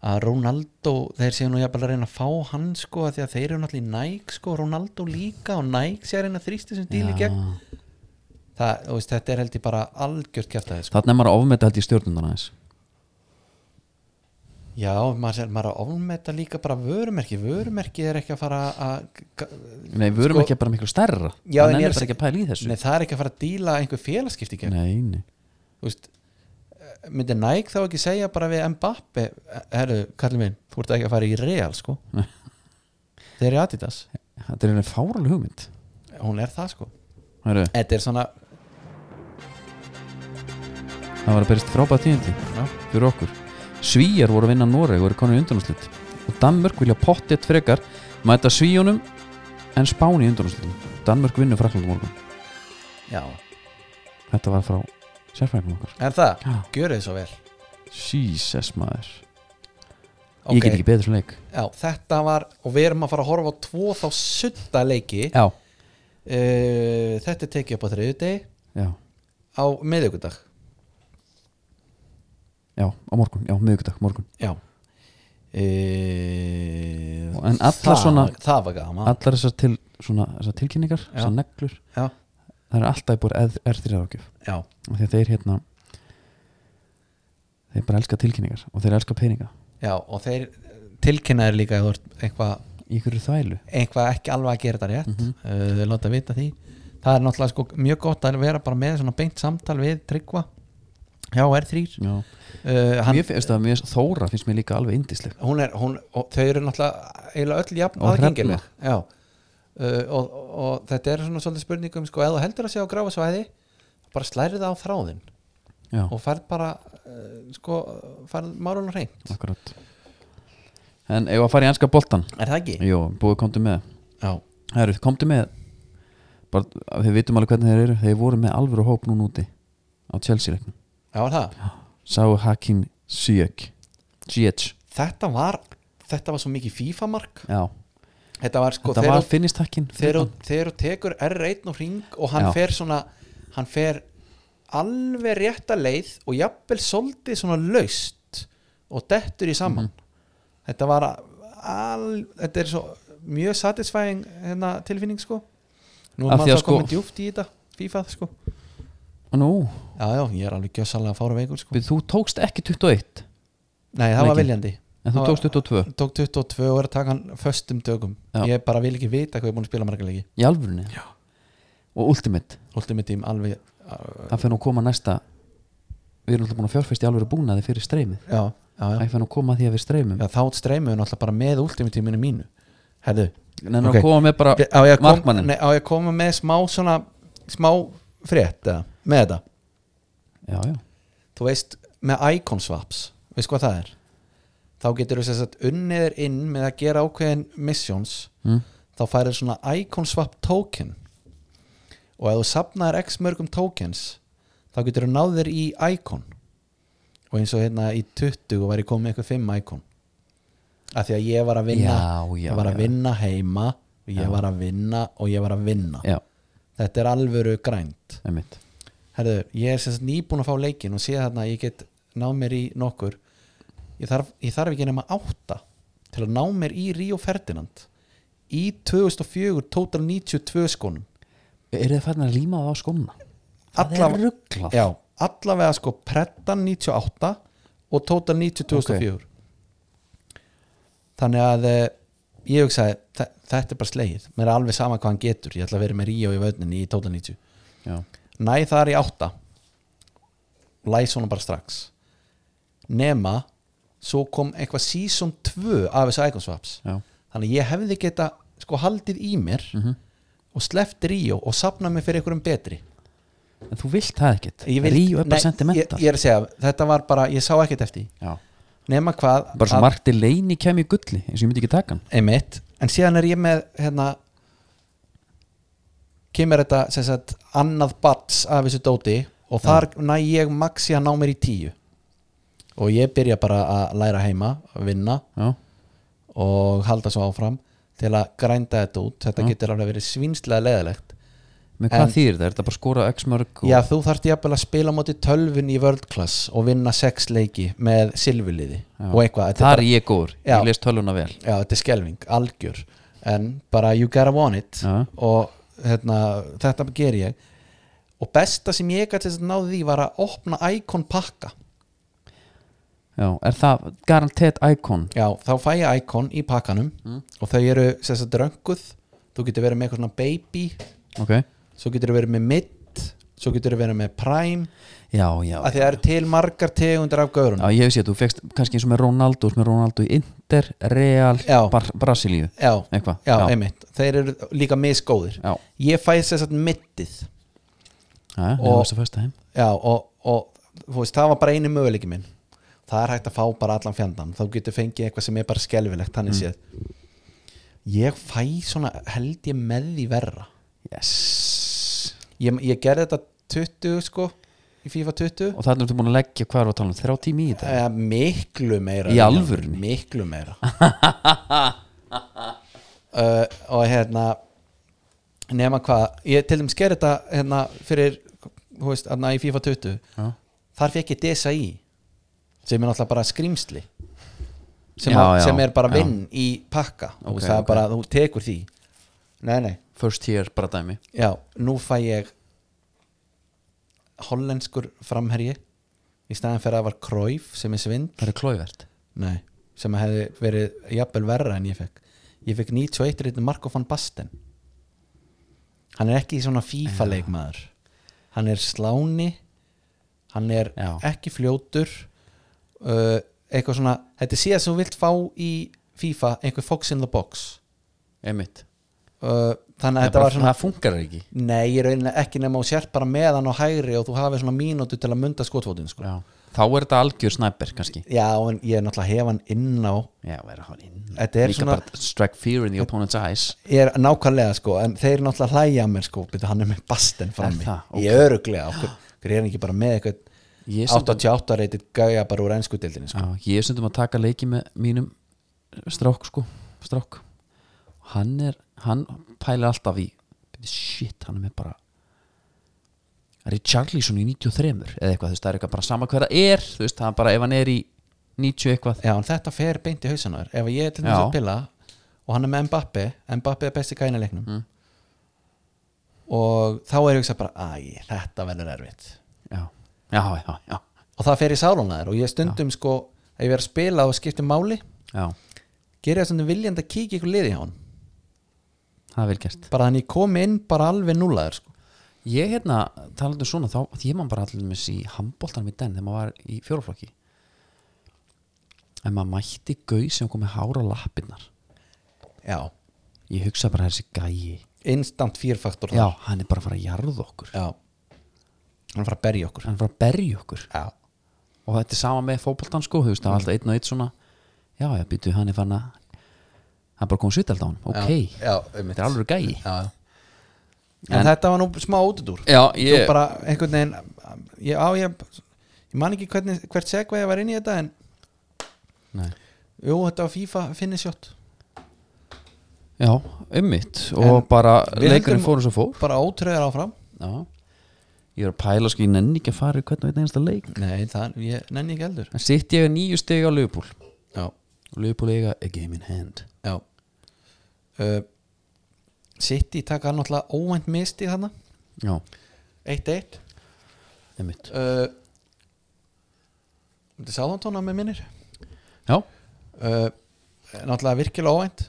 [SPEAKER 2] að Ronaldo þeir séu nú jafnvel að reyna að fá hann sko af því að þeir eru náttúrulega í Nike sko Ronaldo líka og Nike sé að reyna að þrýsti sem díl í
[SPEAKER 1] Já.
[SPEAKER 2] gegn það, þú veist, þetta er held ég bara algjört kjæft sko.
[SPEAKER 1] þarna er maður að ofmeta held í stjórnundana þess
[SPEAKER 2] já, maður er maður er að ofmeta líka bara vörumerki vörumerki er ekki að fara að
[SPEAKER 1] nei, við erum
[SPEAKER 2] Sko-
[SPEAKER 1] ekki bara miklu stærra
[SPEAKER 2] Já, en
[SPEAKER 1] hann
[SPEAKER 2] er
[SPEAKER 1] er
[SPEAKER 2] það-
[SPEAKER 1] bara ekki að pæla í þessu
[SPEAKER 2] Nei, það er ekki að fara að díla einhver félagskipti gegn
[SPEAKER 1] nei, nei,
[SPEAKER 2] Þú veist, eh, myndi Nike þá ekki segja bara við Mbappe eh, herru, kallið minn, þú ert ekki að fara í Real
[SPEAKER 1] [LAUGHS]
[SPEAKER 2] sko
[SPEAKER 1] Nei.
[SPEAKER 2] þeir eru Adidas,
[SPEAKER 1] þetta er einu fáral hugmynd
[SPEAKER 2] hún er það sko
[SPEAKER 1] Heru,
[SPEAKER 2] þetta er svona,
[SPEAKER 1] það var að berist frábæð tíðindi
[SPEAKER 2] Já.
[SPEAKER 1] fyrir okkur Svíjar voru að vinna Noreg og eru konur í undanúslit og Danmörk vilja pottet frekar mæta Svíjónum en Spáni í undanúslitum Danmörk vinnur fraklandum morgun
[SPEAKER 2] já,
[SPEAKER 1] þetta var frá sérfræðingum okkar
[SPEAKER 2] er það
[SPEAKER 1] Já.
[SPEAKER 2] gjöru þið svo vel
[SPEAKER 1] Jesus maður
[SPEAKER 2] Ok,
[SPEAKER 1] ég get ekki betur svona leik
[SPEAKER 2] já, þetta var, og við erum að fara að horfa á tvo þá sutta leiki
[SPEAKER 1] já,
[SPEAKER 2] uh, þetta er tekið upp á þriðjudegi
[SPEAKER 1] já,
[SPEAKER 2] á miðvikudag
[SPEAKER 1] já, á morgun, já, miðvikudag, morgun
[SPEAKER 2] já Uh,
[SPEAKER 1] Og en allar svona-
[SPEAKER 2] það var gaman
[SPEAKER 1] allar þessar, til, svona, þessar tilkynningar
[SPEAKER 2] Já.
[SPEAKER 1] þessar neglur,
[SPEAKER 2] já,
[SPEAKER 1] það er alltaf búið eð- erþrið ágjöf
[SPEAKER 2] já,
[SPEAKER 1] og því að þeir hérna þeir bara elska tilkynningar og þeir elska peninga
[SPEAKER 2] já og þeir tilkynnaðir líka eða þú ert eitthvað
[SPEAKER 1] í ykkur þvælu
[SPEAKER 2] eitthvað ekki alveg að gera þetta rétt
[SPEAKER 1] Mhm.
[SPEAKER 2] mm -hmm. láta vita því það er náttúrulega sko mjög gott að vera bara með svona beint samtal við Tryggva já, R3
[SPEAKER 1] já.
[SPEAKER 2] uh, hann,
[SPEAKER 1] mér finnst það, mér, Þóra finnst mér líka alveg indisleg
[SPEAKER 2] hún er, hún, og þau eru náttúrulega eiginlega öll jafn
[SPEAKER 1] Og
[SPEAKER 2] aðgengileg já uh, og, og, og þetta er svona svolítið spurningum sko, eða þú heldur að sé á gráfa svæði bara slærið á þráðinn
[SPEAKER 1] já,
[SPEAKER 2] og færð bara uh, sko, færð málun reynd
[SPEAKER 1] akkurat en eigum við að fara í enska boltan
[SPEAKER 2] er það ekki?
[SPEAKER 1] jú, búið komdu með
[SPEAKER 2] já,
[SPEAKER 1] Heru, komdu með bara, af því við vitum alveg hvernig þeir eru þeir voru með alvöru hóp núna úti á Chelsea-leiknum
[SPEAKER 2] já er það
[SPEAKER 1] sáu Hakim Ziyech Ziyech,
[SPEAKER 2] þetta var, þetta var svo mikið FIFA-mark
[SPEAKER 1] já
[SPEAKER 2] þetta var sko
[SPEAKER 1] þetta
[SPEAKER 2] þegar
[SPEAKER 1] var
[SPEAKER 2] þú-
[SPEAKER 1] finnist Hakim
[SPEAKER 2] þegar þú- þegar þú tekur R1 og ring og hann
[SPEAKER 1] Já.
[SPEAKER 2] fer svona hann fer alveg rétta leið og jafnvel svolítið svona laust og dettur í saman þetta var að- al, þetta er svo mjög satisfying hérna, tilfinning sko nú er
[SPEAKER 1] Af því
[SPEAKER 2] maður
[SPEAKER 1] að
[SPEAKER 2] þá
[SPEAKER 1] sko-
[SPEAKER 2] komið djúft í þetta FIFA sko
[SPEAKER 1] nú,
[SPEAKER 2] já já, ég er alveg gjössalega fára veikur sko
[SPEAKER 1] við, þú tókst ekki 21
[SPEAKER 2] nei, það var
[SPEAKER 1] Leikinn.
[SPEAKER 2] viljandi
[SPEAKER 1] en þú
[SPEAKER 2] Það var-
[SPEAKER 1] tókst 22
[SPEAKER 2] tók 22 og er að taka hann föstum dögum
[SPEAKER 1] Já.
[SPEAKER 2] ég bara vil ekki vita hvað ég er búin að spila marga leiki
[SPEAKER 1] í alvörunni
[SPEAKER 2] Já.
[SPEAKER 1] og Ultimate
[SPEAKER 2] Ultimate Team alveg uh,
[SPEAKER 1] það fyrir nú að koma næsta við erum alltaf búin að fjárfæst í alvöru búnaði fyrir streymið
[SPEAKER 2] já, já, já.
[SPEAKER 1] það fyrir nú að koma að því að við streymum
[SPEAKER 2] Já, þá streymiðu náttúrulega bara með últimutíminu mínu Herðu
[SPEAKER 1] en
[SPEAKER 2] ok.
[SPEAKER 1] að koma með bara
[SPEAKER 2] á ég, að kom,
[SPEAKER 1] markmanninn.
[SPEAKER 2] nei, á ég að koma með smá svona smá frétt eða, með þetta
[SPEAKER 1] já, já,
[SPEAKER 2] Þú veist, með icon swaps veist hvað það er þá getur þú sess að unniðir inn með að gera ákveðin missions
[SPEAKER 1] mm.
[SPEAKER 2] þá færir svona icon swap token og ef þú sapnaðir x mörgum tokens þá getur þú náðir í icon og eins og hérna í 20 var ég komið með eitthvað 5 icon af því að ég var að vinna
[SPEAKER 1] Já, já,
[SPEAKER 2] ég var að
[SPEAKER 1] já.
[SPEAKER 2] vinna heima og ég
[SPEAKER 1] Já.
[SPEAKER 2] var að vinna og ég var að vinna
[SPEAKER 1] já,
[SPEAKER 2] þetta er alvöru grænt
[SPEAKER 1] einmitt
[SPEAKER 2] Herðu, ég er sem sagt nýbúin að fá leikin og sé þarna að ég get náð mér í nokkur ég þarf, ég þarf ekki nema átta til að ná mér í Rio Ferdinand í 2004 total 92 skónum
[SPEAKER 1] eru þið farin að líma það á skóna það
[SPEAKER 2] Alla-
[SPEAKER 1] er rugglað
[SPEAKER 2] Já, allavega sko Preddan 98 og Total 90 2004 Þannig að eh, ég hugsaði, þe- þetta er bara slegið mér er alveg sama hvað hann getur, ég ætla að vera með Ríó í vöðninni í Total 90
[SPEAKER 1] já.
[SPEAKER 2] Næ þar í 8 Læs honum bara strax Nema svo kom eitthvað season 2 af þessu Icon Swaps
[SPEAKER 1] Já.
[SPEAKER 2] þannig að ég hefði geta sko haldið í mér
[SPEAKER 1] Mhm.
[SPEAKER 2] og sleppt Ríó og sapnað mér fyrir einhverjum betri
[SPEAKER 1] en þú vilt það ekkit
[SPEAKER 2] Ég vil-
[SPEAKER 1] Ríu er bara
[SPEAKER 2] Nei,
[SPEAKER 1] sentimenta
[SPEAKER 2] ég, ég er að segja, þetta var bara, ég sá ekkert eftir því.
[SPEAKER 1] já,
[SPEAKER 2] nema hvað
[SPEAKER 1] bara svo
[SPEAKER 2] að-
[SPEAKER 1] margt er leini kem í gulli eins og ég myndi ekki taka hann
[SPEAKER 2] einmitt, en síðan er ég með hérna kemur þetta sem sagt annað bats af þessu dóti og þar næ ég maxi að ná mér í tíu og ég byrja bara að læra heima að vinna
[SPEAKER 1] já,
[SPEAKER 2] og halda svo áfram til að grænda þetta út þetta getur alveg verið svinslega leðilegt
[SPEAKER 1] með hvað
[SPEAKER 2] En-
[SPEAKER 1] þýr það, er þetta bara að skora x mörg og...
[SPEAKER 2] já, þú þarft jafnvel að spila á móti tölvun í world class og vinna sex leiki með silfurliði
[SPEAKER 1] Já.
[SPEAKER 2] og eitthvað Þetta er
[SPEAKER 1] það er ég góður,
[SPEAKER 2] Já.
[SPEAKER 1] ég les töluna vel
[SPEAKER 2] já, þetta er skelving, algjör en bara you gotta want it
[SPEAKER 1] Já.
[SPEAKER 2] og hérna, þetta ger ég og besta sem ég gæti að náði því var að opna icon pakka
[SPEAKER 1] já, er það garantert icon
[SPEAKER 2] já, þá fæ ég icon í pakkanum
[SPEAKER 1] Mm.
[SPEAKER 2] og þau eru sérst að drönguð þú getur verið með eitthvað svona baby
[SPEAKER 1] ok,
[SPEAKER 2] svo getur verið með mid svo getur verið með prime
[SPEAKER 1] já, já
[SPEAKER 2] af því það eru til margar tegundir af gaurunum
[SPEAKER 1] já, ég hef séð, þú fegst kannski eins og með Ronaldo eins og með Ronaldo í Inter, Real
[SPEAKER 2] Já.
[SPEAKER 1] Bar Brasilíu,
[SPEAKER 2] já,
[SPEAKER 1] Eitthvað,
[SPEAKER 2] já,
[SPEAKER 1] já.
[SPEAKER 2] einmitt þeir eru líka misgóðir
[SPEAKER 1] Já.
[SPEAKER 2] ég fæ sérst að middið
[SPEAKER 1] já, og...
[SPEAKER 2] Og-
[SPEAKER 1] varst að fæsta heim
[SPEAKER 2] Já, og, og þú veist, það var bara einu möguleiki minn það er hægt að fá bara allan fjandan þá getur fengið eitthvað sem er bara skelfilegt þannig séð ég fæ svona held ég með því verra
[SPEAKER 1] yes
[SPEAKER 2] ég, ég gerði þetta 20 sko í FIFA 20
[SPEAKER 1] og þannig ertu búin að leggja hvað er að tala um þrjá tími í þetta
[SPEAKER 2] Eh, miklu meira
[SPEAKER 1] Í alvörunni?
[SPEAKER 2] miklu
[SPEAKER 1] [LAUGHS]
[SPEAKER 2] meira uh, og hérna nema hvað, ég til dæmis gerði þetta hérna fyrir þú veist, hérna í FIFA 20
[SPEAKER 1] Já.
[SPEAKER 2] þar fekk ég DSI sem er náttúrulega bara skrýmsli sem,
[SPEAKER 1] Já,
[SPEAKER 2] að,
[SPEAKER 1] já,
[SPEAKER 2] sem er bara
[SPEAKER 1] já.
[SPEAKER 2] vinn í pakka
[SPEAKER 1] Ok,
[SPEAKER 2] og það
[SPEAKER 1] ok.
[SPEAKER 2] er bara, þú tekur því nei, nei,
[SPEAKER 1] first year bara dæmi
[SPEAKER 2] já, nú fæ ég hollenskur framherji í staðan fyrir að það var Króif sem er svind
[SPEAKER 1] það er klóivert
[SPEAKER 2] Nei, sem að hefði verið jafnvel verra en ég fekk Ég fekk 91 reyndin Marko van Basten Hann er ekki svona FIFA leikmaður Hann er sláni Hann er
[SPEAKER 1] Já.
[SPEAKER 2] ekki fljótur uh, Eitthvað svona Þetta er síðan sem þú vilt fá í FIFA einhver fox in the box
[SPEAKER 1] einmitt
[SPEAKER 2] uh, Þannig að
[SPEAKER 1] það,
[SPEAKER 2] þetta var svona
[SPEAKER 1] það funkar ekki
[SPEAKER 2] Nei, ég er ekki nema og sér bara með hann á hægri og þú hafið svona mínútu til að munda skotfótin sko.
[SPEAKER 1] já. þá er þetta algjör snæper kannski
[SPEAKER 2] Já, en ég er náttúrulega hef hann inn á
[SPEAKER 1] já, vera hann inn
[SPEAKER 2] Þetta er
[SPEAKER 1] líka
[SPEAKER 2] svona-
[SPEAKER 1] bara strike fear in the opponent's eyes
[SPEAKER 2] Ég er nákvæmlega sko en þeir náttúrulega hlæja að mér sko byrja, hann er með basten frammi
[SPEAKER 1] það? Ok.
[SPEAKER 2] ég öruglega,
[SPEAKER 1] [GASPS]
[SPEAKER 2] okkur, okkur er hann ekki bara með
[SPEAKER 1] Ég
[SPEAKER 2] eitthvað
[SPEAKER 1] sem-
[SPEAKER 2] 88 reytið gæja bara úr ennsku dildinni sko.
[SPEAKER 1] já, ég er stundum að taka leiki með mínum strák sko strák hann er hann pælir alltaf í shit hann er með bara Richarlison í 93 eða eitthvað þú veist það er eitthvað bara sama hver það er þú veist það er bara ef hann er í 90 eitthvað
[SPEAKER 2] Já, en þetta fer beint í hausanar ef ég er til þess
[SPEAKER 1] Já.
[SPEAKER 2] að pilla og hann er með Mbappi Mbappi er besti gæna leiknum mm. og þá er ég hugsa bara æ, þetta verður erfitt
[SPEAKER 1] já já já já
[SPEAKER 2] og það fer í sálunar og ég stundum sko ef ég er að spila og skipti máli
[SPEAKER 1] já
[SPEAKER 2] gerir það stundum viljandi að kíkja ykkur liði hjá hann
[SPEAKER 1] það er vel gert
[SPEAKER 2] bara þannig ég kom inn bara alveg núlaður sko.
[SPEAKER 1] Ég hérna, talandi um svona þá, ég man bara allir með í handbóltanum í den þegar maður var í fjóraflokki en maður mætti gauð sem kom með hára lappirnar
[SPEAKER 2] Já,
[SPEAKER 1] ég hugsa bara þessi gæi
[SPEAKER 2] instant fyrfaktor
[SPEAKER 1] já, hann er bara að fara að jarða okkur
[SPEAKER 2] já hann fara að berja okkur
[SPEAKER 1] hann er að fara að berja okkur
[SPEAKER 2] já,
[SPEAKER 1] og þetta er sama með fótboltan sko, þú veist, það var alltaf einn og einn svona já, já, býtu, hann er fann að hann er bara komið svitald á hann, ok
[SPEAKER 2] já, um
[SPEAKER 1] þetta er alveg gæi
[SPEAKER 2] já. En, þetta var nú smá útudur
[SPEAKER 1] já,
[SPEAKER 2] ég... bara einhvern veginn ég, á, ég, ég man ekki hvernig, hvert segveið var inn í þetta en
[SPEAKER 1] Nei.
[SPEAKER 2] jú, þetta var FIFA finnishjótt
[SPEAKER 1] já, ummitt og
[SPEAKER 2] En
[SPEAKER 1] bara
[SPEAKER 2] við
[SPEAKER 1] leikurinn
[SPEAKER 2] höldum-
[SPEAKER 1] fór eins og fór
[SPEAKER 2] bara ótröðar áfram
[SPEAKER 1] Já Ég er að pæla sko, ég nenni ekki að fara í hvern veit einasta leik
[SPEAKER 2] nei, það, ég nenni ekki eldur
[SPEAKER 1] En sitt ég að nýju stegi á Liverpool
[SPEAKER 2] já,
[SPEAKER 1] Og Liverpool eiga a game in hand
[SPEAKER 2] já uh, City taka náttúrulega óvænt misti þarna
[SPEAKER 1] Já,
[SPEAKER 2] 1-1
[SPEAKER 1] einmitt
[SPEAKER 2] uh, Þetta er sáðantóna með minnir
[SPEAKER 1] Já,
[SPEAKER 2] uh, Náttúrulega virkilega óvænt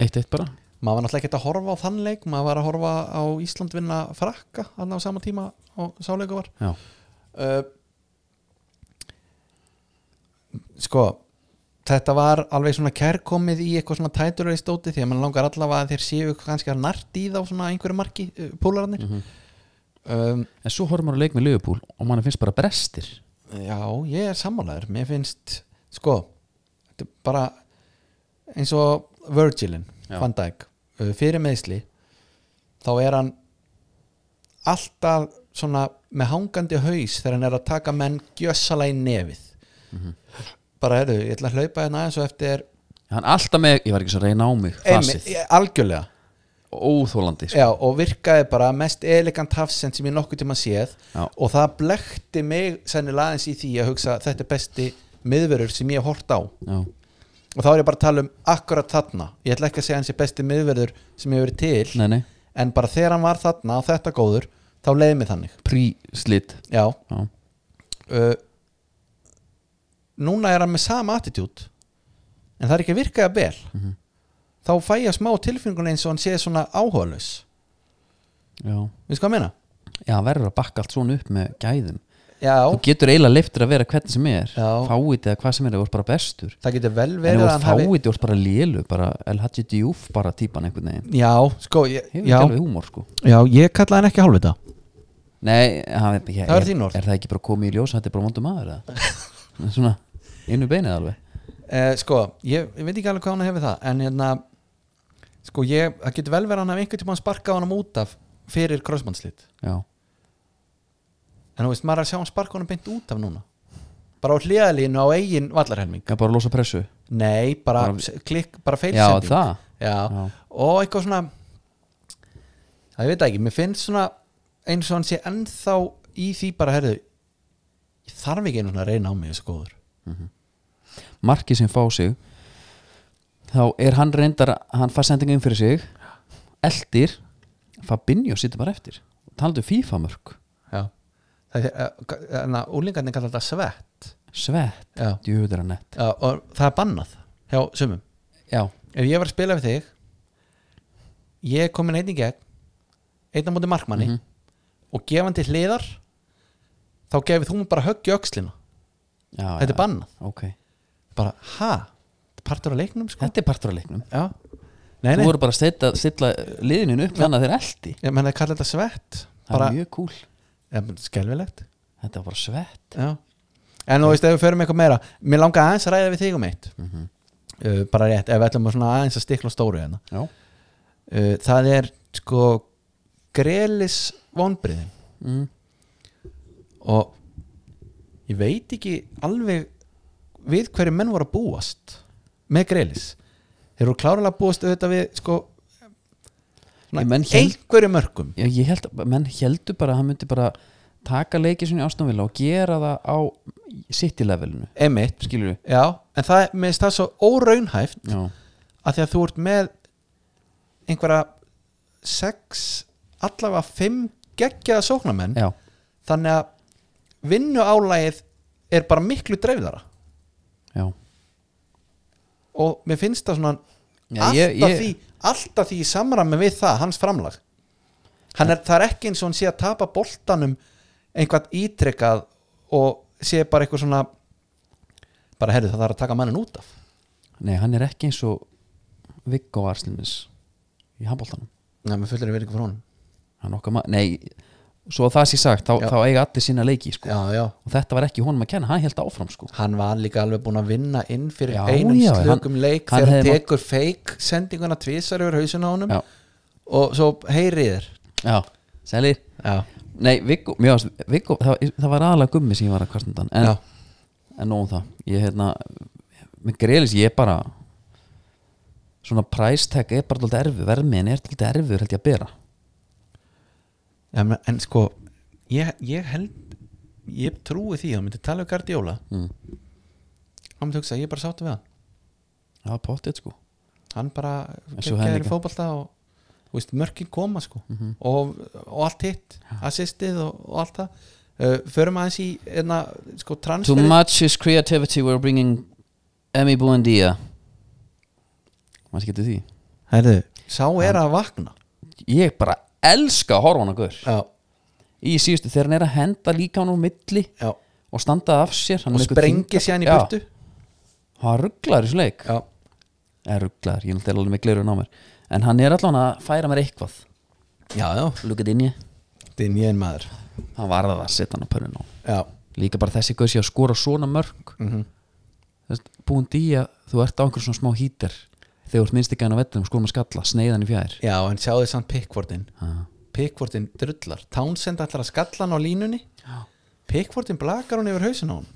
[SPEAKER 1] eitt eitt bara
[SPEAKER 2] Maður var náttúrulega ekkert að horfa á þann leik Maður var að horfa á Ísland vinna frakka Þannig á sama tíma og sáleiku var
[SPEAKER 1] Já,
[SPEAKER 2] uh, Sko Þetta var alveg svona kærkomið í eitthvað svona tæturlega stóti því að mann langar allavega að þeir séu kannski að nart í þá svona einhverju marki uh, púlararnir um,
[SPEAKER 1] en svo horfum maður að leik með Liverpool Og mann finnst bara brestir
[SPEAKER 2] Já, ég er sammálaður Mér finnst, sko Þetta er bara eins og Virgilin
[SPEAKER 1] Já.
[SPEAKER 2] Van Dijk uh, fyrir meðsli þá er hann alltaf svona með hangandi haus þegar hann er að taka menn gjössala í nefið bara heyrðu, ég ætla að hlaupa hérna aðeins og eftir
[SPEAKER 1] hann alltaf með, ég var ekki svo að reyna á mig
[SPEAKER 2] einmitt,
[SPEAKER 1] fasið,
[SPEAKER 2] ég- algjörlega
[SPEAKER 1] óþólandi sko.
[SPEAKER 2] Já, og virkaði bara mest elegant hafsend sem ég nokkuð tíma séð
[SPEAKER 1] Já.
[SPEAKER 2] og það blekti mig sennilega aðeins í því að hugsa þetta er besti miðverur sem ég hef hort á
[SPEAKER 1] já,
[SPEAKER 2] og þá er ég bara að tala um akkurat þarna ég ætla ekki að segja hans er besti miðverður sem ég hef verið til
[SPEAKER 1] nei, nei,
[SPEAKER 2] en bara þegar hann var þarna og þetta góður þá leiði mig þannig
[SPEAKER 1] príslit
[SPEAKER 2] já,
[SPEAKER 1] já,
[SPEAKER 2] uh, núna er hann með sama attitút en það er ekki að virka að vel
[SPEAKER 1] Mhm.
[SPEAKER 2] þá fæ ég smá tilfinningun eins og hann sé svona áhugaðlaus
[SPEAKER 1] já
[SPEAKER 2] við sko að meina
[SPEAKER 1] já, hann verður að bakka allt svona upp með gæðum
[SPEAKER 2] já,
[SPEAKER 1] þú getur eiginlega leiftur að vera hvernig sem er
[SPEAKER 2] Já.
[SPEAKER 1] fáið eða hvað sem er, þú ert bara bestur
[SPEAKER 2] það getur vel
[SPEAKER 1] en
[SPEAKER 2] verið
[SPEAKER 1] þú
[SPEAKER 2] að
[SPEAKER 1] ert
[SPEAKER 2] hann hafi
[SPEAKER 1] fáið, þú ert bara lélu bara El Hadji Diouf bara típan einhvern veginn
[SPEAKER 2] já, sko, ég,
[SPEAKER 1] hefur
[SPEAKER 2] já,
[SPEAKER 1] ekki alveg húmor sko
[SPEAKER 2] já, ég kalla hann ekki hálfvita
[SPEAKER 1] nei, hann, er- ég,
[SPEAKER 2] Það eru þín orð.
[SPEAKER 1] er það ekki bara komið í ljós að þetta er bara vondum maður eða? [LAUGHS] svona, innu beinið alveg
[SPEAKER 2] Eh, sko, ég, ég veit ekki alveg hvað hann hefur það en hérna sko, ég, það getur vel verið að hann hafi einhvern tímann sparkað hann út af fyrir krossmannslit
[SPEAKER 1] já,
[SPEAKER 2] en þú veist, maður er að sjá hann sparka hann beint út af núna bara á hliðalínu á eigin vallarhelming
[SPEAKER 1] það er bara að losa pressu
[SPEAKER 2] nei, bara,
[SPEAKER 1] Bara-
[SPEAKER 2] bara klikk, bara
[SPEAKER 1] já,
[SPEAKER 2] feilsending
[SPEAKER 1] það
[SPEAKER 2] Já.
[SPEAKER 1] Já.
[SPEAKER 2] og eitthvað svona það ég veit það ekki, mér finnst svona eins og hann sé ennþá í því bara, herðu ég þarf ekki einu svona að reyna á mig þessu góður
[SPEAKER 1] marki sem fá sig þá er hann reyndar hann fær sendinga inn fyrir sig eldir, Fabinho situr bara eftir talandu FIFA mörg
[SPEAKER 2] Já. það eh, er, úlingarnir kallar þetta svett
[SPEAKER 1] svett,
[SPEAKER 2] Já.
[SPEAKER 1] djúður að nett
[SPEAKER 2] Já, og það er bannað hjá sumum
[SPEAKER 1] já,
[SPEAKER 2] ef ég var að spila við þig ég er komin einn í gegn einn á móti markmanni og gefandi hliðar þá gefið þú mér bara högg í öxlina
[SPEAKER 1] já,
[SPEAKER 2] þetta er
[SPEAKER 1] já,
[SPEAKER 2] bannað
[SPEAKER 1] ok
[SPEAKER 2] bara, ha, Þetta er partur á leiknum sko
[SPEAKER 1] þetta er partur af leiknum
[SPEAKER 2] já, nei, nei,
[SPEAKER 1] þú voru bara að stilla, stilla liðinu upp þannig að þeir eldi
[SPEAKER 2] ég menn að kalla þetta svett
[SPEAKER 1] það
[SPEAKER 2] bara,
[SPEAKER 1] er mjög cool,
[SPEAKER 2] ja, men skelfilegt
[SPEAKER 1] þetta var bara svett
[SPEAKER 2] já En þú veist, ef við förum eitthvað meira Mér langar aðeins að ræða við þig um eitt
[SPEAKER 1] Mhm.
[SPEAKER 2] uh, Bara rétt, ef við ætlum að svona aðeins að stikla á stóru hérna
[SPEAKER 1] já,
[SPEAKER 2] uh, það er sko grelis vonbriðin
[SPEAKER 1] mm.
[SPEAKER 2] og ég veit ekki alveg við hverju menn voru að búast með grelis þeir eru klárlega að búast auðvitað við sko
[SPEAKER 1] Ég menn hér-
[SPEAKER 2] einhverju mörgum
[SPEAKER 1] já ég held, að- menn heldur bara að hann myndi bara taka leikið sinni ástofnvila og gera það á city levelinu,
[SPEAKER 2] emitt,
[SPEAKER 1] skilur við
[SPEAKER 2] já, en það er- mér finnst það svo óraunhæft
[SPEAKER 1] já,
[SPEAKER 2] að því að þú ert með einhverja sex, allavega fimm geggjaða sóknarmenn
[SPEAKER 1] já,
[SPEAKER 2] þannig að vinnuálægið er bara miklu dreifðara
[SPEAKER 1] já
[SPEAKER 2] og mér finnst það svona
[SPEAKER 1] Já,
[SPEAKER 2] alltaf,
[SPEAKER 1] ég- ég-
[SPEAKER 2] Því, alltaf því í samræmi við það, hans framlag hann er, það er ekki eins og hann sé að tapa boltanum einhvað ítrekkað og sé bara eitthvað svona bara herrið það þarf að taka mannin út af
[SPEAKER 1] nei, hann er ekki eins og Viggo Arslimis í handbóltanum
[SPEAKER 2] Nei, mér fullir að vera ekki frá honum
[SPEAKER 1] hann okkar maður, nei, svo að það sé sagt þá,
[SPEAKER 2] Já.
[SPEAKER 1] þá eiga allir sína leiki, sko
[SPEAKER 2] Já, já
[SPEAKER 1] og þetta var ekki honum að kenna, hann held áfram, sko
[SPEAKER 2] Hann var líka alveg búin að vinna inn fyrir
[SPEAKER 1] Já,
[SPEAKER 2] einum
[SPEAKER 1] já,
[SPEAKER 2] slökum
[SPEAKER 1] hann-
[SPEAKER 2] leik
[SPEAKER 1] hann
[SPEAKER 2] þegar hann
[SPEAKER 1] hefði mátt-
[SPEAKER 2] tekur fake sendinguna tvisar yfir hausuna á honum
[SPEAKER 1] já,
[SPEAKER 2] og svo heyrið þér
[SPEAKER 1] já, selir
[SPEAKER 2] Já,
[SPEAKER 1] Nei, Viggo, mjög ást, Viggo það, það var aðalega gummi sem ég var að kvartundan en,
[SPEAKER 2] Já.
[SPEAKER 1] en nóg um það ég hérna, með greiðlis ég bara svona præstek er bara alltaf erfið verðmiðin er alltaf erfið held ég að bera
[SPEAKER 2] en, en sko ég, ég held ég trúi því að hann myndi tala um Guardiola
[SPEAKER 1] Mm.
[SPEAKER 2] hann myndi hugsa að ég er bara sáttu við hann
[SPEAKER 1] Já, pottið sko
[SPEAKER 2] hann bara
[SPEAKER 1] En svo hann
[SPEAKER 2] geggjaður í
[SPEAKER 1] líka. Mhm.
[SPEAKER 2] fótbolta og þú veist, mörkin koma sko og, og allt hitt, assistið og, og allt það uh, förum aðeins í einna, sko
[SPEAKER 1] Too
[SPEAKER 2] transferið
[SPEAKER 1] much is creativity we're bringing Emi Buendia maður getur því
[SPEAKER 2] Herðu, sá er að vakna
[SPEAKER 1] ég bara elska að horfa hann að gaur
[SPEAKER 2] já,
[SPEAKER 1] í síðustu þegar hann er að henda líka hann úr milli
[SPEAKER 2] já.
[SPEAKER 1] og standa af sér hann
[SPEAKER 2] og
[SPEAKER 1] er með einhver
[SPEAKER 2] sprengir
[SPEAKER 1] þyngd-
[SPEAKER 2] sér hann í
[SPEAKER 1] Já,
[SPEAKER 2] burtu
[SPEAKER 1] hann rugglar í svo leik
[SPEAKER 2] já,
[SPEAKER 1] er rugglaður, ég er náttúrulega alveg með glerun á mér en hann er allan að færa mér eitthvað
[SPEAKER 2] já, já.
[SPEAKER 1] lukka inn í,
[SPEAKER 2] þetta er nýjan maður
[SPEAKER 1] hann varða að setja hann á pörun og
[SPEAKER 2] já,
[SPEAKER 1] líka bara þessi gaur sé að skora svona mörg
[SPEAKER 2] mm
[SPEAKER 1] þess, búin dýja, þú ert á einhverjum svona smá hýter þegar þú ert minnst ekki hann á vettum skoðum að skalla, sneiðan í fjær
[SPEAKER 2] Já, en sjáðu samt pickvordin
[SPEAKER 1] Ha.
[SPEAKER 2] Pickvordin drullar Townsend ætlar að skalla hann á línunni
[SPEAKER 1] Já.
[SPEAKER 2] Pickvordin blakar hún yfir hausin á hann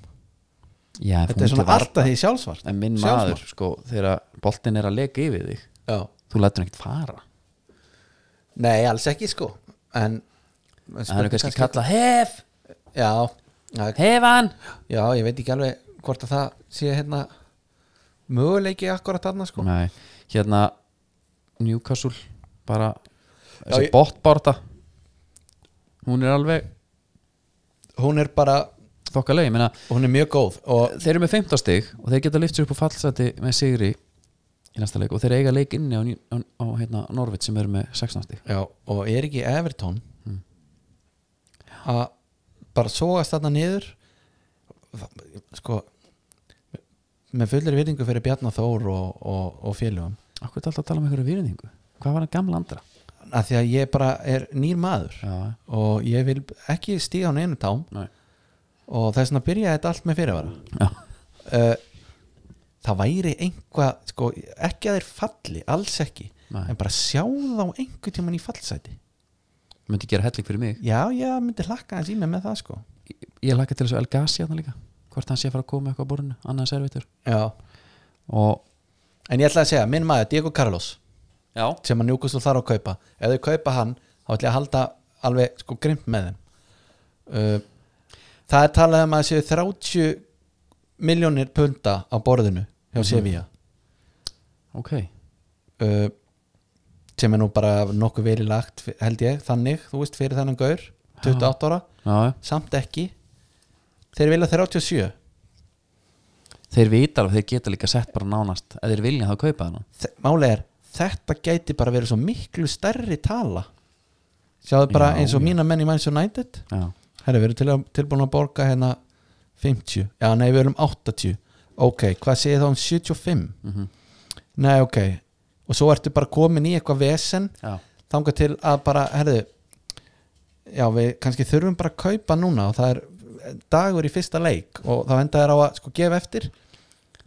[SPEAKER 1] Já,
[SPEAKER 2] Þetta er svona alltaf því sjálfsvart
[SPEAKER 1] en minn maður, sko, þegar boltin er að leka yfir þig,
[SPEAKER 2] Já.
[SPEAKER 1] þú lætur hann ekkert fara
[SPEAKER 2] Nei, alls ekki sko En en
[SPEAKER 1] það er
[SPEAKER 2] spurning
[SPEAKER 1] kannski kalla, hef,
[SPEAKER 2] Já, það-
[SPEAKER 1] hef hann
[SPEAKER 2] já, ég veit ekki alveg hvort að það sé hérna möguleiki akkurat þarna sko
[SPEAKER 1] Nei, hérna Newcastle, bara þessi
[SPEAKER 2] ég-
[SPEAKER 1] botbárta hún er alveg
[SPEAKER 2] Hún er bara,
[SPEAKER 1] þokkalegi, ég meina
[SPEAKER 2] hún er mjög góð og
[SPEAKER 1] þeir eru með 15 stig og þeir geta lift sér upp á fallseti með sigri í næsta leik og þeir eiga leik inni á, Ný- á, á hérna, Norvit sem eru með 16 stig
[SPEAKER 2] Já, og er ekki Everton
[SPEAKER 1] Hmm.
[SPEAKER 2] að bara sóast þarna niður sko með fullir virðingu fyrir Bjarnar Þór og, og, og félögum
[SPEAKER 1] Akkur er alltaf að tala um einhverju virðingu Hvað var hann gamla andra?
[SPEAKER 2] að því að ég bara er nýr maður
[SPEAKER 1] Já,
[SPEAKER 2] og ég vil ekki stíða á neinu tám
[SPEAKER 1] nei
[SPEAKER 2] og þess vegna byrja þetta allt með fyrirvara
[SPEAKER 1] Já,
[SPEAKER 2] uh, það væri einhvað sko, ekki að þeir falli, alls ekki
[SPEAKER 1] Nei.
[SPEAKER 2] en bara sjá þá einhvern tímann í fallsæti
[SPEAKER 1] myndi gera helling fyrir mig
[SPEAKER 2] já, ég myndi hlakka hans í mig með það sko
[SPEAKER 1] Ég, ég laka til þessu El Gassi hann líka Hvort hann sé að fara að koma með eitthvað á borðinu Annað servitur
[SPEAKER 2] já,
[SPEAKER 1] Og
[SPEAKER 2] En ég ætla að segja, minn maður Diego Carlos
[SPEAKER 1] Já
[SPEAKER 2] sem að Newcastle þarf að kaupa ef þau kaupa hann, þá ætla ég að halda alveg sko grimt með þeim uh, Það er talað um að séu 30 miljónir punta á borðinu hjá
[SPEAKER 1] Mhm.
[SPEAKER 2] Sevilla
[SPEAKER 1] Ok Já,
[SPEAKER 2] uh, sem er nú bara nokkuð verið lagt held ég, þannig, þú veist, fyrir þennan gaur 28 ára,
[SPEAKER 1] já.
[SPEAKER 2] samt ekki þeir vilja 37
[SPEAKER 1] þeir vita alveg, þeir geta líka sett bara nánast Ef þeir vilja þá kaupa hann
[SPEAKER 2] Þe- málið er þetta gæti bara verið svo miklu stærri tala sjáðu bara
[SPEAKER 1] Já,
[SPEAKER 2] eins og
[SPEAKER 1] já.
[SPEAKER 2] mína menn í Manchester United
[SPEAKER 1] Já,
[SPEAKER 2] herri, við erum til, tilbúin að borga hérna 50, já nei við erum 80 ok, hvað segir þá um 75
[SPEAKER 1] Mhm.
[SPEAKER 2] nei ok og svo ertu bara komin í eitthvað vesen
[SPEAKER 1] já
[SPEAKER 2] þangað til að bara, herðu já við kannski þurfum bara að kaupa núna og það er dagur í fyrsta leik og þá enda þær á að sko gefa eftir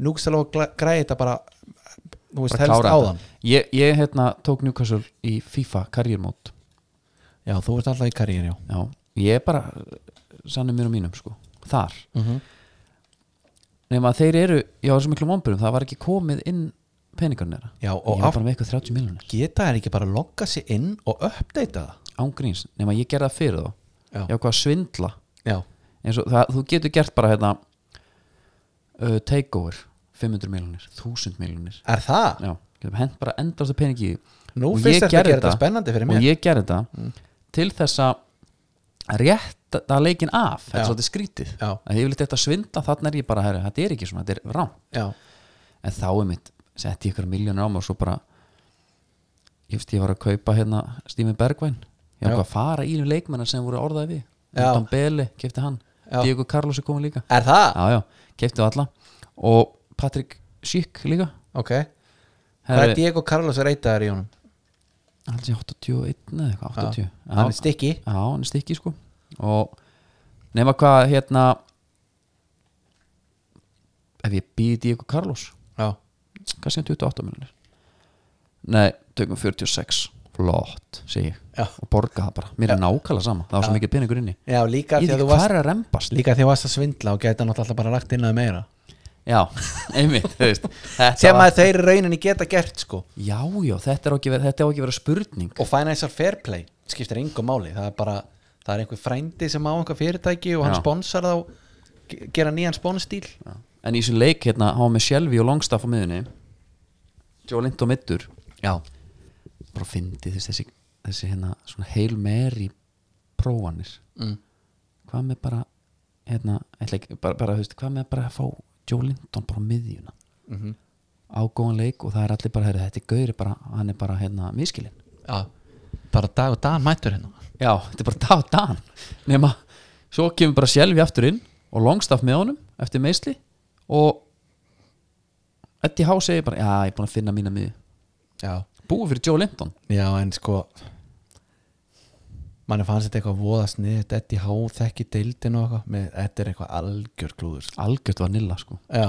[SPEAKER 2] núkstal og græði þetta bara þú veist,
[SPEAKER 1] Bara
[SPEAKER 2] helst
[SPEAKER 1] klára
[SPEAKER 2] áðan
[SPEAKER 1] þetta. Ég, ég hérna tók Newcastle í FIFA karriérmót
[SPEAKER 2] já, þú ert alltaf í karriér, já
[SPEAKER 1] Já, ég bara Sannum mér og mínum sko Þar
[SPEAKER 2] mm -hmm.
[SPEAKER 1] Nefn að þeir eru, já það er svo miklu vomburum Það var ekki komið inn peningarnir þeirra.
[SPEAKER 2] já,
[SPEAKER 1] Ég
[SPEAKER 2] og
[SPEAKER 1] var
[SPEAKER 2] átt
[SPEAKER 1] bara með eitthvað 30 miljonir
[SPEAKER 2] geta þær ekki bara að logga sig inn og uppdata það
[SPEAKER 1] ángríns, nema ég gerði það fyrir þá
[SPEAKER 2] Já.
[SPEAKER 1] ég ákvað að svindla
[SPEAKER 2] já,
[SPEAKER 1] eins og það, þú getur gert bara hérna uh, takeover 500 miljonir, 1000 miljonir
[SPEAKER 2] er það?
[SPEAKER 1] já, getur hent bara endastu peningi í því.
[SPEAKER 2] nú
[SPEAKER 1] Og ég
[SPEAKER 2] finnst þetta að
[SPEAKER 1] gerði
[SPEAKER 2] gera þetta spennandi fyrir
[SPEAKER 1] og
[SPEAKER 2] mér Mm.
[SPEAKER 1] ég gerði þetta til þess að rétta leikin af, þetta
[SPEAKER 2] Já.
[SPEAKER 1] er svolítið skrítið
[SPEAKER 2] Já.
[SPEAKER 1] að ég vil þetta svindla, þannig er ég bara herri, þetta er ekki svona, þetta er rám
[SPEAKER 2] já,
[SPEAKER 1] en þá er mitt, setti ég ykkur miljónir á mig og svo bara ég veist ég var að kaupa hérna Stími Bergvæn ég
[SPEAKER 2] Já.
[SPEAKER 1] var að fara í leikmennar sem voru orðaði við
[SPEAKER 2] Já.
[SPEAKER 1] Anton Bele, kefti hann
[SPEAKER 2] Já.
[SPEAKER 1] Diego Carlos er komin líka
[SPEAKER 2] er það?
[SPEAKER 1] já, já, kefti alla og Patrick Schick líka
[SPEAKER 2] ok, hvað er
[SPEAKER 1] Herri,
[SPEAKER 2] Diego Carlos að reyta þær í honum?
[SPEAKER 1] hann sé 81 eða eitthvað, 80
[SPEAKER 2] hann er stikki
[SPEAKER 1] já, hann er stikki sko og nema hvað hérna ef ég býði Diego Carlos
[SPEAKER 2] já,
[SPEAKER 1] hvað séum 28 miljonir nei, tökum 46 flott, segi ég
[SPEAKER 2] Já.
[SPEAKER 1] og borga það bara, mér er nákvæmlega sama það var svo mikið peningur inni
[SPEAKER 2] já líka því
[SPEAKER 1] ég veit
[SPEAKER 2] að
[SPEAKER 1] ekki
[SPEAKER 2] þú varst
[SPEAKER 1] hvað er að rempast
[SPEAKER 2] líka því að þú varst að svindla og geta náttúrulega bara lagt inn að meira
[SPEAKER 1] já, einmitt,
[SPEAKER 2] [LAUGHS]
[SPEAKER 1] þú veist þetta
[SPEAKER 2] sem
[SPEAKER 1] var-
[SPEAKER 2] að þeir í rauninni geta gert sko
[SPEAKER 1] já, já, þetta er á ekki verið, þetta er á ekki verið spurning
[SPEAKER 2] og financial fair play skiptir yngu máli það er bara, það er einhver frændi sem á einhver fyrirtæki og hann
[SPEAKER 1] Já.
[SPEAKER 2] sponsar þá ge- gera nýjan sponsdíl
[SPEAKER 1] Já. en í þessum leik hérna, hann var með Shelby og Longstaff á miðunni Joe Lind og Middur
[SPEAKER 2] já,
[SPEAKER 1] bara fyndi þessi, þessi, þessi hérna svona heil meiri prófanir
[SPEAKER 2] mm.
[SPEAKER 1] hvað með bara hérna, ætla ekki, bara, bara, þú veist, hvað með bara að fá Joe Linton bara á miðjuna
[SPEAKER 2] Mhm.
[SPEAKER 1] ágóðan leik og það er allir bara heyrðu, þetta er gauri bara, hann er bara hérna miskilinn
[SPEAKER 2] já. bara dag og dag mættur hérna
[SPEAKER 1] já, þetta er bara dag og dan nema, svo kemur bara sjálfi aftur inn og longstaff með honum eftir meisli og Eddie Howe segir bara, já, ég er búin að finna mína miði
[SPEAKER 2] já,
[SPEAKER 1] búið fyrir Joe Linton
[SPEAKER 2] já en sko manni fannst þetta eitthvað voða snið þetta í há þekki deildin og eitthvað með, þetta er eitthvað algjör klúður sko.
[SPEAKER 1] algjört var nilla sko
[SPEAKER 2] já,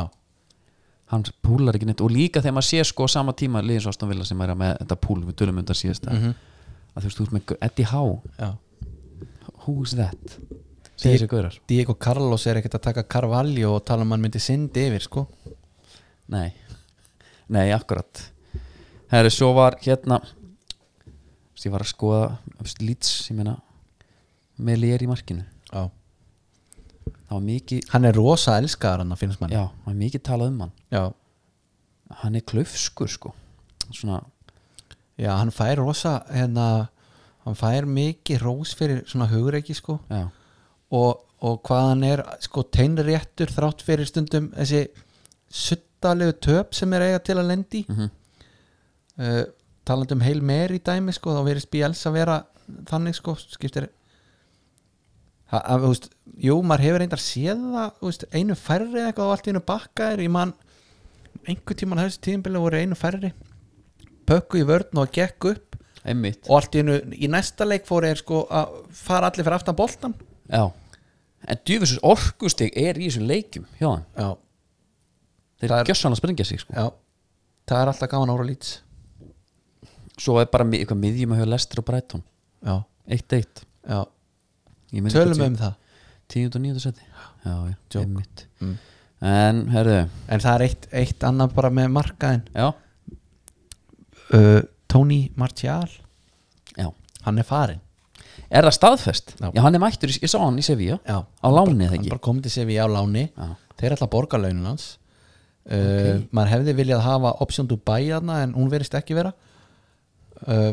[SPEAKER 1] hann púlar ekki neitt og líka þegar maður sé sko á sama tíma liðins ástan vilja sem er með þetta púl við tölum undan síðast að þú veist, þú ert með Eddie Howe
[SPEAKER 2] já.
[SPEAKER 1] who's that? segir þessi gaurar
[SPEAKER 2] Diego Carlos er ekkert að taka Carvalho og tala um hann myndi syndi yfir sko
[SPEAKER 1] Nei, nei, akkurat Herri, svo var hérna þú veist, ég var að skoða þú veist, Leeds, ég meina með lér í markinu
[SPEAKER 2] já.
[SPEAKER 1] það var mikið,
[SPEAKER 2] hann er rosa elskaðar Um hann að finnst mann
[SPEAKER 1] já, það var mikið talað um hann
[SPEAKER 2] Já.
[SPEAKER 1] hann er klaufskur sko svona,
[SPEAKER 2] Já, hann fær rosa hérna, hann fær mikið rós fyrir svona hugreiki sko
[SPEAKER 1] já,
[SPEAKER 2] og, og hvað hann er sko teinréttur þrátt fyrir stundum þessi suttalegu töp sem er eiga til að lendi
[SPEAKER 1] mhm,
[SPEAKER 2] mm talandi um heil meir í dæmi sko þá verið Bielsa að vera þannig sko skiptir Ha- að, þú veist, jú, maður hefur reyndar séð það þú veist, einu færri eða eitthvað og allt í einu bakka er í mann einhver tíman þessi tíðinbili voru einu færri pökku í vörn og gekk upp
[SPEAKER 1] einmitt
[SPEAKER 2] og allt í einu í næsta leik fóru er sko að fara allir fyrir aftan boltan
[SPEAKER 1] já. en djúfisins orkustig er í þessum leikjum hjá hann,
[SPEAKER 2] já,
[SPEAKER 1] þeir
[SPEAKER 2] Það
[SPEAKER 1] er
[SPEAKER 2] er-
[SPEAKER 1] gjössan að springa sig sko.
[SPEAKER 2] Já, það er alltaf gaman ára lít
[SPEAKER 1] svo er bara mi- eitthvað miðjum að hafa lestir og breytun
[SPEAKER 2] Já,
[SPEAKER 1] eitt eitt
[SPEAKER 2] já, tölum um það
[SPEAKER 1] 10. og 9. seti já, já,
[SPEAKER 2] Joke.
[SPEAKER 1] einmitt
[SPEAKER 2] Mm.
[SPEAKER 1] en, herðu,
[SPEAKER 2] En það er eitt, eitt annað bara með markaðin
[SPEAKER 1] já
[SPEAKER 2] uh, Tony Martial
[SPEAKER 1] Já.
[SPEAKER 2] Hann er farin
[SPEAKER 1] Er það staðfest?
[SPEAKER 2] Já.
[SPEAKER 1] Já, hann er mættur, í- ég sá hann í Sevilla
[SPEAKER 2] Já,
[SPEAKER 1] Á láni eða
[SPEAKER 2] Hann
[SPEAKER 1] ekki
[SPEAKER 2] bara komið til sér við á láni
[SPEAKER 1] Já.
[SPEAKER 2] Þeir ætla að borga launin hans uh, Maður hefði viljað hafa option to buy hana En hún verist ekki vera uh,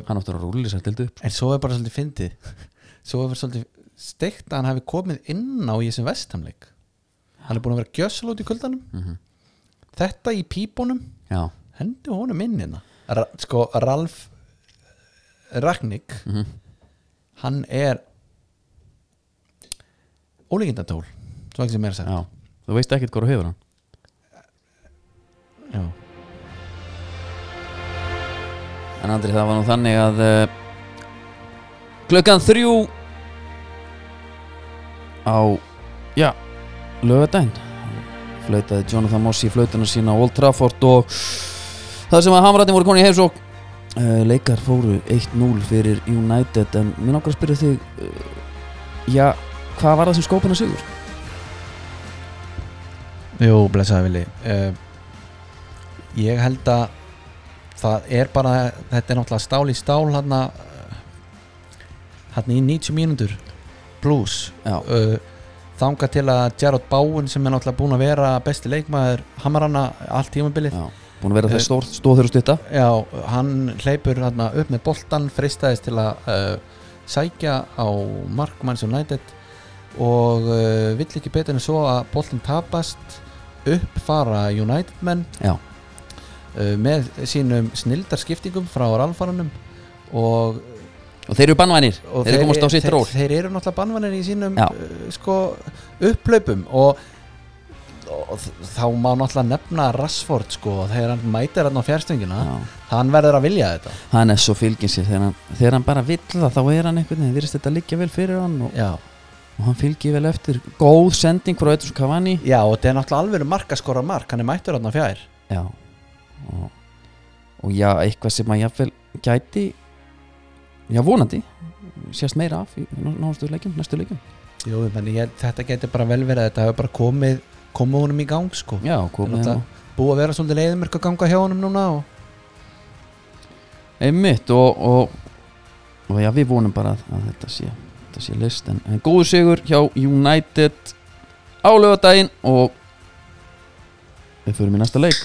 [SPEAKER 1] Hann áttur að rúli sér til upp
[SPEAKER 2] En svo er bara svolítið fyndið [LAUGHS] Svo er bara svolítið steikt að hann hafi komið inn á í þessum vestamleik Hann er búin að vera gjössal út í kuldanum
[SPEAKER 1] Mhm.
[SPEAKER 2] Þetta í pípunum
[SPEAKER 1] Já,
[SPEAKER 2] hendi honum inn hérna Ra sko Ralf eh, Ragnik hann er ólíkindatól svo ekki sem er að
[SPEAKER 1] já
[SPEAKER 2] segja
[SPEAKER 1] Þú veist ekkert hvað þú hefur hann
[SPEAKER 2] já.
[SPEAKER 1] En Andri, það var nú þannig að uh, Klukkan þrjú Á, já, lögadaginn Flautaði Jonathan Moss í flautuna sína á Old Trafford og það sem að hamrættin voru koni í heimsók uh, Leikar fóru 1-0 fyrir United en mér nokkar að spyrja þig uh, Já, hvað var það sem skópina sigur?
[SPEAKER 2] Jú, blessaði Vili uh, ég held að það er bara þetta er náttúrulega stál í stál hann að hann í 90 mínútur plus
[SPEAKER 1] Já,
[SPEAKER 2] uh, þanga til að Gerard Bowen sem er náttúrulega búin að vera besti leikmaður hamarana allt tímabilið
[SPEAKER 1] Já, búin að vera þess stór, stóð þeirra stutta
[SPEAKER 2] Já, hann hleypur hann upp með boltan, freistaðist til að uh, sækja á Markmanns United og uh, vill ekki betur en svo að boltin tapast upp fara United menn
[SPEAKER 1] Já,
[SPEAKER 2] uh, með sínum snildarskiptingum frá ralfaranum og,
[SPEAKER 1] og þeir eru bannvænir,
[SPEAKER 2] og
[SPEAKER 1] þeir eru komast á sitt
[SPEAKER 2] þeir,
[SPEAKER 1] ról
[SPEAKER 2] þeir eru náttúrulega banvanir í sínum
[SPEAKER 1] Já.
[SPEAKER 2] uh, sko, upplaupum og, og þ- þá má náttúrulega nefna Rassford sko, þegar hann mætir hann á fjärstungina
[SPEAKER 1] Já.
[SPEAKER 2] hann verður að vilja þetta
[SPEAKER 1] hann er svo fylgin sér þegar hann, þegar hann bara vill það þá er hann einhvern veginn, virðist þetta liggja vel fyrir hann og,
[SPEAKER 2] Já,
[SPEAKER 1] og hann fylgir vel eftir góð sending frá Edson Cavani
[SPEAKER 2] já og þetta er náttúrulega alveg markaskora mark, hann er mættur hann fjær
[SPEAKER 1] já og, og já, eitthvað sem að jafnvel gæti já, vonandi sést meira af í náðustu leikjum, næstu leikjum
[SPEAKER 2] Jú, menn, ég, þetta getur bara vel verið að þetta hefur bara komið, komið honum í gang sko.
[SPEAKER 1] já, komið
[SPEAKER 2] Þetta-
[SPEAKER 1] hérna. hann
[SPEAKER 2] búið að vera svolítið leiðumörk að ganga hjá honum núna og,
[SPEAKER 1] einmitt og, og, og já, við vonum bara að, að þetta sé þetta sé list, en, en góður sigur hjá United á lögadaginn og við förum í næsta leik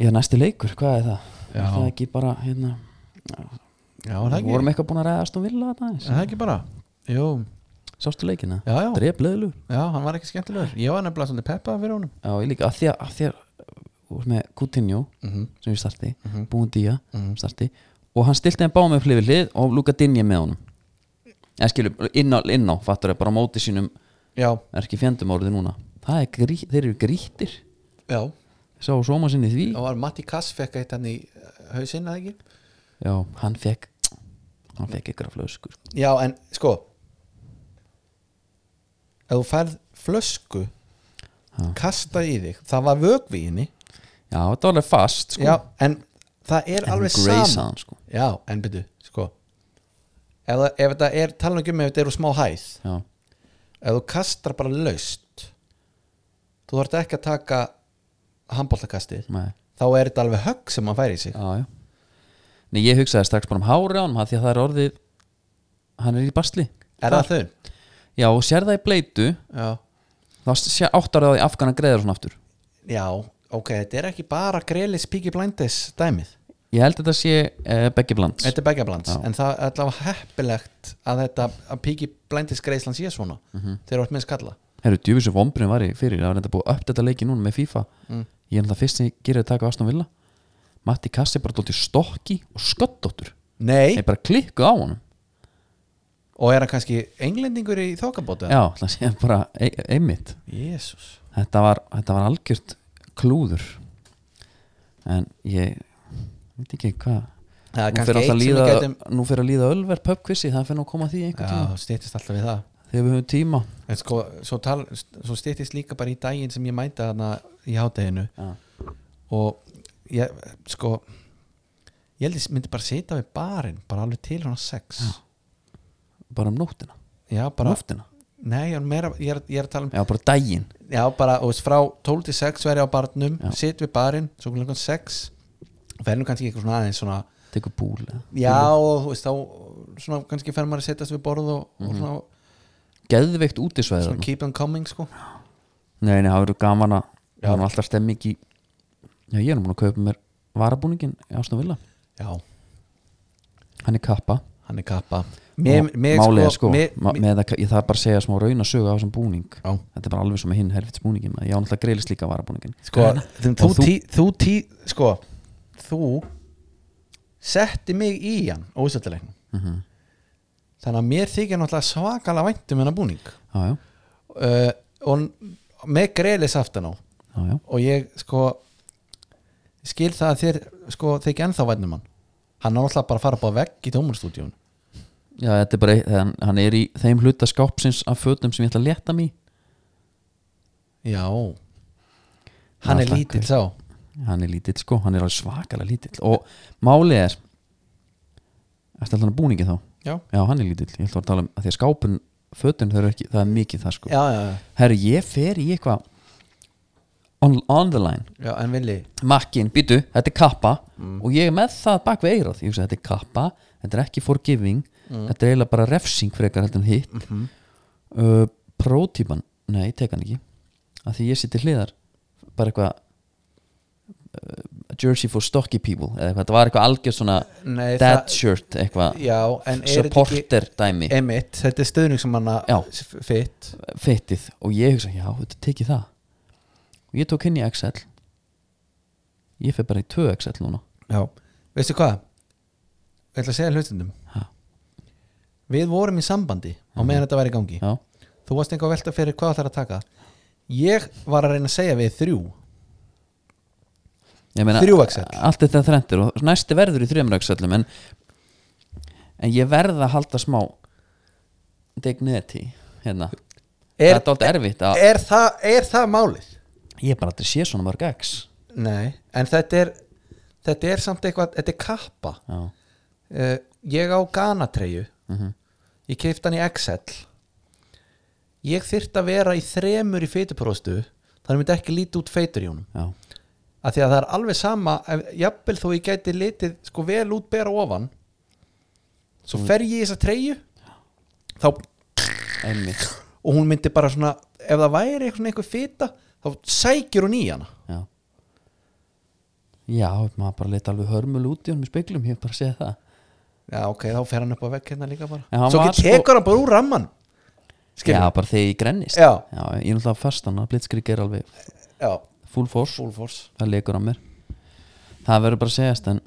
[SPEAKER 1] Já, næsti leikur, hvað er það?
[SPEAKER 2] Já.
[SPEAKER 1] Er það ekki bara, hérna
[SPEAKER 2] Já, er það
[SPEAKER 1] Við
[SPEAKER 2] ekki,
[SPEAKER 1] vorum eitthvað búin að ræðast og vilja þetta
[SPEAKER 2] er það
[SPEAKER 1] aðeins
[SPEAKER 2] ekki bara Jú,
[SPEAKER 1] Sástu leikina?
[SPEAKER 2] já, já,
[SPEAKER 1] Drep leðlu
[SPEAKER 2] já, hann var ekki skemmtilegur Ég var nefnilega svolítið peppað fyrir honum
[SPEAKER 1] Já, ég líka, að því að, að því að þú ert með Coutinho,
[SPEAKER 2] mm -hmm.
[SPEAKER 1] sem við starti mm
[SPEAKER 2] Mhm.
[SPEAKER 1] -hmm. búin dýja,
[SPEAKER 2] Mhm.
[SPEAKER 1] starti og hann stilti þeim báum upp hlifið hlið og Luka Dinje með honum en skilur, inn á, inn á fattur það bara á móti sínum
[SPEAKER 2] Já,
[SPEAKER 1] er ekki fjandum orðið núna Það er grí, þeir eru grítir
[SPEAKER 2] já,
[SPEAKER 1] Ég sá sóma sinni í því
[SPEAKER 2] og var Matti Kass fekk eitt hann í eh, hausinn eða ekki
[SPEAKER 1] Já, hann fekk hann fekk ykkur að flösku sko.
[SPEAKER 2] Já, en sko ef þú færð flösku kasta í þig það var vögvi í henni
[SPEAKER 1] Já, þetta var alveg fast sko.
[SPEAKER 2] já, en það er
[SPEAKER 1] En
[SPEAKER 2] alveg
[SPEAKER 1] Gray
[SPEAKER 2] sama
[SPEAKER 1] sound, sko.
[SPEAKER 2] já, en byrju, sko ef, það- ef þetta er, tala nú ekki um ef þetta eru smá hæð
[SPEAKER 1] Já.
[SPEAKER 2] ef þú kastar bara laust þú þarft ekki að taka handbóltakastið
[SPEAKER 1] Nei.
[SPEAKER 2] þá er þetta alveg högg sem hann fær í sig
[SPEAKER 1] Já, já Nei, ég hugsaði strax bara um hári á hann því að það er orðið hann er í basli
[SPEAKER 2] er það þau?
[SPEAKER 1] Já, og sér það í bleitu
[SPEAKER 2] Já.
[SPEAKER 1] þá sé- áttar það í afgana greiðar svona aftur
[SPEAKER 2] já, ok, þetta er ekki bara greilis píki blindis dæmið
[SPEAKER 1] Ég held að þetta sé eh, Beggi Blands
[SPEAKER 2] þetta er begja blands,
[SPEAKER 1] Já.
[SPEAKER 2] en það er allavega heppilegt að þetta að píki blindis greislan sé svona,
[SPEAKER 1] Mhm.
[SPEAKER 2] þegar þú ert með skalla
[SPEAKER 1] Herru, djúfisur vombrinn var í fyrir það var reynda búið að upp þetta leiki núna með FIFA
[SPEAKER 2] Mm.
[SPEAKER 1] Ég er náttúrulega fyrst sem ég gerir að taka Aston Villa Matti Kassi bara dóttir stokki og sköddóttur
[SPEAKER 2] nei,
[SPEAKER 1] Ég bara klikku á honum
[SPEAKER 2] og er hann kannski englendingur í þokkabóta?
[SPEAKER 1] Já, það sé bara e einmitt
[SPEAKER 2] jésus
[SPEAKER 1] þetta var, þetta var algjört klúður en ég veit ekki hvað
[SPEAKER 2] Það er
[SPEAKER 1] nú
[SPEAKER 2] kannski
[SPEAKER 1] fer alltaf
[SPEAKER 2] eitt
[SPEAKER 1] að
[SPEAKER 2] sem
[SPEAKER 1] líða,
[SPEAKER 2] við gætum-
[SPEAKER 1] nú fer að líða Ölver pubquissi, það fer nú að koma að því
[SPEAKER 2] já,
[SPEAKER 1] einhvern tíma
[SPEAKER 2] það stýttist alltaf við það
[SPEAKER 1] þegar við höfum tíma
[SPEAKER 2] En sko, svo, tal, svo stýttist líka bara í daginn sem ég mæta þarna í hádeginu
[SPEAKER 1] Já.
[SPEAKER 2] og ég, sko ég held ég myndi bara sita við barinn bara alveg til hann sex já,
[SPEAKER 1] bara um nóttina, bara
[SPEAKER 2] bara,
[SPEAKER 1] nóttina
[SPEAKER 2] nei, ég er, meira, ég, er, ég er að tala um
[SPEAKER 1] já, bara daginn
[SPEAKER 2] já, bara, þú veist, frá 12 til 6 verið á barnum,
[SPEAKER 1] Já.
[SPEAKER 2] sit við barinn svo klukkan 6 fer nú kannski eitthvað svona aðeins svona
[SPEAKER 1] tekur búl eða-
[SPEAKER 2] já, og, þú veist, þá svona kannski fer maður að setjast við borð og,
[SPEAKER 1] Mhm.
[SPEAKER 2] og svona,
[SPEAKER 1] geðveikt útisvæður
[SPEAKER 2] svona keep them coming, sko
[SPEAKER 1] nei, nei, það verður gaman að
[SPEAKER 2] Já.
[SPEAKER 1] það er nú alltaf stemming í já, ég er nú búin að kaupa mér varabúningin í Ástum Villa,
[SPEAKER 2] já,
[SPEAKER 1] hann er kappa
[SPEAKER 2] hann er kappa mér,
[SPEAKER 1] Og
[SPEAKER 2] mér,
[SPEAKER 1] málið er sko,
[SPEAKER 2] mér,
[SPEAKER 1] ma- með að, ég þarf bara að segja smá raun að söga á þessum búning
[SPEAKER 2] Já.
[SPEAKER 1] þetta er bara alveg sem með hinn helvits búningin ég á náttúrulega greilist líka að vara búningin
[SPEAKER 2] sko, þú, þú,
[SPEAKER 1] og þú-
[SPEAKER 2] tí, þú tí, sko þú setti mig í hann ósættilegnum mm þannig að mér þykja náttúrulega svakalega vænt um hennar búning
[SPEAKER 1] já, já,
[SPEAKER 2] uh, og n- með greiðlis aftan á
[SPEAKER 1] já, já,
[SPEAKER 2] og ég sko skil það að þér sko þykja ennþá vænt um hann hann er náttúrulega bara að fara bara vegg í tómurstúdíun
[SPEAKER 1] já þetta er bara eitt- hann, hann er í þeim hluta skápsins af fötum sem ég ætla að leta mig í.
[SPEAKER 2] já hann
[SPEAKER 1] Hann
[SPEAKER 2] er
[SPEAKER 1] alltaf
[SPEAKER 2] lítill
[SPEAKER 1] hver-
[SPEAKER 2] sá
[SPEAKER 1] hann er lítill sko, hann er alveg svakalega lítill og málið er ertu alltaf hann að búningi þá?
[SPEAKER 2] já,
[SPEAKER 1] já, hann er lítill, ég ætla að tala um að því að skápun fötun þau eru ekki, það er mikið það sko
[SPEAKER 2] já, já, já.
[SPEAKER 1] herru, ég fer í eitthvað on, on the line
[SPEAKER 2] já en villi
[SPEAKER 1] makkin, býtu, þetta er kappa
[SPEAKER 2] Mm.
[SPEAKER 1] og ég er með það bak við eirað ég hugsa, þetta er kappa, þetta er ekki forgiving
[SPEAKER 2] Mm.
[SPEAKER 1] þetta er eiginlega bara refsing frekar heldur en hitt mm
[SPEAKER 2] Mhm.
[SPEAKER 1] -hmm. uh, prótípan, nei, ég tek hann ekki af því ég sitt í hliðar bara eitthvað uh, jersey for stocky people eða eitthvað, þetta var eitthvað algjör svona
[SPEAKER 2] Nei,
[SPEAKER 1] dad
[SPEAKER 2] það-
[SPEAKER 1] shirt eitthvað
[SPEAKER 2] já, en er þetta ekki-
[SPEAKER 1] supporter dæmi
[SPEAKER 2] Emitt, þetta er stöðning sem hann
[SPEAKER 1] Já.
[SPEAKER 2] fitt
[SPEAKER 1] fitið og ég hugsa, já, þetta tekið það og ég tók henni í XL ég fer bara í 2XL núna
[SPEAKER 2] Já, veistu hvað Ég ætla að segja hlustundum
[SPEAKER 1] Ha. Mhm.
[SPEAKER 2] Við vorum í sambandi á meðan þetta væri í gangi
[SPEAKER 1] já
[SPEAKER 2] Þú varst einhver að velta fyrir hvað það er að taka Ég var að reyna að segja við þrjú
[SPEAKER 1] Ég meina,
[SPEAKER 2] Þrjú XL.
[SPEAKER 1] allt þetta þrendir og næsti verður í þrjumur axellum -um, en, en ég verð að halda smá dignity hérna það
[SPEAKER 2] Er,
[SPEAKER 1] er dálítið erfitt að
[SPEAKER 2] er, það, er það málið?
[SPEAKER 1] ég bara aldrei sé svona mörg x
[SPEAKER 2] Nei, en þetta er þetta er samt eitthvað, þetta er kappa
[SPEAKER 1] já, mhm,
[SPEAKER 2] uh, Ég á Ghana-treyju Ég keipta hann í XL Ég þyrft að vera í þremur í feitupróstu Þannig myndi ekki líti út feitur í honum
[SPEAKER 1] já,
[SPEAKER 2] að því að það er alveg sama ef, jafnvel þó ég gæti litið sko vel út bera ofan
[SPEAKER 1] Mm.
[SPEAKER 2] svo fer ég í þessa treyju þá, og
[SPEAKER 1] einmitt
[SPEAKER 2] hún myndi bara svona ef það væri eitthvað svona eitthvað fita þá sækir hún í hana
[SPEAKER 1] já já, maður bara leta alveg hörmul út í honum í speglum, ég hef bara séð það
[SPEAKER 2] já ok, þá fer hann upp á vekk hérna líka
[SPEAKER 1] En
[SPEAKER 2] bara
[SPEAKER 1] hann
[SPEAKER 2] svo
[SPEAKER 1] var
[SPEAKER 2] ekki
[SPEAKER 1] sko-
[SPEAKER 2] tekur hann bara úr ramman
[SPEAKER 1] já,
[SPEAKER 2] skilja,
[SPEAKER 1] bara þegar ég grennist
[SPEAKER 2] Já.
[SPEAKER 1] ég er náttúrulega fastan að blitzkrig er alveg
[SPEAKER 2] já,
[SPEAKER 1] full force,
[SPEAKER 2] full force
[SPEAKER 1] það leikur á mér það verður bara að segjast en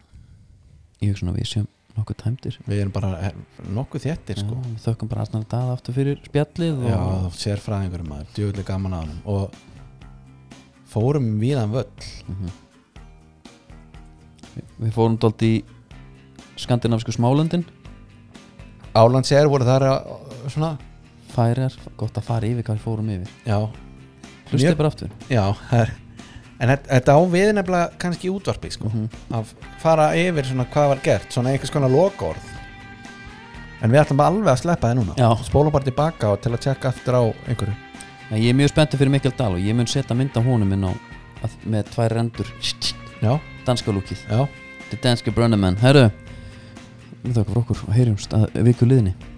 [SPEAKER 1] ég hef svona við séum nokkuð tæmdir
[SPEAKER 2] við erum bara eh, nokkuð þéttir sko
[SPEAKER 1] Já, við þökkum bara Arnar Dað aftur fyrir spjallið
[SPEAKER 2] já,
[SPEAKER 1] og
[SPEAKER 2] þá sér fræðingur maður, djöfulega gaman að hann og fórum víðan völl
[SPEAKER 1] við fórum dólt í skandinavísku smálöndin
[SPEAKER 2] Álandsjær voru þar að- svona
[SPEAKER 1] færiðar, gott að fara yfir hvað við fórum yfir
[SPEAKER 2] Já
[SPEAKER 1] Hlustið
[SPEAKER 2] Mjög-
[SPEAKER 1] bara aftur
[SPEAKER 2] Já, það er En þetta- þetta á við nefnilega kannski í útvarpi sko, að fara yfir svona hvað var gert svona einhvers konar lokaorð En við ætlum alveg að sleppa það núna
[SPEAKER 1] Já.
[SPEAKER 2] Spólum bara tilbaka og til að tjekka aftur á einhverju
[SPEAKER 1] Nei, Ég er mjög spenntið fyrir Mikkel Dahl og ég mun setja mynd af honum inn á að, með tvær rendur
[SPEAKER 2] Já,
[SPEAKER 1] danska lúkið
[SPEAKER 2] já
[SPEAKER 1] The Danske Brunnerman Herru, við þakka fyrir okkur og heyrjumst að viku liðni